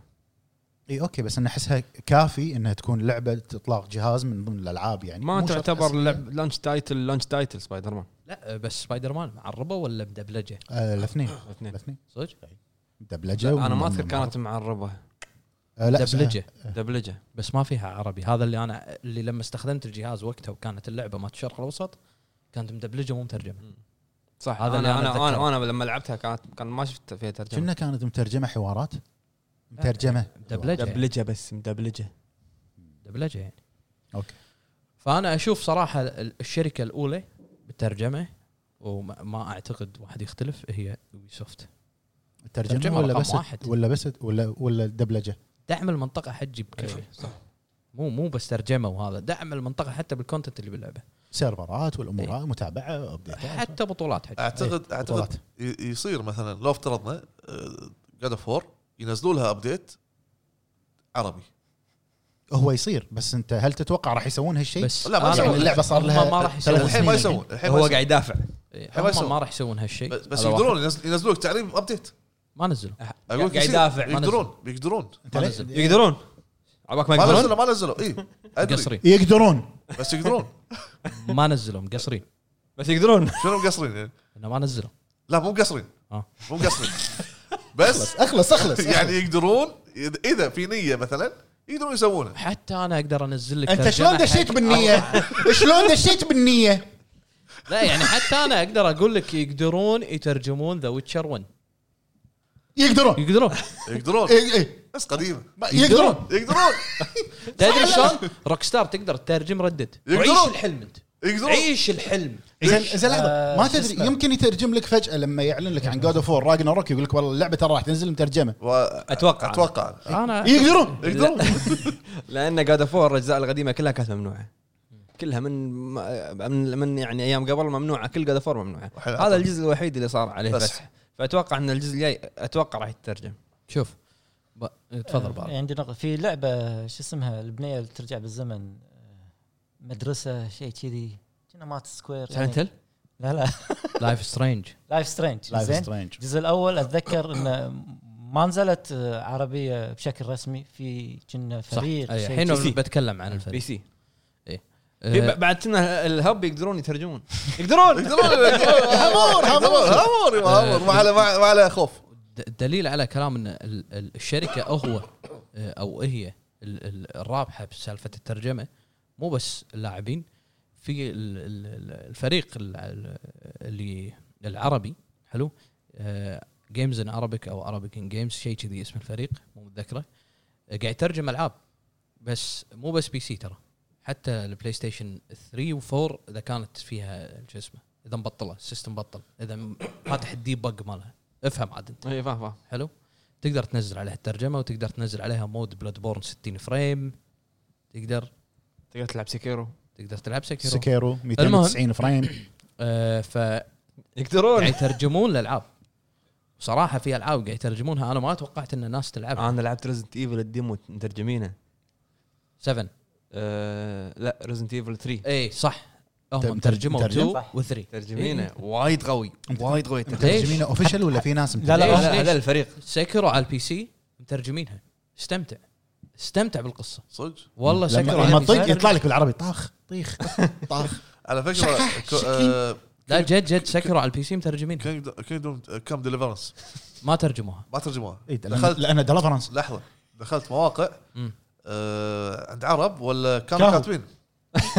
B: اي اوكي إيه، بس انا احسها كافي انها تكون لعبه اطلاق جهاز من ضمن الالعاب يعني
A: ما
B: مو شرط
A: تعتبر
B: أصلية.
A: لعب لانش تايتل لانش تايتل سبايدر مان
D: لا بس سبايدر مان معربه ولا مدبلجه
B: آه، الاثنين
A: الاثنين
B: الاثنين
D: صدق
B: دبلجه
A: لا، انا ما
B: ومن-
A: اذكر كانت معربه
B: آه، لا دبلجه
D: دبلجه
A: دبلجه
D: بس ما فيها عربي هذا اللي انا اللي لما استخدمت الجهاز وقتها وكانت اللعبه مالت الشرق الاوسط كانت مدبلجه مو مترجمه
A: صح
D: هذا
A: هذا
D: اللي
A: انا
D: أنا
A: انا
D: أتذكره.
A: انا, أنا لما لعبتها كانت كان ما شفت فيها ترجمه
B: كنا كانت مترجمه حوارات مترجمه
D: دبلجه يعني.
A: دبلجه بس مدبلجه
D: دبلجه يعني
B: اوكي
D: فانا اشوف صراحه ال- الشركه الاولى بالترجمه وما ما اعتقد واحد يختلف هي سوفت
B: الترجمه
D: ترجمة
B: ولا
D: رقم
B: بس
D: واحد.
B: ولا بس ولا ولا الدبلجه
D: دعم المنطقه حجي بكل شيء مو مو بس ترجمه وهذا دعم المنطقه حتى بالكونتنت اللي باللعبه
B: سيرفرات والامور هاي، متابعه أبديتات.
D: إيه. حتى بطولات حجي
C: اعتقد اعتقد
B: بطولات.
C: ي- يصير مثلا لو افترضنا آه، جاد اوف فور ينزلوا لها ابديت عربي
B: هو يصير بس انت هل تتوقع راح يسوون هالشيء؟
D: بس
C: لا، ما
D: أنا-
C: يسوون.
B: يعني اللعبه صار
D: هم
B: لها
D: ما راح
B: ثلاث
D: يسوون.
C: الحين ما
B: سنين
C: يسوون الحين ما
A: هو
C: يسوون
A: قاعد يدافع
C: ما
D: إيه، هم
C: يسوون.
D: ما راح يسوون هالشيء
C: بس- بس
D: هذا واحد.
C: يقدرون ينزل- ينزلوا لك تعريب ابديت
D: ما نزلوا
C: اقول لك
A: قاعد
C: يصير.
A: يدافع،
D: ما
C: يقدرون يقدرون
B: انت ليش-
D: ما
A: يقدرون عباك ما
C: ما نزلوا
A: يقدرون
C: ما نزلوا اي ادري
D: مقصرين
B: يقدرون
C: بس يقدرون
D: ما نزلوا مقصرين
A: بس يقدرون
C: شنو مقصرين يعني؟
D: انه ما نزلوا
C: لا مو مقصرين
D: آه.
C: مو مقصرين
B: اخلص
C: بس
B: اخلص اخلص
C: يعني يقدرون إذا- اذا في نيه مثلا يقدرون يسوونه
D: حتى انا اقدر انزل لك
B: انت
D: ترجمة
B: شلون دشيت
D: حق-
B: بالنيه؟ شلون دشيت بالنيه؟
D: لا يعني حتى انا اقدر اقول لك يقدرون يترجمون ذا ويتشر 1
B: يقدرون
D: يقدرون
C: يقدرون
B: إي- إي.
C: بس قديمه
B: يقدرون
C: يقدروك
D: تدري شلون؟ روك ستار تقدر تترجم ردد
C: يقدرون.
D: عيش الحلم انت
C: يقدرون
D: عيش الحلم
B: زين زين لحظه ما
E: آه، شو
B: تدري
E: اسمه؟
B: يمكن يترجم لك فجاه لما يعلن لك عن جود اوف وور راجنا روك يقول لك والله اللعبه ترى راح تنزل مترجمه
A: اتوقع
C: اتوقع
D: انا
B: يقدرون
C: يقدرون
A: لان جاد فور الاجزاء القديمه كلها كانت ممنوعه كلها من من, من يعني ايام قبل ممنوعه كل جاد فور ممنوعه
C: وحلو.
A: هذا الجزء الوحيد اللي صار عليه
C: بس.
A: فتح فاتوقع ان الجزء الجاي اتوقع راح يترجم
D: شوف ب...
E: آه.
D: تفضل بارك
E: عندي نقطه في لعبه شو اسمها البنيه اللي ترجع بالزمن آه، مدرسه شيء كذي كنا مات سكوير يعني.
D: سايلنت هيل
E: لا لا
D: لايف سترينج
E: لايف سترينج
B: لايف
E: زين
B: سترينج
E: الجزء الاول اتذكر انه ما نزلت آه، عربيه بشكل رسمي في كنا
D: صح
E: فريق
D: أي،
E: شيء
D: الحين
E: كذي.
A: سي.
D: بتكلم عن
A: بي
D: الفريق
A: سي
D: أه،
A: في ب- بعد كنا الهب يقدرون يترجمون يقدرون
C: همور همور همور همور ما على ما على خوف
D: د- الدليل على كلام ان ال- ال- الشركه هو آه، او هي ال- ال- الرابحه بسالفه الترجمه مو بس اللاعبين في ال- ال- ال- الفريق ال- ال- اللي العربي حلو آه، جيمز ان عربيك او عربيك ان جيمز شيء كذي اسم الفريق مو متذكره آه، قاعد يترجم العاب بس مو بس بي سي ترى حتى البلاي ستيشن 3 و4 اذا كانت فيها شو اسمه اذا مبطله السيستم بطل اذا م- فاتح الدي بق مالها افهم عاد انت
A: اي إيه، فاهم فاهم
D: حلو تقدر تنزل عليها الترجمه وتقدر تنزل عليها مود بلاد بورن 60 فريم تقدر
A: تقدر تلعب سكيرو
D: تقدر تلعب سكيرو سكي.
B: سكيرو 290 فريم
D: آه فقاعد
A: يقدرون
D: يترجمون الالعاب صراحه في العاب قاعد يترجمونها انا ما توقعت ان الناس تلعبها
A: انا يعني لعبت ريزنت ايفل الديمو مترجمينه
D: 7
A: أه لا ريزنت ايفل 3
D: اي إيه، صح
B: تم-
D: هم
B: تم-
D: ترجموا
B: ترجم؟
D: 2
E: صح.
D: و 3
A: ترجمينه وايد قوي وايد قوي الترجمة.
D: ليش؟
B: مترجمينه اوفيشال ولا في ناس
E: لا، لا،
D: ليش؟
A: هذا
D: ليش؟
A: هذا الفريق
D: سكروا على البي سي مترجمينها استمتع استمتع بالقصه
C: صدق
B: لما
D: والله سكروا على
B: لما
D: البي سي
B: تطق يطلع لك بالعربي طاخ طيخ طاخ
C: على فكره
B: شكاح،
C: كو-
B: شكين.
C: آه،
D: لا جد جد سكروا على البي سي مترجمين
C: كينجدوم آه، كم ديليفرنس
D: ما ترجموها
C: ما ترجموها
B: إيه، لان
C: دخلت-
B: لان دلفرنس
C: لحظه دخلت مواقع
D: مم.
C: آه عند عرب ولا كانوا
B: كاهو.
C: كاتبين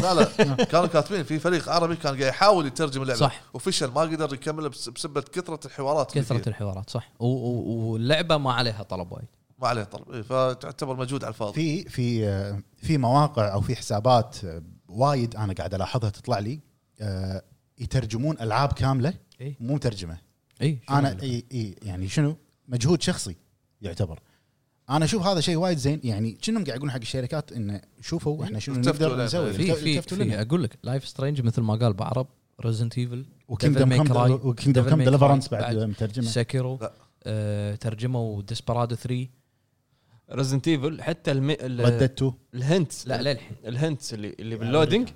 C: لا لا كانوا كاتبين في فريق عربي كان قاعد يحاول يترجم اللعبه
D: صح.
C: وفشل ما قدر يكمل بس- بسبه كثره الحوارات اللي
D: كثره
C: فيها.
D: الحوارات صح و- و- واللعبه ما عليها طلب وايد
C: ما عليه طلب إيه، فتعتبر مجهود على الفاضي
B: في في آه، في مواقع او في حسابات آه، وايد انا قاعد الاحظها تطلع لي آه، يترجمون العاب كامله
D: إيه.
B: مو مترجمه
D: اي
B: انا اي اي يعني شنو مجهود شخصي يعتبر انا اشوف هذا شيء وايد زين يعني كأنهم قاعد يقولون حق الشركات انه شوفوا احنا شنو
C: التفتوا لنا.
B: نقدر نسوي
D: في في
B: التفتوا لنا.
D: في اقول لك لايف سترينج مثل ما قال بعرب ريزنت ايفل
B: وكينجدم
D: Devil May Cry.
B: كم وكينجدم
D: Devil
B: كم
D: May Cry
B: ديليفرنس بعد
D: بعد.
B: مترجمه
D: سكرو
C: لا.
D: آه ترجموا ديسبرادو 3
A: ريزنت ايفل حتى الم... ال-
B: رددتو
A: الهنت
D: لا للحين
A: الهنت اللي اللي باللودنج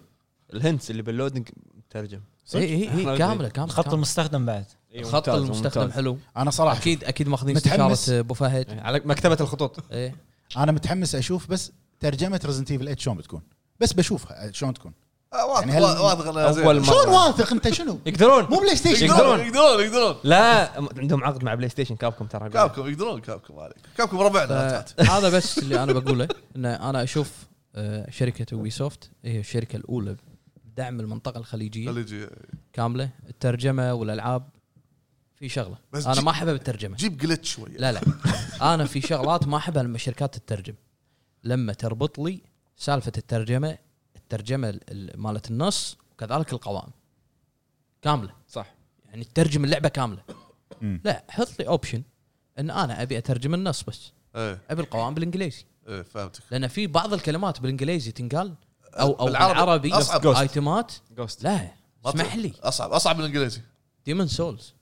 A: الهنت اللي باللودنج مترجم
D: اي اي
A: إحنا
D: اي كامله كامله
E: خط
D: كاملة.
E: المستخدم بعد
A: إيه،
D: خط
A: ممتاز،
D: المستخدم
A: ممتاز. إيه،
D: حلو
B: انا صراحه
D: اكيد اكيد ماخذين
B: متحمس.
D: استشاره ابو فهد
C: إيه.
A: على مكتبه الخطوط
D: ايه
B: انا متحمس اشوف بس ترجمه ريزنت ايفل 8 شلون بتكون بس بشوفها شلون تكون
C: آه، واثق
B: يعني هل-
C: واثق انها زين.
A: أول مرة.
B: شلون واثق انت شنو
A: يقدرون
B: مو بلاي ستيشن
A: يقدرون.
C: يقدرون يقدرون يقدرون
A: لا عندهم عقد مع بلاي ستيشن كابكم ترى
C: كابكم يقدرون كابكم عليك كابكم ربعنا لا تعت.
D: هذا بس اللي انا بقوله ان انا اشوف آه، شركه ويسوفت هي الشركه الاولى بدعم المنطقه الخليجيه
C: خليجي
D: كامله الترجمه والالعاب في شغله
C: بس
D: انا
C: جي-
D: ما احب الترجمه
C: جيب جلتش شويه
D: لا لا انا في شغلات ما احبها لما الشركات تترجم لما تربط لي سالفه الترجمه الترجمه ال- ال- مالت النص وكذلك القوائم كامله
A: صح
D: يعني تترجم اللعبه كامله
B: مم.
D: لا حط لي اوبشن ان انا ابي اترجم النص بس
C: ايه
D: ابي القوائم بالانجليزي
C: ايه فهمتك
D: لان في بعض الكلمات بالانجليزي تنقال او او
C: بالعربي
D: بالعربي
C: أصعب.
D: ايتمات
A: جوست
D: لا
C: ما
D: اسمح
C: ت-
D: لي
C: اصعب اصعب من الانجليزي
D: ديمون سولز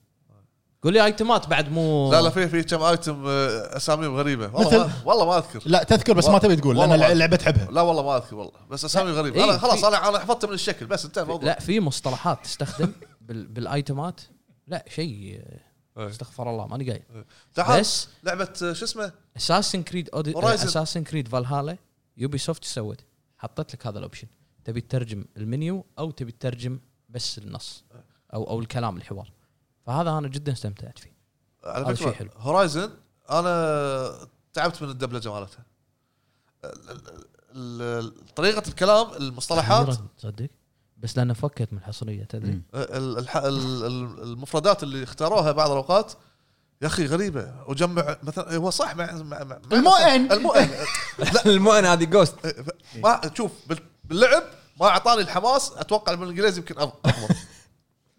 D: قول لي ايتمات بعد مو
C: لا لا في في كم ايتم آه، اساميهم غريبه والله ما
B: مثل؟
C: والله ما اذكر
B: لا تذكر بس ما تبي تقول لان
C: والله.
B: اللعبه تحبها
C: لا والله ما اذكر والله بس اسامي غريبه
D: إيه،
C: انا خلاص
D: في-
C: انا انا حفظته من الشكل بس انتهى الموضوع
D: لا في مصطلحات تستخدم بال... بالايتمات لا شيء
C: إيه.
D: استغفر الله ماني قايل
C: تعال
D: بس
C: لعبه آه، شو اسمه
D: اساسن كريد أودي...
C: Horizon.
D: اساسن كريد فالهالا يوبي سوفت سوت حطت لك هذا الاوبشن تبي تترجم المنيو او تبي تترجم بس النص او او الكلام الحوار فهذا انا جدا استمتعت فيه هذا
C: على
D: شيء حلو.
C: فكره هورايزن انا تعبت من الدبلجه مالتها ال- ال- ال- طريقه الكلام المصطلحات
D: أخيراً، تصدق بس لانه فكت من الحصريه تدري
B: مم.
C: آه، ال- الح- ال- ال- المفردات اللي اختاروها بعض الاوقات يا اخي غريبه وجمع مثلا هو صح مع مع- مع- مع-
B: المؤن.
C: المؤن
A: المؤن هذه جوست
C: إيه. ما شوف بال- باللعب ما اعطاني الحماس اتوقع بالانجليزي يمكن أف- افضل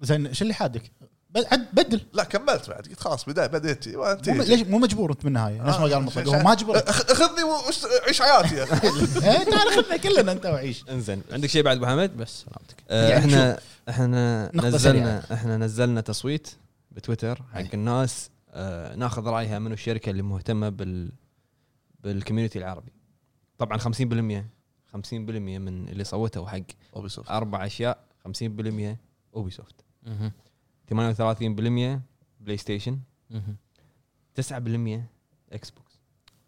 B: زين شو اللي حادك؟ بد- عد- بدل
C: لا كملت بعد قلت خلاص بدايه بديت شي، وانت
B: مو- ليش مو مجبور انت بالنهايه نفس ما قال مطلق هو ما جبر
C: أخ- اخذني وعيش حياتي يا اخي
B: إيه، تعال خذنا كلنا انت وعيش
A: انزين عندك شيء بعد ابو حمد؟
D: بس سلامتك
A: آه،
B: يعني
A: احنا احنا
B: نقطة
A: نزلنا احنا نزلنا تصويت بتويتر
B: أي.
A: حق الناس آه، ناخذ رايها منو الشركه اللي مهتمه بال بالكوميونتي العربي طبعا 50% 50% من اللي صوتوا حق
B: آه.
C: Ubisoft.
A: اربع اشياء 50% اوبي سوفت 38% بلاي ستيشن 9% اكس بوكس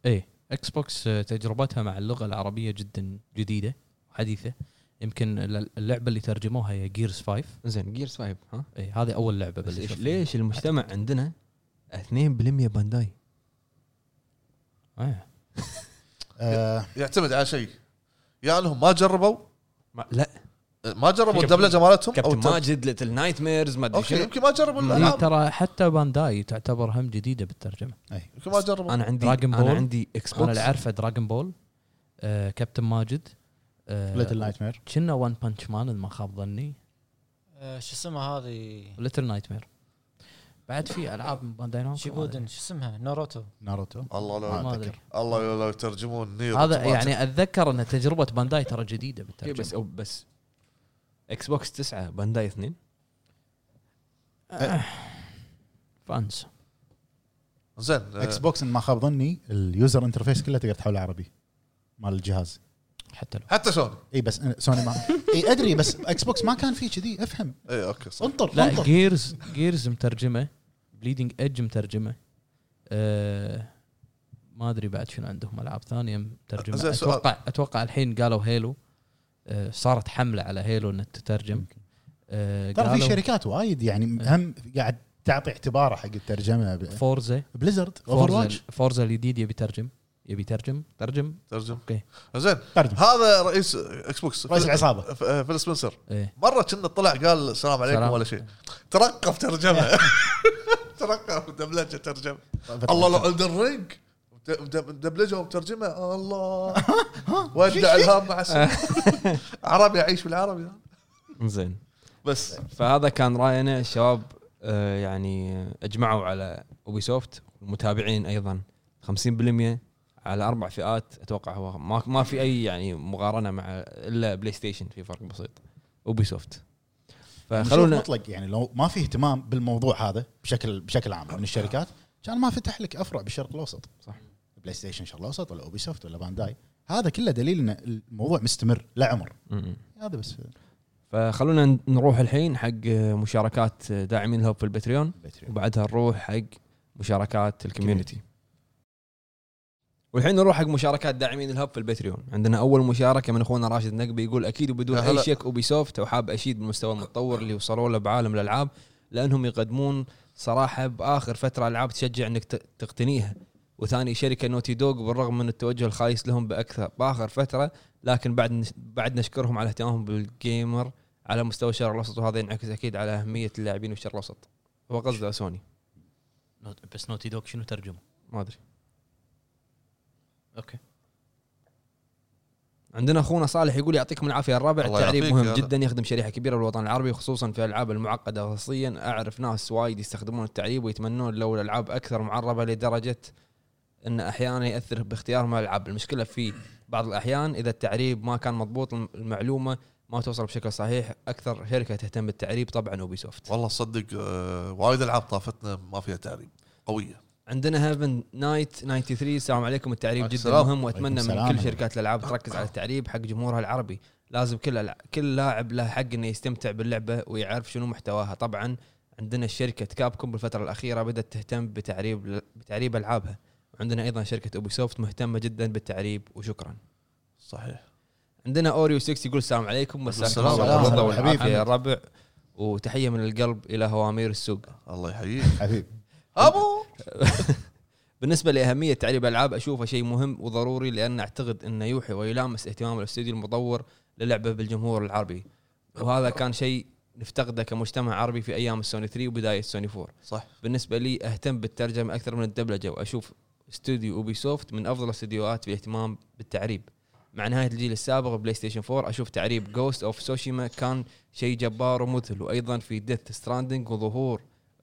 A: إيه.
D: ايه اكس بوكس آه، تجربتها مع اللغه العربيه جدا جديده وحديثه يمكن الل- اللعبه اللي ترجموها هي جيرز 5
A: زين جيرز 5 ها
D: ايه هذه اول لعبه
A: بس
D: بلشوا
A: إيش
D: فيها.
A: ليش المجتمع عندنا 2% بانداي
D: إيه.
B: آه،
C: يعتمد على شيء يا انهم ما جربوا
A: ما لا
C: ما جربوا الدبلجه مالتهم او
A: كابتن
C: التر-
A: ماجد ليتل نايت ميرز ما ادري
C: اوكي
A: شنو
C: يمكن ما جربوا
A: مم.
D: هي
C: الالعاب
D: ترى حتى بانداي تعتبر هم جديده بالترجمه
C: يمكن ما جربوا
A: انا عندي
D: دراجون بول.
A: انا عندي اكس
D: انا
A: بوكس
D: اللي عارفه دراجون بول آه، كابتن ماجد
B: ليتل نايت مير
D: كنا وان بانش مان إذا ما خاب ظني
E: آه، شو اسمها هذه
D: ليتل نايت مير بعد في العاب من بانداي نامكو
E: شيبودن شو اسمها ناروتو
B: ناروتو
C: الله لو
D: ما
B: ما
D: ادري
C: الله لو- لو يترجمون نير
D: هذا يعني اتذكر ان تجربه بانداي ترى جديده
A: إيه،
D: بالترجمه
A: بس أو بس اكس بوكس 9 بانداي 2
D: آه. فانس
C: زين آه،
B: اكس بوكس إن ما خاب ظني اليوزر انترفيس كله تقدر تحوله عربي مال الجهاز
D: حتى لو
C: حتى سوني
B: اي بس أنا- سوني ما اي ادري بس اكس بوكس ما كان فيه كذي افهم
C: اي اوكي إيه، صح
B: انطر
D: لا
B: انطر
D: جيرز جيرز مترجمه بليدنج ايدج مترجمه آه ما ادري بعد شنو عندهم العاب ثانيه مترجمه
C: زين، سؤال.
D: اتوقع اتوقع الحين قالوا هيلو آه صارت حمله على هيلو انها تترجم آه،
B: ترى في
D: قالوا
B: شركات وايد يعني
A: إيه.
B: هم قاعد تعطي اعتباره حق الترجمه ب-
D: فورزا
B: بليزرد اوفر
D: فورزا
B: واتش
D: فورزا الجديد يبي يترجم يبي يترجم ترجم
C: ترجم
D: أوكي.
C: زين
B: ترجم
C: هذا رئيس اكس بوكس
B: رئيس العصابه
C: ف- آه، فيل سبنسر
D: ايه
C: مره كنا طلع قال السلام عليكم
D: سلام.
C: ولا شيء ترقب ترجمه ترقب دبلجه ترجمه الله لو الدن رينج مدبلجه ومترجمه الله ودع الهام مع السلامة. عربي اعيش بالعربي
A: زين
C: بس
A: فهذا كان راينا الشباب آه، يعني اجمعوا على اوبي سوفت والمتابعين ايضا 50% على اربع فئات اتوقع هو ما ما في اي يعني مقارنه مع الا بلاي ستيشن في فرق بسيط اوبي سوفت
B: خلونا
A: فخلونا
B: مطلق يعني لو ما في اهتمام بالموضوع هذا بشكل بشكل عام من الشركات كان ما فتح لك افرع بالشرق الاوسط
A: صح.
B: بلاي ستيشن الشرق الاوسط ولا اوبي سوفت ولا بانداي هذا كله دليل ان الموضوع مستمر لا عمر
A: م-م.
B: هذا بس
A: فخلونا ن- نروح الحين حق مشاركات داعمين الهب في البتريون وبعدها نروح حق مشاركات الكوميونتي والحين نروح حق مشاركات داعمين الهب في البتريون عندنا اول مشاركه من اخونا راشد النقبي يقول اكيد وبدون
C: يا
A: اي
C: هلا.
A: شك اوبي سوفت وحاب اشيد بالمستوى المتطور اللي وصلوا له بعالم الالعاب لانهم يقدمون صراحه باخر فتره العاب تشجع انك ت- تقتنيها وثاني شركه نوتي دوغ بالرغم من التوجه الخايس لهم باكثر باخر فتره لكن بعد نش- بعد نشكرهم على اهتمامهم بالجيمر على مستوى الشرق الاوسط وهذا ينعكس اكيد على اهميه اللاعبين في الشرق الاوسط هو قصده سوني
F: نوت- بس نوتي دوغ شنو ترجمه؟
A: ما ادري
F: اوكي
A: عندنا اخونا صالح يقول يعطيكم العافيه الرابع
C: الله
A: التعريب
C: يعافيك،
A: مهم
C: يلا.
A: جدا يخدم شريحه كبيره بالوطن العربي خصوصا في الالعاب المعقده خصوصيا اعرف ناس وايد يستخدمون التعريب ويتمنون لو الالعاب اكثر معربه لدرجه ان احيانا ياثر باختيارهم الالعاب المشكله في بعض الاحيان اذا التعريب ما كان مضبوط الم- المعلومه ما توصل بشكل صحيح اكثر شركه تهتم بالتعريب طبعا اوبي سوفت
C: والله صدق آه، وايد العاب طافتنا ما فيها تعريب قويه
A: عندنا هيفن نايت 93 السلام عليكم التعريب
C: عليكم
A: جدا
C: السلام.
A: مهم واتمنى
B: عليكم
A: من
B: السلام.
A: كل شركات الالعاب تركز على التعريب حق جمهورها العربي لازم كل الع- كل لاعب له حق انه يستمتع باللعبه ويعرف شنو محتواها طبعا عندنا شركه كابكوم بالفتره الاخيره بدات تهتم بتعريب بتعريب العابها وعندنا ايضا شركه اوبي سوفت مهتمه جدا بالتعريب وشكرا
C: صحيح
A: عندنا اوريو 6 يقول السلام عليكم مساكم
C: السلام.
A: الله بالرضا
B: السلام.
A: والعافيه
B: حبيبي.
A: يا الربع وتحيه من القلب الى هوامير السوق
C: الله يحييك
B: حبيب
C: ابو
A: بالنسبه لاهميه تعريب الالعاب اشوفه شيء مهم وضروري لان اعتقد انه يوحي ويلامس اهتمام الاستوديو المطور للعبه بالجمهور العربي وهذا كان شيء نفتقده كمجتمع عربي في ايام السوني 3 وبدايه السوني 4
C: صح
A: بالنسبه لي اهتم بالترجمه اكثر من الدبلجه واشوف استوديو اوبي سوفت من افضل الاستديوهات في الاهتمام بالتعريب مع نهايه الجيل السابق بلاي ستيشن 4 اشوف تعريب جوست اوف سوشيما كان شيء جبار ومذهل وايضا في ديث ستراندنج وظهور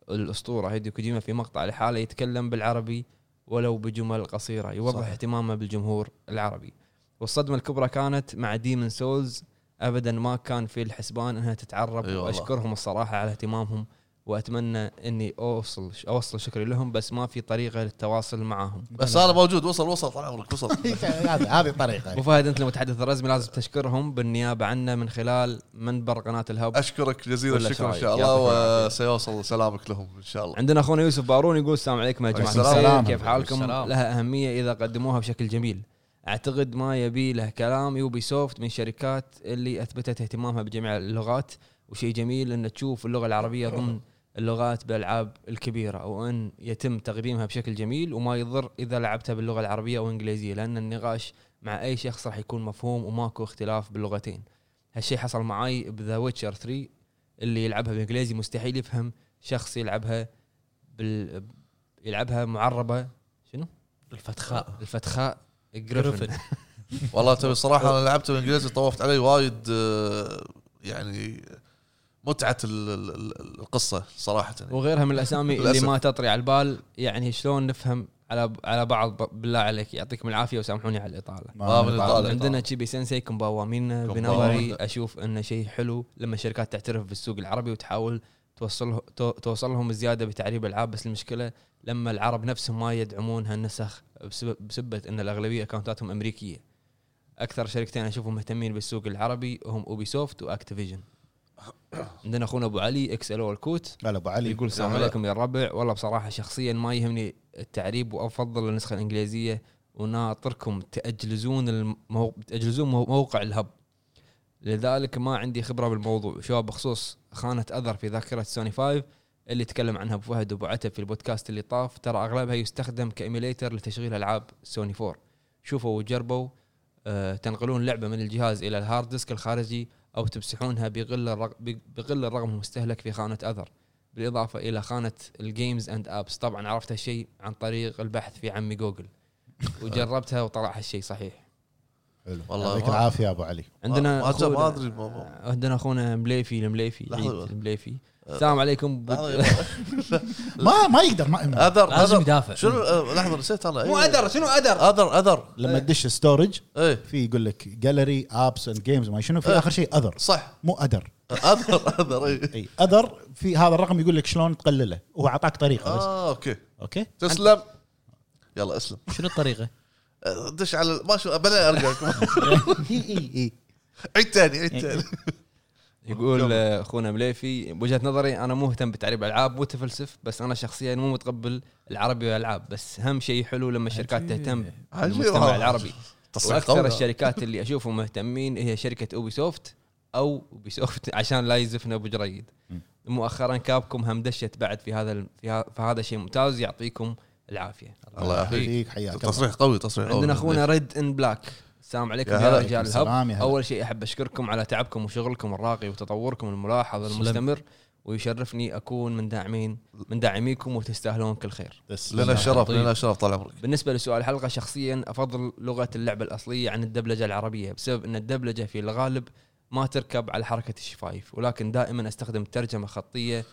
A: الاسطوره هيديو كوجيما في مقطع لحاله يتكلم بالعربي ولو بجمل قصيره يوضح
C: صحيح.
A: اهتمامه بالجمهور العربي والصدمه الكبرى كانت مع ديمن سولز ابدا ما كان في الحسبان انها تتعرب
C: أي أيوة والله.
A: واشكرهم الصراحه على اهتمامهم واتمنى اني اوصل اوصل شكري لهم بس ما في طريقه للتواصل معهم
C: بس انا موجود وصل وصل طال عمرك وصل
B: هذه إيه، هذه
A: ابو
B: الطريقه
A: فهد انت المتحدث الرسمي لازم تشكرهم بالنيابه عنا من خلال منبر قناه الهب
C: اشكرك جزيل
A: ولا
C: الشكر ان
A: شاي.
C: شاء
A: يعطيك
C: الله
A: العافية.
C: وسيوصل سلامك لهم ان شاء الله
A: عندنا اخونا يوسف بارون يقول السلام عليكم يا جماعه
C: السلام.
A: الخير
B: السلام.
A: كيف حالكم
F: السلام.
A: لها اهميه اذا قدموها بشكل جميل اعتقد ما يبي له كلام يوبي سوفت من شركات اللي اثبتت اهتمامها بجميع اللغات وشيء جميل ان تشوف اللغه العربيه ضمن اللغات بالالعاب الكبيره وان يتم تقديمها بشكل جميل وما يضر اذا لعبتها باللغه العربيه او الانجليزيه لان النقاش مع اي شخص راح يكون مفهوم وماكو اختلاف باللغتين هالشيء حصل معي بذا ويتشر 3 اللي يلعبها بالانجليزي مستحيل يفهم شخص يلعبها بال يلعبها معربه شنو؟
F: الفتخاء
B: آه.
A: الفتخاء جريفن
C: والله
A: أه.
C: تبي صراحه انا لعبت بالانجليزي طوفت علي وايد آه، يعني متعه ال- ال- ال- القصه صراحه يعني.
A: وغيرها من الاسامي اللي
C: للأسف.
A: ما تطري على البال يعني شلون نفهم على على بعض ب- بالله عليك يعطيكم العافيه وسامحوني على الاطاله
C: ما من
B: طالع.
C: طالع.
A: عندنا تشيبي سensei كومباوا منا
C: كومباوا
A: بنظري
C: منا.
A: اشوف انه شيء حلو لما الشركات تعترف بالسوق العربي وتحاول توصل تو- توصل لهم الزياده بتعريب الالعاب بس المشكله لما العرب نفسهم ما يدعمون هالنسخ بسبب بسبه ان الاغلبيه اكونتاتهم امريكيه اكثر شركتين اشوفهم مهتمين بالسوق العربي هم اوبي سوفت واكتيفيجن عندنا اخونا ابو علي اكس ال الكوت
B: قال ابو علي
A: يقول السلام عليكم يا الربع والله بصراحه شخصيا ما يهمني التعريب وافضل النسخه الانجليزيه وناطركم تاجلزون المو... تاجلزون مو- موقع الهب لذلك ما عندي خبره بالموضوع شباب بخصوص خانت اثر في ذاكره سوني 5 اللي تكلم عنها ابو فهد وابو عتب في البودكاست اللي طاف ترى اغلبها يستخدم كايميليتر لتشغيل العاب سوني 4 شوفوا وجربوا آه، تنقلون لعبه من الجهاز الى الهارد ديسك الخارجي او تمسحونها بقل الرق- بقل الرقم المستهلك في خانه اذر بالاضافه الى خانه الجيمز اند ابس طبعا عرفت هالشيء عن طريق البحث في عمي جوجل وجربتها وطلع هالشيء صحيح
B: حلو
C: والله
B: يعطيك
C: ما-
B: العافيه يا ابو علي
C: ما- ما
A: عندنا
C: أدري- ما
A: أخونا-
C: أدري ما- ما-
A: عندنا اخونا مليفي المليفي
C: لحظة
A: عيد
C: بس. أه.
A: المليفي السلام عليكم بود-
C: لحظة،
B: ما ما يقدر ما
C: اذر
F: لازم
C: اذر
F: يدافع
C: شنو آه، لحظه نسيت انا
A: مو ادر شنو ادر
C: اذر اذر
B: لما تدش ستورج
C: ايه
B: في يقول لك جاليري ابس اند جيمز ما شنو في
C: إيه.
B: اخر شيء اذر
C: صح إيه.
B: مو اذر
C: اذر اذر اي
B: اي اذر في هذا الرقم يقول لك شلون تقلله هو اعطاك طريقه
D: آه.
B: بس
C: اه اوكي
B: اوكي
C: تسلم يلا اسلم
F: شنو الطريقه؟
C: آه، دش على ال- ما شو بعدين ارجعكم
B: اي
D: إيه،
B: اي اي
C: عيد ثاني
A: إيه،
C: عيد ثاني
A: يقول آه، اخونا مليفي بوجهه نظري انا مو مهتم بتعريب العاب وتفلسف بس انا شخصيا مو متقبل العربي والالعاب بس هم شيء حلو لما الشركات تهتم
C: عجيب. آه.
A: بالمجتمع
C: والله.
A: العربي
C: تصير
A: واكثر
C: قولة.
A: الشركات اللي اشوفهم مهتمين هي شركه اوبي سوفت او اوبي سوفت عشان لا يزفنا ابو جريد مؤخرا كابكم هم دشت بعد في هذا ال- في ه- فهذا شيء ممتاز يعطيكم العافيه
C: الله يعافيك
B: يعافيك حياك الله.
C: تصريح قوي تصريح قوي
A: عندنا اخونا ريد ان بلاك السلام عليكم
C: يا
A: يا,
C: هلا.
A: رجال
B: عليكم السلام،
A: الهب
B: يا هلا.
A: اول شيء احب اشكركم على تعبكم وشغلكم الراقي وتطوركم الملاحظ
D: سلام.
A: المستمر ويشرفني اكون من داعمين من داعميكم وتستاهلون كل خير.
B: تسلم.
C: لنا شرف
A: طيب.
C: لنا شرف طال عمرك
A: بالنسبه لسؤال الحلقه شخصيا افضل لغه اللعبه الاصليه عن الدبلجه العربيه بسبب ان الدبلجه في الغالب ما تركب على حركه الشفايف ولكن دائما استخدم ترجمه خطيه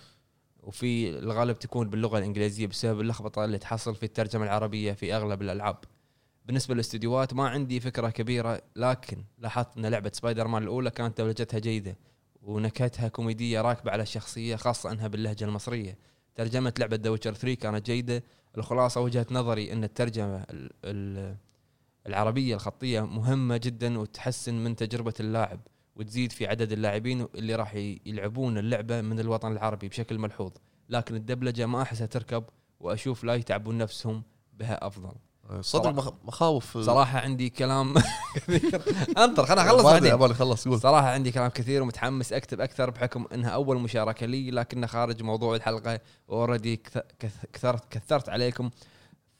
A: وفي الغالب تكون باللغه الانجليزيه بسبب اللخبطه اللي تحصل في الترجمه العربيه في اغلب الالعاب. بالنسبه للاستديوهات ما عندي فكره كبيره لكن لاحظت ان لعبه سبايدر مان الاولى كانت دبلجتها جيده ونكهتها كوميديه راكبه على الشخصيه خاصه انها باللهجه المصريه. ترجمه لعبه ذا ويتشر 3 كانت جيده الخلاصه وجهه نظري ان الترجمه ال- ال- العربيه الخطيه مهمه جدا وتحسن من تجربه اللاعب وتزيد في عدد اللاعبين اللي راح ي- يلعبون اللعبه من الوطن العربي بشكل ملحوظ لكن الدبلجه ما احسها تركب واشوف لا يتعبون نفسهم بها افضل
C: صدق مخ- مخاوف
A: صراحه عندي كلام كثير انطر خلنا اخلص
C: بعدين
A: بعدين
C: عبالي خلص قول
A: صراحة عندي كلام كثير ومتحمس اكتب اكثر بحكم انها اول مشاركة لي لكنها خارج موضوع الحلقة اوريدي كثرت كثرت عليكم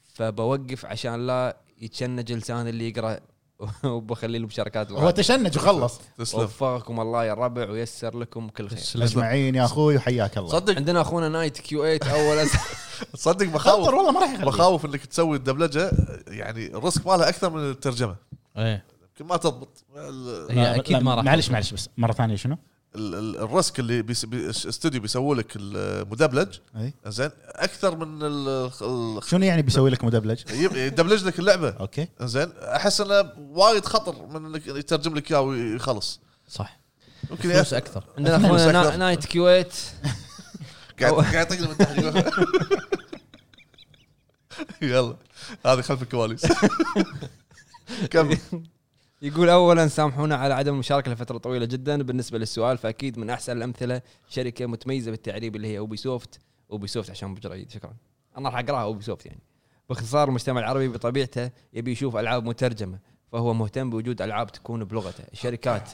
A: فبوقف عشان لا يتشنج لسان اللي يقرا وبخلي له مشاركات
B: هو
A: الغالية.
B: تشنج وخلص
C: تسلم
A: وفقكم الله يا الربع ويسر لكم كل خير
B: اجمعين يا اخوي وحياك الله
C: صدق
A: عندنا اخونا نايت كيو 8 اول أس-
C: صدق
B: خطر
C: مخاوف
B: والله ما يعني. راح يخليك
C: مخاوف انك تسوي الدبلجه يعني الريسك مالها اكثر من الترجمه
D: ايه
C: يمكن ما تضبط ال-
D: هي اكيد إيه، ما راح
B: معلش معلش بس مره ثانيه شنو؟
C: ال- ال- الريسك اللي بيس- بي- استوديو بيسوي لك المدبلج
B: أي.
C: زين اكثر من ال- ال-
B: شنو يعني بيسوي لك مدبلج؟
C: يب- يدبلج لك اللعبه
B: اوكي
C: زين احس انه وايد خطر من انك يترجم لك اياه ويخلص
D: صح
C: يمكن
D: فلوس
C: يأثر.
D: اكثر
A: عندنا اخونا نا- نايت كيو 8
C: قاعد قاعد يطقلب من تحت يقول- يلا هذه خلف الكواليس كمل
A: يقول اولا سامحونا على عدم المشاركه لفتره طويله جدا بالنسبه للسؤال فاكيد من احسن الامثله شركه متميزه بالتعريب اللي هي اوبي سوفت اوبي سوفت عشان ابو جريد شكرا انا راح اقراها اوبي سوفت يعني باختصار المجتمع العربي بطبيعته يبي يشوف العاب مترجمه فهو مهتم بوجود العاب تكون بلغته الشركات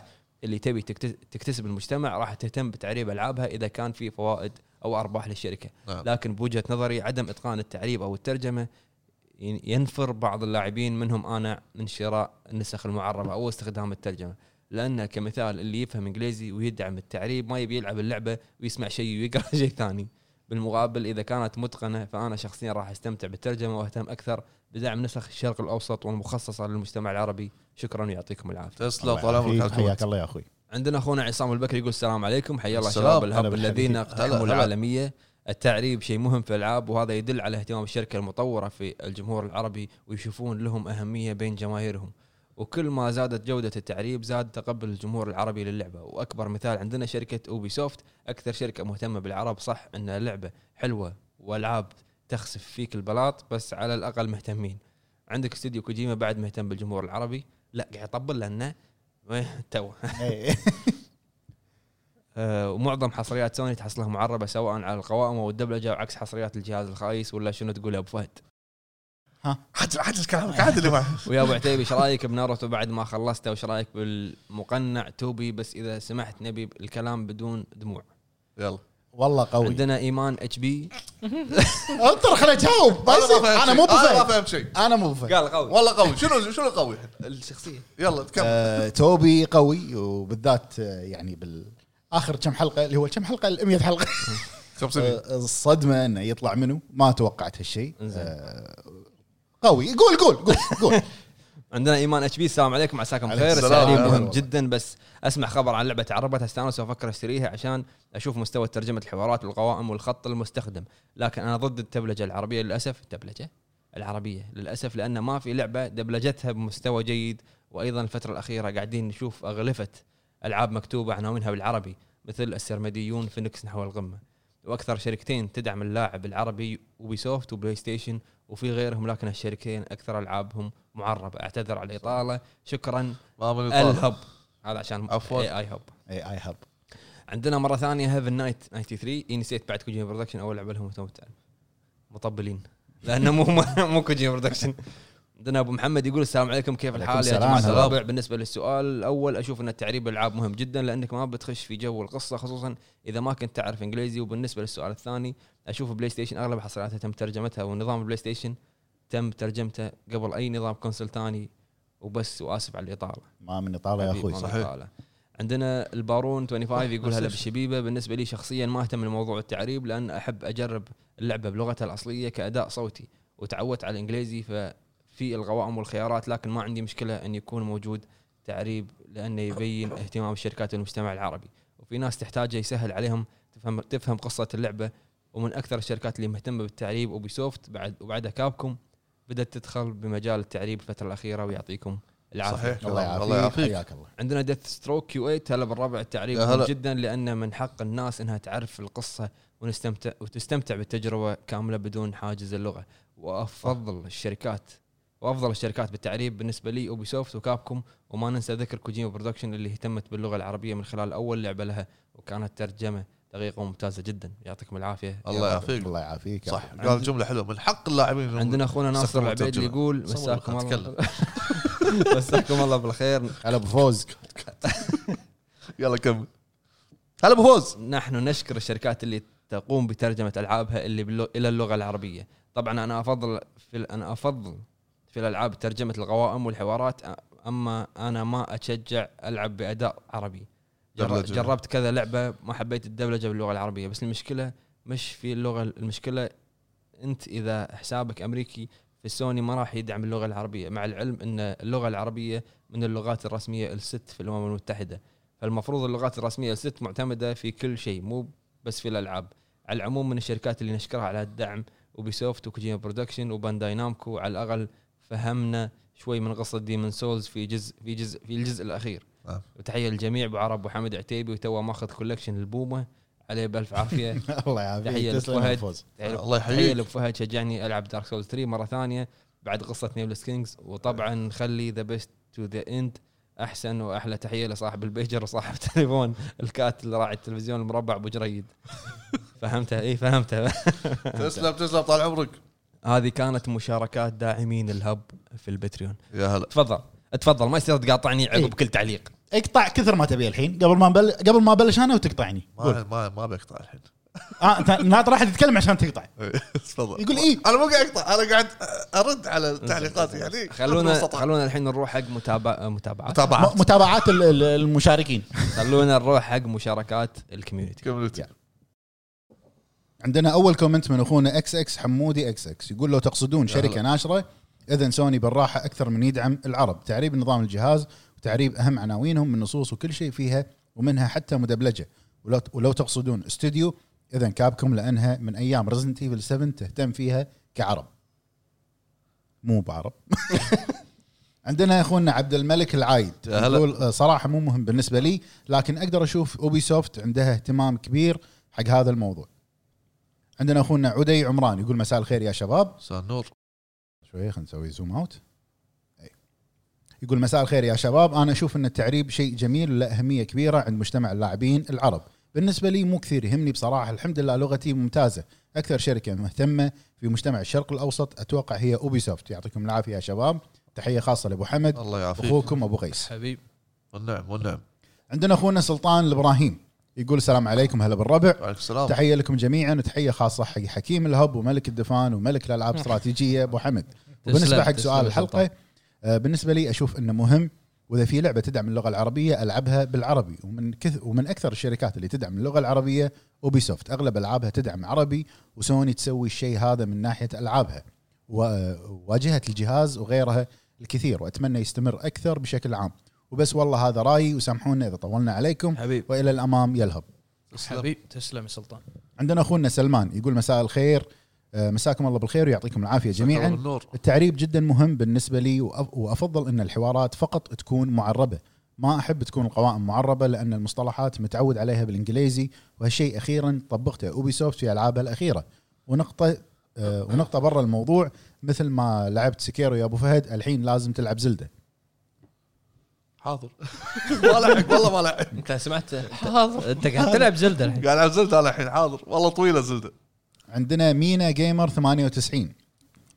A: اللي تبي تكت- تكتسب المجتمع راح تهتم بتعريب العابها اذا كان في فوائد او ارباح للشركه
C: نعم.
A: لكن بوجهه نظري عدم اتقان التعريب او الترجمه ين- ينفر بعض اللاعبين منهم انا من شراء النسخ المعربه او استخدام الترجمه لان كمثال اللي يفهم انجليزي ويدعم التعريب ما يبي يلعب اللعبه ويسمع شيء ويقرا شيء ثاني بالمقابل اذا كانت متقنه فانا شخصيا راح استمتع بالترجمه واهتم اكثر بدعم نسخ الشرق الاوسط والمخصصه للمجتمع العربي شكرا ويعطيكم العافيه
C: تسلم طال عمرك على الكومنت.
B: حياك الله يا اخوي
A: عندنا اخونا عصام البكري يقول السلام عليكم حيا الله
C: السلام.
A: شباب
B: هلا
A: الهب
B: بالحبيب.
A: الذين
C: هلا،
A: اقتحموا
C: هلا.
A: العالميه التعريب شيء مهم في الالعاب وهذا يدل على اهتمام الشركه المطوره في الجمهور العربي ويشوفون لهم اهميه بين جماهيرهم وكل ما زادت جوده التعريب زاد تقبل الجمهور العربي للعبه واكبر مثال عندنا شركه اوبي سوفت اكثر شركه مهتمه بالعرب صح ان اللعبه حلوه والعاب تخسف فيك البلاط بس على الاقل مهتمين عندك استوديو كوجيما بعد مهتم بالجمهور العربي لا قاعد يطبل لانه تو
B: إيه.
A: آه، ومعظم حصريات سوني تحصلها معربه سواء على القوائم او الدبلجه او عكس حصريات الجهاز الخايس ولا شنو تقول يا ابو فهد
C: حد حد كلامك عادل يا معلم.
A: ويا ابو عتيبي ايش رايك بناروتو بعد ما خلصته وايش رايك بالمقنع توبي بس اذا سمحت نبي الكلام بدون دموع
C: يلا
B: والله قوي
A: عندنا ايمان اتش بي
B: انطر خليني اجاوب ما
C: أنا
B: يصير. انا طيب،
C: ما فهمت شيء.
B: مو
C: انا ما
B: بفهم
C: فهمت شيء
B: انا مو بفهم
A: قال قوي
C: والله قوي شنو شنو قوي
A: الشخصيه
C: يلا تكمل
B: آه، توبي قوي وبالذات آه، يعني بال اخر كم حلقه اللي هو كم حلقه ال 100 حلقه
C: 500
B: آه، الصدمه انه يطلع منه ما توقعت هالشيء
A: إنزين.
B: آه، قوي قول قول قول قول
A: عندنا ايمان اتش بي السلام عليكم عساكم
B: عليكم
A: بخير
C: السلام.
A: السؤال
B: هلا
A: مهم
B: والله.
A: جدا بس اسمع خبر عن لعبه عربت استانس وافكر اشتريها عشان اشوف مستوى ترجمه الحوارات والقوائم والخط المستخدم لكن انا ضد الدبلجه العربيه للاسف دبلجه العربيه للاسف لان ما في لعبه دبلجتها بمستوى جيد وايضا الفتره الاخيره قاعدين نشوف اغلفه العاب مكتوبه عناوينها بالعربي مثل السرمديون فينيكس نحو القمه واكثر شركتين تدعم اللاعب العربي وبيسوفت وبلاي ستيشن وفي غيرهم لكن هالشركتين اكثر العابهم معربه اعتذر على الاطاله شكرا
C: ما من يطالع.
A: الهب هذا عشان
C: عفواً.
A: اي اي هب
B: اي اي هب
A: عندنا مره ثانيه هيفن نايت 93 اي نسيت بعد كوجيما برودكشن اول لعبه لهم تو بتعلم. مطبلين لانه مو مو- مو كوجيما برودكشن عندنا ابو محمد يقول السلام عليكم كيف
B: وعليكم
A: الحال يا
B: السلام،
A: جماعه
B: هلا.
A: الرابع بالنسبه للسؤال الاول اشوف ان تعريب الالعاب مهم جدا لانك ما بتخش في جو القصه خصوصا اذا ما كنت تعرف انجليزي وبالنسبه للسؤال الثاني اشوف بلاي ستيشن اغلب حصرياتها تم ترجمتها ونظام بلاي ستيشن تم ترجمته قبل اي نظام كونسل ثاني وبس واسف على الاطاله
B: ما من اطاله يا
A: حبيب،
B: اخوي
A: ما
C: صحيح.
A: بطالة. عندنا البارون 25 يقول هلا بالشبيبه بالنسبه لي شخصيا ما اهتم لموضوع التعريب لان احب اجرب اللعبه بلغتها الاصليه كاداء صوتي وتعودت على الانجليزي ففي القوائم والخيارات لكن ما عندي مشكله ان يكون موجود تعريب لانه يبين اهتمام الشركات والمجتمع العربي وفي ناس تحتاجه يسهل عليهم تفهم تفهم قصه اللعبه ومن اكثر الشركات اللي مهتمه بالتعريب اوبي سوفت بعد وبعدها كابكم بدات تدخل بمجال التعريب الفتره الاخيره ويعطيكم العافيه
C: صحيح
B: الله
C: الله
B: يعافيك
C: يعافيك
B: حياك الله
A: عندنا ديث ستروك كيو 8 هلا بالربع التعريب
C: يا
A: مهم
C: هلا.
A: جدا لان من حق الناس انها تعرف القصه ونستمتع وتستمتع بالتجربه كامله بدون حاجز اللغه وافضل الشركات وافضل الشركات بالتعريب بالنسبه لي اوبي سوفت وكابكم وما ننسى ذكر كوجيما برودكشن اللي اهتمت باللغه العربيه من خلال اول لعبه لها وكانت ترجمه دقيقه وممتازه جدا يعطيكم العافيه
C: الله يعافيك
B: الله يعافيك
C: صح
B: يعافيك.
C: قال جمله حلوه من حق اللاعبين إنهم
A: عندنا اخونا ناصر
C: استخدموا
A: العبيد اللي
C: الترجمة.
A: يقول
C: صور
A: مساكم
C: خلاص
A: الله مساكم الله بالخير
B: هلا بفوز
C: يلا كمل هلا بفوز
A: نحن نشكر الشركات اللي تقوم بترجمه العابها اللي باللغ... الى اللغه العربيه طبعا انا افضل في ال- انا افضل في الالعاب ترجمه القوائم والحوارات أ- اما انا ما اشجع العب باداء عربي جر...
C: دبلجة.
A: جربت كذا لعبه ما حبيت الدبلجه باللغه العربيه بس المشكله مش في اللغه المشكله انت اذا حسابك امريكي في سوني ما راح يدعم اللغه العربيه مع العلم ان اللغه العربيه من اللغات الرسميه الست في الامم المتحده فالمفروض اللغات الرسميه الست معتمده في كل شيء مو بس في الالعاب على العموم من الشركات اللي نشكرها على الدعم وبيسوفت وكوجيما برودكشن وبانداي نامكو على الاقل فهمنا شوي من قصه ديمن سولز في جزء في جزء في الجزء الاخير
C: نعم.
A: وتحيه للجميع ابو عرب وحمد عتيبي وتوه ماخذ كولكشن البومه عليه بالف عافيه
B: الله
A: تحية
B: يعافيك تسلم يا
A: لفهد.
B: فوز
A: تحية
C: الله
A: تحيه
C: يحييك
A: لابو فهد شجعني العب دارك سولز 3 مره ثانيه بعد قصه نيملس كينجز وطبعا خلي ذا بيست تو ذا اند احسن واحلى تحيه لصاحب البيجر وصاحب التليفون الكاتل راعي التلفزيون المربع ابو جريد إيه، فهمتها اي فهمتها
C: تسلم تسلم طال عمرك
A: هذه كانت مشاركات داعمين الهب في البتريون
C: يا هلا
A: تفضل تفضل ما يصير تقاطعني
B: إيه.
A: عقب كل تعليق
B: اقطع كثر ما تبي الحين قبل ما نبل... قبل ما ابلش انا وتقطعني قول.
C: ما ما ما بقطع الحين
B: اه انت ناطر راح تتكلم عشان تقطع
C: تفضل
B: يقول إيه.
C: انا مو قاعد اقطع انا قاعد ارد على تعليقات يعني
A: خلونا
C: بالوسط.
A: خلونا الحين نروح حق متابع متابعات
C: متابعات
B: م- متابعات ال- ال- المشاركين
A: خلونا نروح حق مشاركات الكوميونتي
C: كملت
B: عندنا اول كومنت من اخونا اكس اكس حمودي اكس اكس يقول لو تقصدون شركه ناشره اذا سوني بالراحه اكثر من يدعم العرب تعريب نظام الجهاز وتعريب اهم عناوينهم من نصوص وكل شيء فيها ومنها حتى مدبلجه ولو, ولو تقصدون استوديو اذا كابكم لانها من ايام ريزنت ايفل 7 تهتم فيها كعرب مو بعرب عندنا اخونا عبد الملك العايد
C: يا هلا.
B: يقول آه، صراحه مو مهم بالنسبه لي لكن اقدر اشوف اوبي سوفت عندها اهتمام كبير حق هذا الموضوع عندنا اخونا عدي عمران يقول مساء الخير يا شباب
C: مساء النور
B: شويه خلينا نسوي زوم اوت أي. يقول مساء الخير يا شباب انا اشوف ان التعريب شيء جميل وله اهميه كبيره عند مجتمع اللاعبين العرب بالنسبه لي مو كثير يهمني بصراحه الحمد لله لغتي ممتازه اكثر شركه مهتمه في مجتمع الشرق الاوسط اتوقع هي اوبي سوفت يعطيكم العافيه يا شباب تحيه خاصه لابو حمد
C: الله يعافيك
B: اخوكم ابو قيس
F: حبيب
C: والنعم والنعم
B: عندنا اخونا سلطان الابراهيم يقول السلام عليكم هلا بالربع
C: وعليكم السلام
B: تحيه لكم جميعا وتحيه خاصه حق حكيم الهب وملك الدفان وملك الالعاب الاستراتيجيه ابو حمد وبالنسبه
D: تسلم،
B: حق
D: تسلم
B: سؤال
D: يا
B: الحلقه آه، بالنسبه لي اشوف انه مهم واذا في لعبه تدعم اللغه العربيه العبها بالعربي ومن كث ومن اكثر الشركات اللي تدعم اللغه العربيه اوبي سوفت اغلب العابها تدعم عربي وسوني تسوي الشيء هذا من ناحيه العابها وواجهه آه، الجهاز وغيرها الكثير واتمنى يستمر اكثر بشكل عام وبس والله هذا رايي وسامحونا اذا طولنا عليكم
A: حبيب
B: والى الامام يلهب
D: حبيب تسلم يا سلطان
B: عندنا اخونا سلمان يقول مساء الخير آه، مساكم الله بالخير ويعطيكم العافيه جميعا
C: النور
B: التعريب جدا مهم بالنسبه لي وأف- وافضل ان الحوارات فقط تكون معربه ما احب تكون القوائم معربه لان المصطلحات متعود عليها بالانجليزي وهالشيء اخيرا طبقته اوبي سوفت في العابها الاخيره ونقطه آه، ونقطه برا الموضوع مثل ما لعبت سكيرو يا ابو فهد الحين لازم تلعب زلده
C: حاضر ما لحق والله ما يعني لحق
A: انت سمعت
D: حاضر انت قاعد تلعب زلده الحين
C: قاعد العب زلده انا الحين حاضر والله طويله زلده
B: عندنا مينا جيمر 98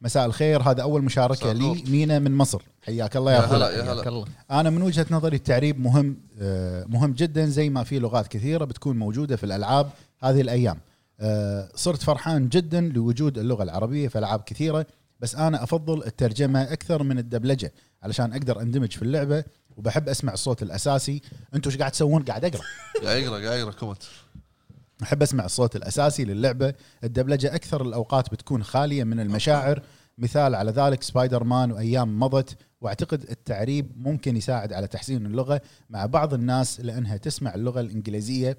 B: مساء الخير هذا اول مشاركه
C: مساء
B: لي
C: النور.
B: مينا من مصر حياك الله يا
C: يا
B: اخوي
C: هلا يا
D: حياك
C: هلا
D: الله
B: انا من وجهه نظري التعريب مهم آه، مهم جدا زي ما في لغات كثيره بتكون موجوده في الالعاب هذه الايام آه، صرت فرحان جدا لوجود اللغه العربيه في العاب كثيره بس انا افضل الترجمه اكثر من الدبلجه علشان اقدر اندمج في اللعبه وبحب اسمع الصوت الاساسي انتم ايش قاعد تسوون قاعد اقرا
C: قاعد يقرا قاعد يقرا كومنت
B: احب اسمع الصوت الاساسي للعبه الدبلجه اكثر الاوقات بتكون خاليه من المشاعر مثال على ذلك سبايدر مان وايام مضت واعتقد التعريب ممكن يساعد على تحسين اللغه مع بعض الناس لانها تسمع اللغه الانجليزيه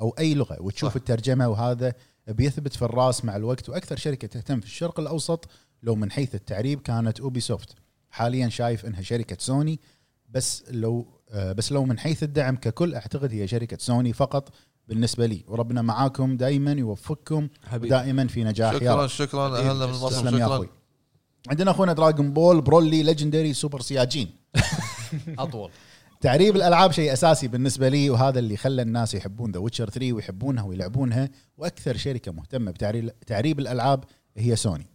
B: او اي لغه وتشوف
C: صح.
B: صح. الترجمه وهذا بيثبت في الراس مع الوقت واكثر شركه تهتم في الشرق الاوسط لو من حيث التعريب كانت اوبي سوفت حاليا شايف انها شركه سوني بس لو آه، بس لو من حيث الدعم ككل اعتقد هي شركه سوني فقط بالنسبه لي وربنا معاكم دائما يوفقكم
A: حبيب
B: دائما في نجاح يا
C: شكرا
B: رب
C: شكرا اهلا من مصر
B: تسلم يا اخوي
C: شكرا
B: عندنا اخونا دراجون بول برولي ليجندري سوبر سياجين
D: اطول
B: تعريب الالعاب شيء اساسي بالنسبه لي وهذا اللي خلى الناس يحبون ذا ويتشر 3 ويحبونها ويلعبونها واكثر شركه مهتمه بتعريب تعريب الالعاب هي سوني.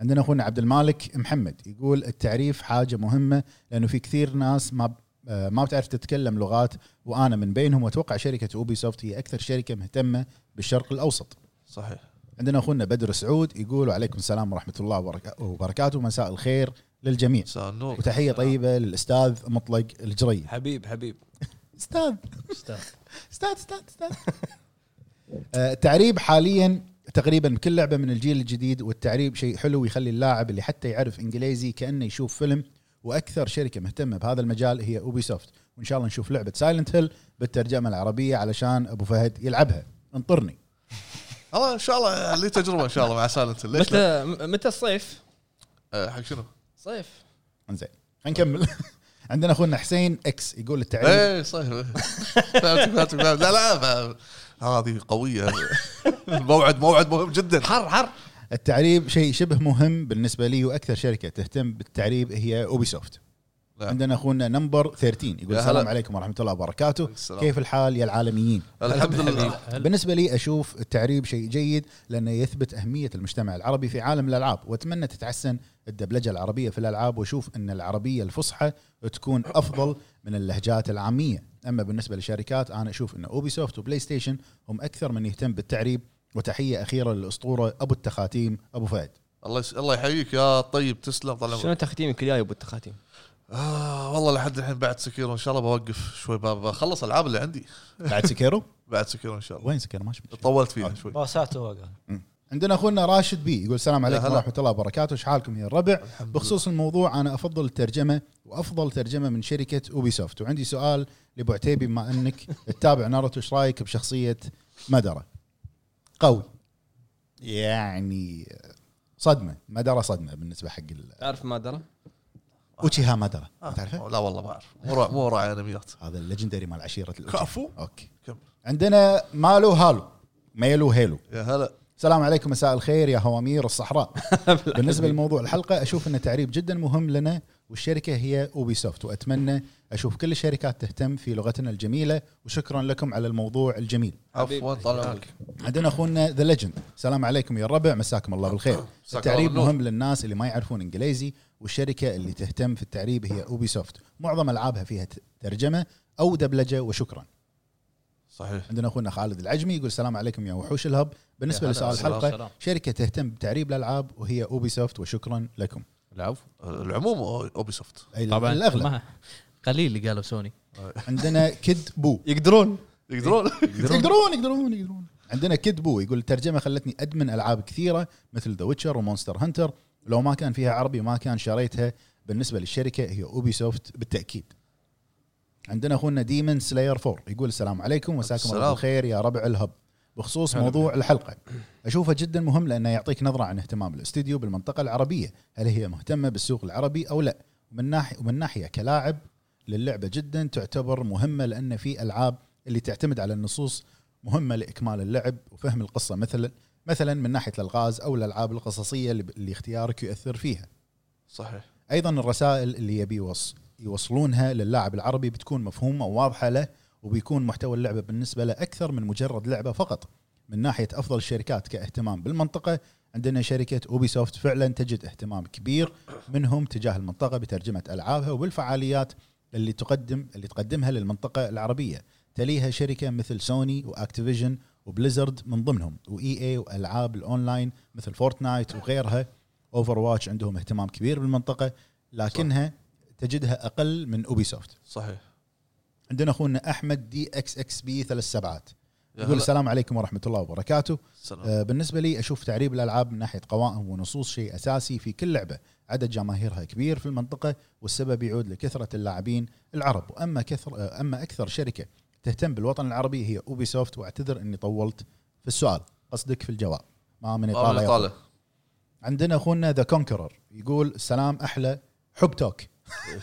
B: عندنا اخونا عبد المالك محمد يقول التعريف حاجه مهمه لانه في كثير ناس ما آه، ما بتعرف تتكلم لغات وانا من بينهم واتوقع شركه اوبي سوفت هي اكثر شركه مهتمه بالشرق الاوسط.
C: صحيح
B: عندنا اخونا بدر سعود يقول وعليكم السلام ورحمه الله وبركا- وبركاته مساء الخير للجميع
C: مساء النور
B: وتحيه طيبه للاستاذ مطلق الجري.
A: حبيب حبيب
B: استاذ استاذ استاذ استاذ آه، التعريب حاليا تقريبا بكل لعبه من الجيل الجديد والتعريب شيء حلو يخلي اللاعب اللي حتى يعرف انجليزي كانه يشوف فيلم واكثر شركه مهتمه بهذا المجال هي اوبي سوفت وان شاء الله نشوف لعبه سايلنت هيل بالترجمه العربيه علشان ابو فهد يلعبها انطرني
C: الله ان شاء الله يعني لي تجربه ان شاء الله مع سالنت هيل. ليش لا؟
A: متى متى الصيف؟
C: آه، حق شنو؟
A: صيف
B: انزين خلينا نكمل عندنا اخونا حسين اكس يقول التعريب
C: ايه صحيح فهمتك فهمتك فهمت. لا لا فهم. هذه قويه الموعد موعد مهم جدا
D: حر حر
B: التعريب شيء شبه مهم بالنسبه لي واكثر شركه تهتم بالتعريب هي اوبي سوفت
C: نعم.
B: عندنا اخونا نمبر 13 يقول
C: يا هلا.
B: السلام عليكم ورحمه الله وبركاته
C: السلام.
B: كيف الحال يا العالميين
C: الحمد لله
B: بالنسبه لي اشوف التعريب شيء جيد لانه يثبت اهميه المجتمع العربي في عالم الالعاب واتمنى تتحسن الدبلجه العربيه في الالعاب واشوف ان العربيه الفصحى تكون افضل من اللهجات العاميه اما بالنسبه للشركات انا اشوف ان اوبي سوفت وبلاي ستيشن هم اكثر من يهتم بالتعريب وتحيه اخيره للاسطوره ابو التخاتيم ابو فهد
C: الله يس- الله يحييك يا طيب تسلم طال
A: شنو
C: عمرك
A: تختيمك الجاي ابو التخاتيم؟
C: آه والله لحد الحين بعد سكيرو ان شاء الله بوقف شوي ب- بخلص العاب اللي عندي
B: بعد سكيرو
C: بعد سكيرو ان شاء الله
B: وين سكيرو ما شفت
C: طولت فيها شوي
E: باسات هو قال
B: عندنا اخونا راشد بي يقول السلام عليكم
C: هلا.
B: ورحمه الله وبركاته ايش حالكم يا الربع
C: الحمد
B: بخصوص الموضوع انا افضل الترجمه وافضل ترجمه من شركه اوبي سوفت وعندي سؤال لابو عتيبي بما انك تتابع ناروتو ايش رايك بشخصيه مدره قوي يعني صدمه مدره صدمه بالنسبه حق ال-
A: تعرف ما درى؟
B: اوتشيها مدره
C: آه،
B: تعرفه
C: لا والله ما اعرف مو راعي- مو راعي انميات
B: هذا الليجندري مال عشيره الأوتشيها.
C: كفو
B: اوكي
C: كمل.
B: عندنا مالو هالو ميلو هيلو
C: يا هلا
B: السلام عليكم مساء الخير يا هوامير الصحراء بالنسبه لموضوع الحلقه اشوف ان تعريب جدا مهم لنا والشركه هي اوبي سوفت واتمنى اشوف كل الشركات تهتم في لغتنا الجميله وشكرا لكم على الموضوع الجميل.
A: حبيبي.
C: عفوا طال عمرك
B: عندنا اخونا ذا ليجند السلام عليكم يا الربع مساكم الله بالخير.
C: مساك الله
B: التعريب
C: بالنور.
B: مهم للناس اللي ما يعرفون انجليزي والشركه اللي تهتم في التعريب هي اوبي سوفت معظم العابها فيها ت- ترجمه او دبلجه وشكرا.
C: صحيح
B: عندنا اخونا خالد العجمي يقول السلام عليكم يا وحوش الهب بالنسبه
C: يا هلا،
B: لسؤال
C: السلام،
B: الحلقه
D: سلام.
B: شركه تهتم بتعريب الالعاب وهي اوبي سوفت وشكرا لكم
D: العفو
C: العموم اوبي سوفت
B: اي
D: طبعا
B: الاغلب
D: ما- قليل اللي قالوا سوني
B: عندنا كيد بو
A: يقدرون
C: يقدرون
B: يقدرون يقدرون يقدرون عندنا كيد بو يقول الترجمه خلتني ادمن العاب كثيره مثل ذا ويتشر ومونستر هانتر لو ما كان فيها عربي ما كان شريتها بالنسبه للشركه هي اوبي سوفت بالتاكيد عندنا اخونا ديمن سلاير 4 يقول السلام عليكم وساكم الله
C: السلام.
B: بالخير يا ربع الهب بخصوص
A: هلا
B: موضوع الحلقه اشوفه جدا مهم لانه يعطيك نظره عن اهتمام الاستديو بالمنطقه العربيه هل هي مهتمه بالسوق العربي او لا ومن ناحيه ومن ناحيه كلاعب للعبه جدا تعتبر مهمه لان في العاب اللي تعتمد على النصوص مهمه لاكمال اللعب وفهم القصه مثلا مثلا من ناحيه الالغاز او الالعاب القصصيه اللي- اللي اختيارك يؤثر فيها
C: صحيح
B: ايضا الرسائل اللي يبي يوص- يوصلونها للاعب العربي بتكون مفهومه وواضحه له وبيكون محتوى اللعبه بالنسبه له اكثر من مجرد لعبه فقط من ناحيه افضل الشركات كاهتمام بالمنطقه عندنا شركه اوبي سوفت فعلا تجد اهتمام كبير منهم تجاه المنطقه بترجمه العابها وبالفعاليات اللي تقدم اللي تقدمها للمنطقه العربيه تليها شركه مثل سوني واكتيفيجن وبليزرد من ضمنهم E واي اي والعاب الاونلاين مثل فورتنايت وغيرها اوفر واتش عندهم اهتمام كبير بالمنطقه لكنها تجدها اقل من اوبي سوفت
C: صحيح
B: عندنا اخونا احمد دي اكس اكس بي ثلاث سبعات
C: يا
B: يقول
C: هلا.
B: السلام عليكم ورحمه الله وبركاته
C: سلام
B: آه، بالنسبه لي اشوف تعريب الالعاب من ناحيه قوائم ونصوص شيء اساسي في كل لعبه عدد جماهيرها كبير في المنطقه والسبب يعود لكثره اللاعبين العرب واما كثر آه، اما اكثر شركه تهتم بالوطن العربي هي اوبي سوفت واعتذر اني طولت في السؤال قصدك في الجواب ما من
C: آه،
B: اطاله يا أخوي.
C: طالع
B: عندنا اخونا ذا كونكرر يقول سلام احلى حب توك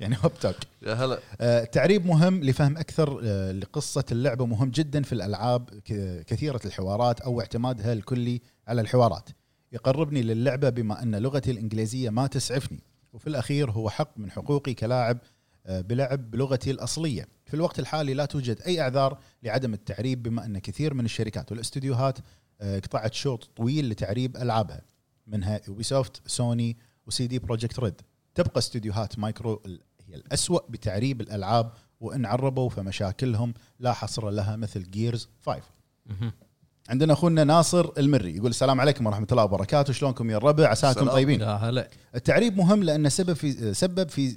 B: يعني حب توك
C: يا هلا
B: آه، تعريب مهم لفهم اكثر آه، لقصه اللعبه مهم جدا في الالعاب ك- كثيره الحوارات او اعتمادها الكلي على الحوارات يقربني للعبه بما ان لغتي الانجليزيه ما تسعفني وفي الاخير هو حق من حقوقي كلاعب آه، بلعب بلغتي الاصليه في الوقت الحالي لا توجد اي اعذار لعدم التعريب بما ان كثير من الشركات والاستديوهات آه، قطعت شوط طويل لتعريب العابها منها يوبيسوفت سوني وسي دي بروجكت ريد تبقى استديوهات مايكرو ال- هي الأسوأ بتعريب الألعاب وإن عربوا فمشاكلهم لا حصر لها مثل جيرز 5 عندنا أخونا ناصر المري يقول السلام عليكم ورحمة الله وبركاته شلونكم يا الربع عساكم
C: السلام.
B: طيبين
D: لا هلا
B: التعريب مهم لأنه سبب في سبب في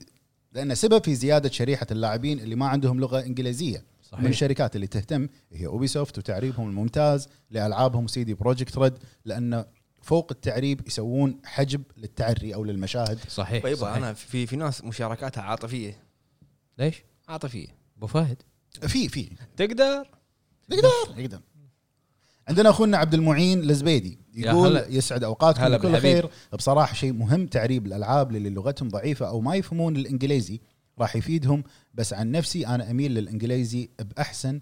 B: لأنه سبب في زيادة شريحة اللاعبين اللي ما عندهم لغة إنجليزية من
D: صحيح
B: الشركات اللي تهتم هي اوبي سوفت وتعريبهم الممتاز لالعابهم سيدي بروجكت ريد لان فوق التعريب يسوون حجب للتعري او للمشاهد
D: صحيح
A: طيب
D: إيه، صحيح.
A: انا في في ناس مشاركاتها عاطفيه
D: ليش؟
A: عاطفيه
D: ابو فهد
B: في في
A: تقدر
B: نقدر نقدر عندنا اخونا عبد المعين الزبيدي
D: يا
B: يقول
D: هلا.
B: يسعد اوقاتكم
A: هلا
B: بكل
A: بالحبيب.
B: خير بصراحه شيء مهم تعريب الالعاب للي لغتهم ضعيفه او ما يفهمون الانجليزي راح يفيدهم بس عن نفسي انا اميل للانجليزي باحسن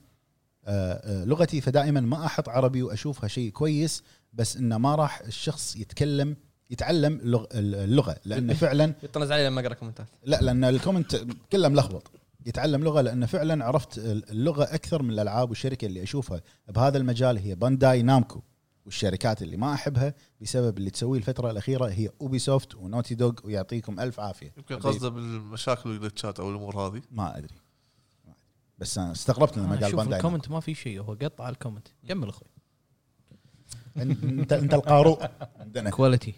B: آه، آه، لغتي فدائما ما احط عربي واشوفها شيء كويس بس انه ما راح الشخص يتكلم يتعلم اللغ- اللغه لان فعلا
A: يطنز علي لما اقرا كومنتات
B: لا لان الكومنت كله ملخبط يتعلم لغه لان فعلا عرفت اللغه اكثر من الالعاب والشركه اللي اشوفها بهذا المجال هي بانداي نامكو والشركات اللي ما احبها بسبب اللي تسويه الفتره الاخيره هي اوبي سوفت ونوتي دوغ ويعطيكم الف عافيه
C: يمكن
B: حبيبي.
C: قصده بالمشاكل والجلتشات او الامور هذه
B: ما ادري بس انا استغربت لما
F: أنا
B: قال
F: شوف
B: بانداي نامكو.
F: الكومنت ما في شيء هو قطع الكومنت كمل اخوي
B: انت انت- انت القارو عندنا
D: كواليتي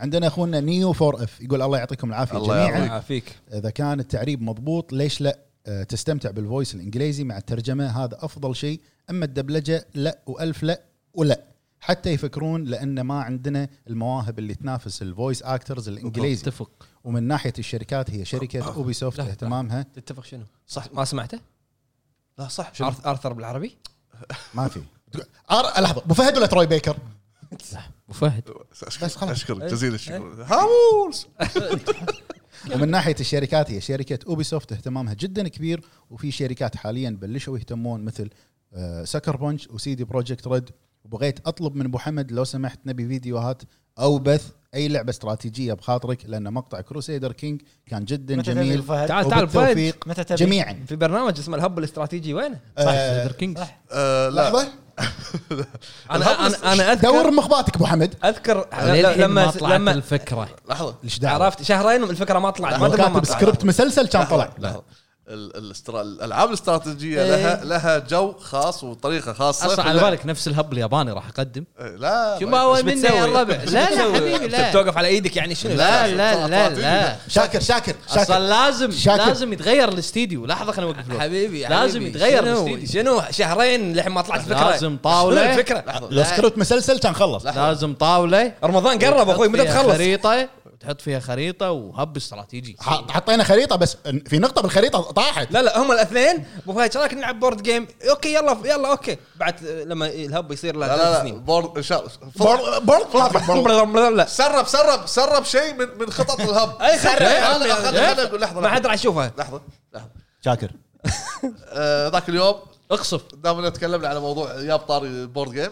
B: عندنا اخونا نيو 4 اف يقول الله يعطيكم العافيه
C: الله
B: جميعا
C: يعافيك.
A: الله يعافيك
B: اذا كان التعريب مضبوط ليش لا آه، تستمتع بالفويس الانجليزي مع الترجمه هذا افضل شيء اما الدبلجه لا والف لا ولا حتى يفكرون لان ما عندنا المواهب اللي تنافس الفويس اكترز الانجليزي
D: اتفق
B: ومن ناحيه الشركات هي شركه اوبي سوفت
A: لا، لا.
B: اهتمامها
A: تتفق شنو؟
C: صح
A: ما سمعته؟
C: لا صح شنو
A: آرث- ارثر بالعربي؟
B: ما في أر- لحظه ابو آه، فهد ولا تروي بيكر
D: ابو فهد
B: بس خلاص.
C: اشكرك جزيل الشكر هامورز
B: ومن ناحيه الشركات هي شركه اوبي سوفت اهتمامها جدا كبير وفي شركات حاليا بلشوا يهتمون مثل آه، سكر بونش وسيدي بروجكت ريد وبغيت اطلب من ابو حمد لو سمحت نبي فيديوهات او بث اي لعبه استراتيجيه بخاطرك لان مقطع كروسيدر كينج كان جدا
E: متى
B: جميل
E: تبي فهد؟
A: تعال تعال فهد
B: وبالتوفيق
E: متى تبي
B: جميعا
A: في برنامج اسمه الهب الاستراتيجي وينه؟
D: صح
B: آه،
D: Leather Kings.
C: آه، لا
B: لحظه
A: انا انا انا
B: دور
A: اذكر
B: مخباتك ابو حمد
A: اذكر
D: للحين ما
A: لما
D: طلعت
A: لما
D: الفكره
C: لحظه
B: ليش دعوه
A: عرفت شهرين الفكره ما طلعت ما
B: هو
A: تبغى ما
B: كاتب
A: طلعت.
B: سكريبت مسلسل كان طلع
C: لحظة. ال- الاسترا- الالعاب الاستراتيجيه لها لها جو خاص وطريقه خاصه
D: اصلا على بالك نفس الهب الياباني راح اقدم
C: إيه، لا
D: شو ما هو
A: إيش
D: منه
A: بتسوي؟
D: يا الربع
A: إيش
D: لا لا
A: بتسوي؟
D: حبيبي لا
A: بتوقف على ايدك يعني شنو
D: لا لا لا لا
B: شاكر شاكر
D: اصلا
B: شاكر
D: لازم
B: شاكر.
D: لازم يتغير الاستديو لحظه خليني اوقف الوقت.
A: حبيبي
D: لازم
A: حبيبي.
D: يتغير
A: شنو
D: الاستديل.
A: شنو شهرين لحين ما طلعت فكره
D: لازم طاولة.
A: شنو الفكره
B: لو سكرت مسلسل كان خلص
D: لازم طاوله
A: رمضان قرب اخوي متى
D: تحط فيها
A: تخلص
D: خريطه تحط فيها خريطه وهب استراتيجي
B: ح- حطينا خريطه بس في نقطه بالخريطه طاحت
A: لا لا هم الاثنين ابو فهد شراك نلعب بورد جيم اوكي يلا يلا اوكي بعد آه، لما الهب يصير له
C: لا
A: ثلاث
C: لا لا
A: سنين
C: بورد ان شاء الله
B: برض برض
A: لا
C: سرب سرب سرب شيء من من خطط الهب
A: اي خرب
C: انا خليني اقول لحظه
A: إيه. ما حد
C: لحظه
A: راح يشوفها
C: لحظه لحظه
B: شاكر
C: آه، ذاك اليوم
D: اقصف
C: دامنا تكلمنا على موضوع جاب طاري بورد جيم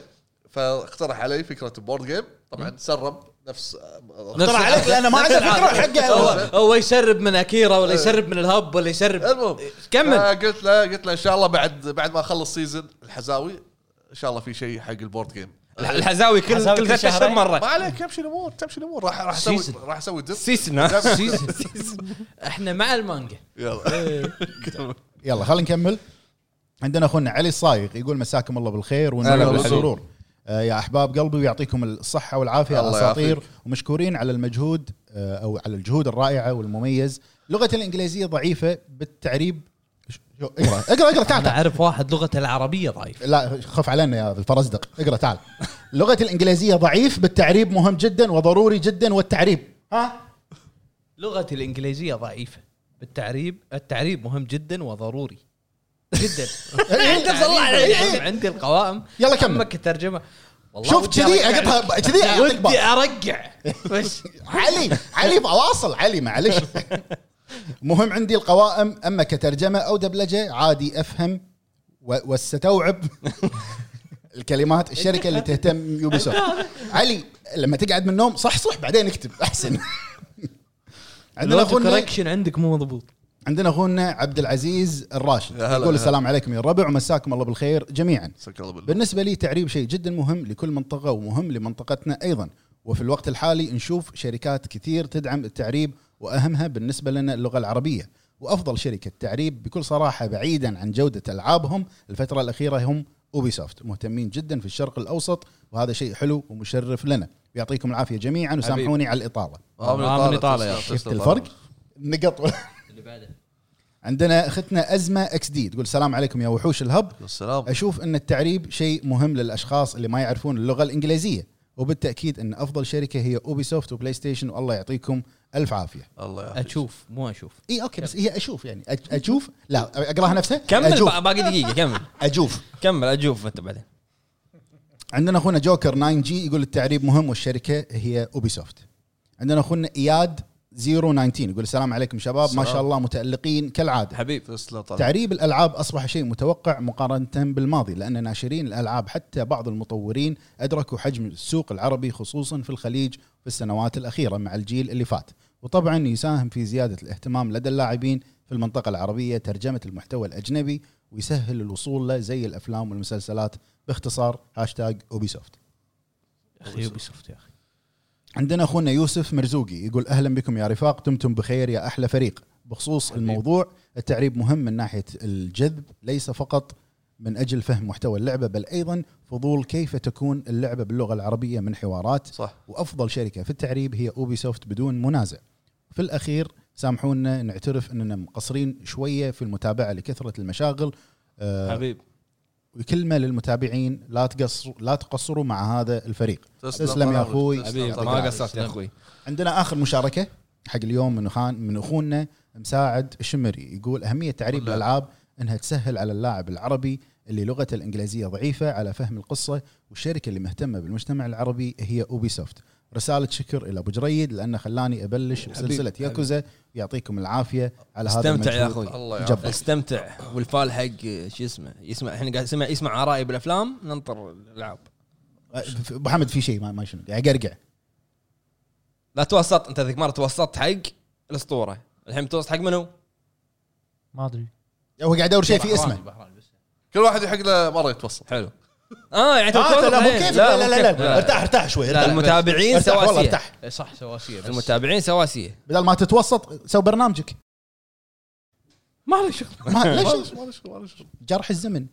C: فاقترح علي فكره البورد جيم طبعا سرب نفس آه،
B: ترى عليك لان ما عنده فكره
D: هو
B: حقه
D: هو يسرب من اكيرا ولا يسرب من الهب ولا يسرب
C: المهم
D: كمل
C: قلت له قلت له ان شاء الله بعد بعد ما اخلص سيزون الحزاوي ان شاء الله في شيء حق البورد جيم
A: الح- الحزاوي كل
E: الحزاوي
A: كل
E: كل
A: ثلاث اشهر
E: شهرين.
C: ما
A: مره
C: عليك تمشي الامور تمشي الامور راح راح اسوي
D: سيزن.
C: راح اسوي دب
A: سيسنا
D: احنا مع المانجا
C: يلا
B: يلا خلينا نكمل عندنا اخونا علي الصايغ يقول مساكم الله بالخير
A: هلا
B: والنور
A: بالحبيب.
B: والسرور آه، يا احباب قلبي ويعطيكم الصحه والعافيه
C: الله
B: الاساطير ومشكورين على المجهود آه، او على الجهود الرائعه والمميز لغتي الانجليزيه ضعيفه بالتعريب شو- شو- اقرا اقرا اقرا تعال
D: انا
B: تعال.
D: اعرف واحد لغته العربيه ضعيف
B: لا خف علينا يا الفرزدق اقرا تعال لغتي الانجليزيه ضعيف بالتعريب مهم جدا وضروري جدا والتعريب ها
D: لغتي الانجليزيه ضعيفه التعريب التعريب مهم جدا وضروري جدا
B: إيه،
D: عندي- عندي القوائم
B: يلا كمل.
D: عمك الترجمه والله
B: شوف
D: ودي
B: كذي
D: أرجع-
B: اقطها كذي أعطيك
D: ودي
B: باص.
D: ارجع بس
B: علي علي بواصل علي معلش مهم عندي القوائم اما كترجمه او دبلجه عادي افهم و- واستوعب الكلمات الشركه اللي تهتم يوبيسوفت علي لما تقعد من النوم صح صح بعدين اكتب احسن عندنا اخونا
D: كوركشن عندك مو مضبوط
B: عندنا اخونا عبد العزيز الراشد
C: يا هلا،
B: يقول
C: هلا.
B: السلام عليكم يا الربع ومساكم الله بالخير جميعا
C: سك الله بالله
B: بالنسبة لي تعريب شيء جدا مهم لكل منطقة ومهم لمنطقتنا أيضا وفي الوقت الحالي نشوف شركات كثير تدعم التعريب وأهمها بالنسبة لنا اللغة العربية وأفضل شركة تعريب بكل صراحة بعيدا عن جودة ألعابهم الفترة الأخيرة هم أوبيسوفت مهتمين جدا في الشرق الأوسط وهذا شيء حلو ومشرف لنا يعطيكم العافية جميعا وسامحوني على الإطالة
D: من إيطاليا.
B: شفت الفرق نقط
D: اللي بعده
B: عندنا اختنا ازمه اكس دي تقول السلام عليكم يا وحوش الهب
C: السلام
B: اشوف ان التعريب شيء مهم للاشخاص اللي ما يعرفون اللغه الانجليزيه وبالتاكيد ان افضل شركه هي اوبي سوفت وبلاي ستيشن والله يعطيكم الف عافيه
C: الله يعافيك
D: اشوف مو اشوف
B: اي اوكي بس هي اشوف يعني أج- اجوف لا اقراها نفسها
A: كمل
B: اجوف
A: بق- باقي دقيقه كمل
B: اجوف
A: كمل اشوف انت بعدين
B: عندنا اخونا جوكر 9 جي يقول التعريب مهم والشركه هي اوبي سوفت عندنا اخونا اياد 019 يقول السلام عليكم شباب ما شاء الله متالقين كالعاده
A: حبيب
C: تسلم طال عمرك.
B: تعريب الالعاب اصبح شيء متوقع مقارنه بالماضي لان ناشرين الالعاب حتى بعض المطورين ادركوا حجم السوق العربي خصوصا في الخليج في السنوات الاخيره مع الجيل اللي فات وطبعا يساهم في زياده الاهتمام لدى اللاعبين في المنطقه العربيه ترجمه المحتوى الاجنبي ويسهل الوصول له زي الافلام والمسلسلات باختصار هاشتاج اوبيسوفت
D: اخي يوبي سوفت يا اخي
B: عندنا اخونا يوسف مرزوقي يقول اهلا بكم يا رفاق دمتم بخير يا احلى فريق بخصوص الموضوع التعريب مهم من ناحيه الجذب ليس فقط من اجل فهم محتوى اللعبه بل ايضا فضول كيف تكون اللعبه باللغه العربيه من حوارات
C: صح
B: وافضل شركه في التعريب هي اوبي سوفت بدون منازع في الاخير سامحونا نعترف اننا مقصرين شويه في المتابعه لكثره المشاغل آه،
A: حبيب
B: وكلمه للمتابعين لا تقصروا لا تقصروا مع هذا الفريق
C: تسلم
B: تسلم يا
C: طال
B: أخوي.
C: عمرك. تسلم
A: حبيب
C: طال
A: ما
C: عمرك.
A: قصرت يا اخوي
B: عندنا اخر مشاركه حق اليوم من خان من اخونا مساعد الشمري يقول اهميه تعريب
C: والله.
B: الالعاب انها تسهل على اللاعب العربي اللي لغته الانجليزيه ضعيفه على فهم القصه والشركه اللي مهتمه بالمجتمع العربي هي اوبي سوفت رساله شكر الى ابو جريد لانه خلاني ابلش بسلسله
A: حبيب.
B: ياكوزا يعطيكم العافيه على هذا
A: استمتع يا
B: المجهود.
A: أخوي.
C: الله
B: جبر.
C: يعافيك
A: استمتع والفال حق شو اسمه يسمع احنا قاعد يسمع يسمع ارائي بالافلام ننطر الالعاب
B: أه، ابو حمد في شيء ما, ما شنو يعني قاعد يقرقع
A: لا توسط انت ذيك مره توسطت حق الاسطوره الحين توسط حق منو؟
E: ما ادري
B: هو قاعد يدور شيء في اسمه
C: كل واحد يحق له مره يتوسط
A: حلو اه يعني
B: آه،
A: توسط
B: لا مو
A: إيه.
B: كيف لا لا لا,
A: مو كيف.
B: لا. ارتاح ارتاح شوي
A: لا،
B: ارتاح.
A: المتابعين
B: ارتاح والله
A: سواسيه
B: ارتاح
D: إيه، صح سواسيه بس
A: المتابعين سواسيه
B: بدل ما تتوسط سو برنامجك
D: ما له شغل
B: ما
C: ما
B: ليش
C: له شغل، ما له شغل، ما له شغل.
B: جرح الزمن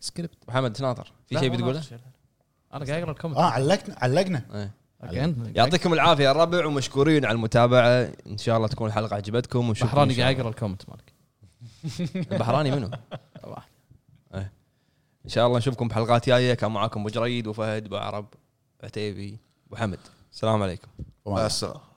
B: سكريبت
A: محمد تناطر في
D: لا،
A: شيء
D: ما
A: بتقوله؟ آه.
D: أعرف. انا قاعد اقرا الكومنت
B: اه علقنا علقنا
A: إيه.
D: أوكي، أنت-
A: يعطيكم العافيه يا الربع ومشكورين على المتابعه ان شاء الله تكون الحلقه عجبتكم وشوفوا
D: بحراني قاعد اقرا الكومنت مالك
A: البحراني منو؟
D: واحد.
A: إيه. ان شاء الله نشوفكم بحلقات جايه كان معاكم ابو جريد وفهد وعرب عتيبي وحمد السلام عليكم
C: آه، مع السلامه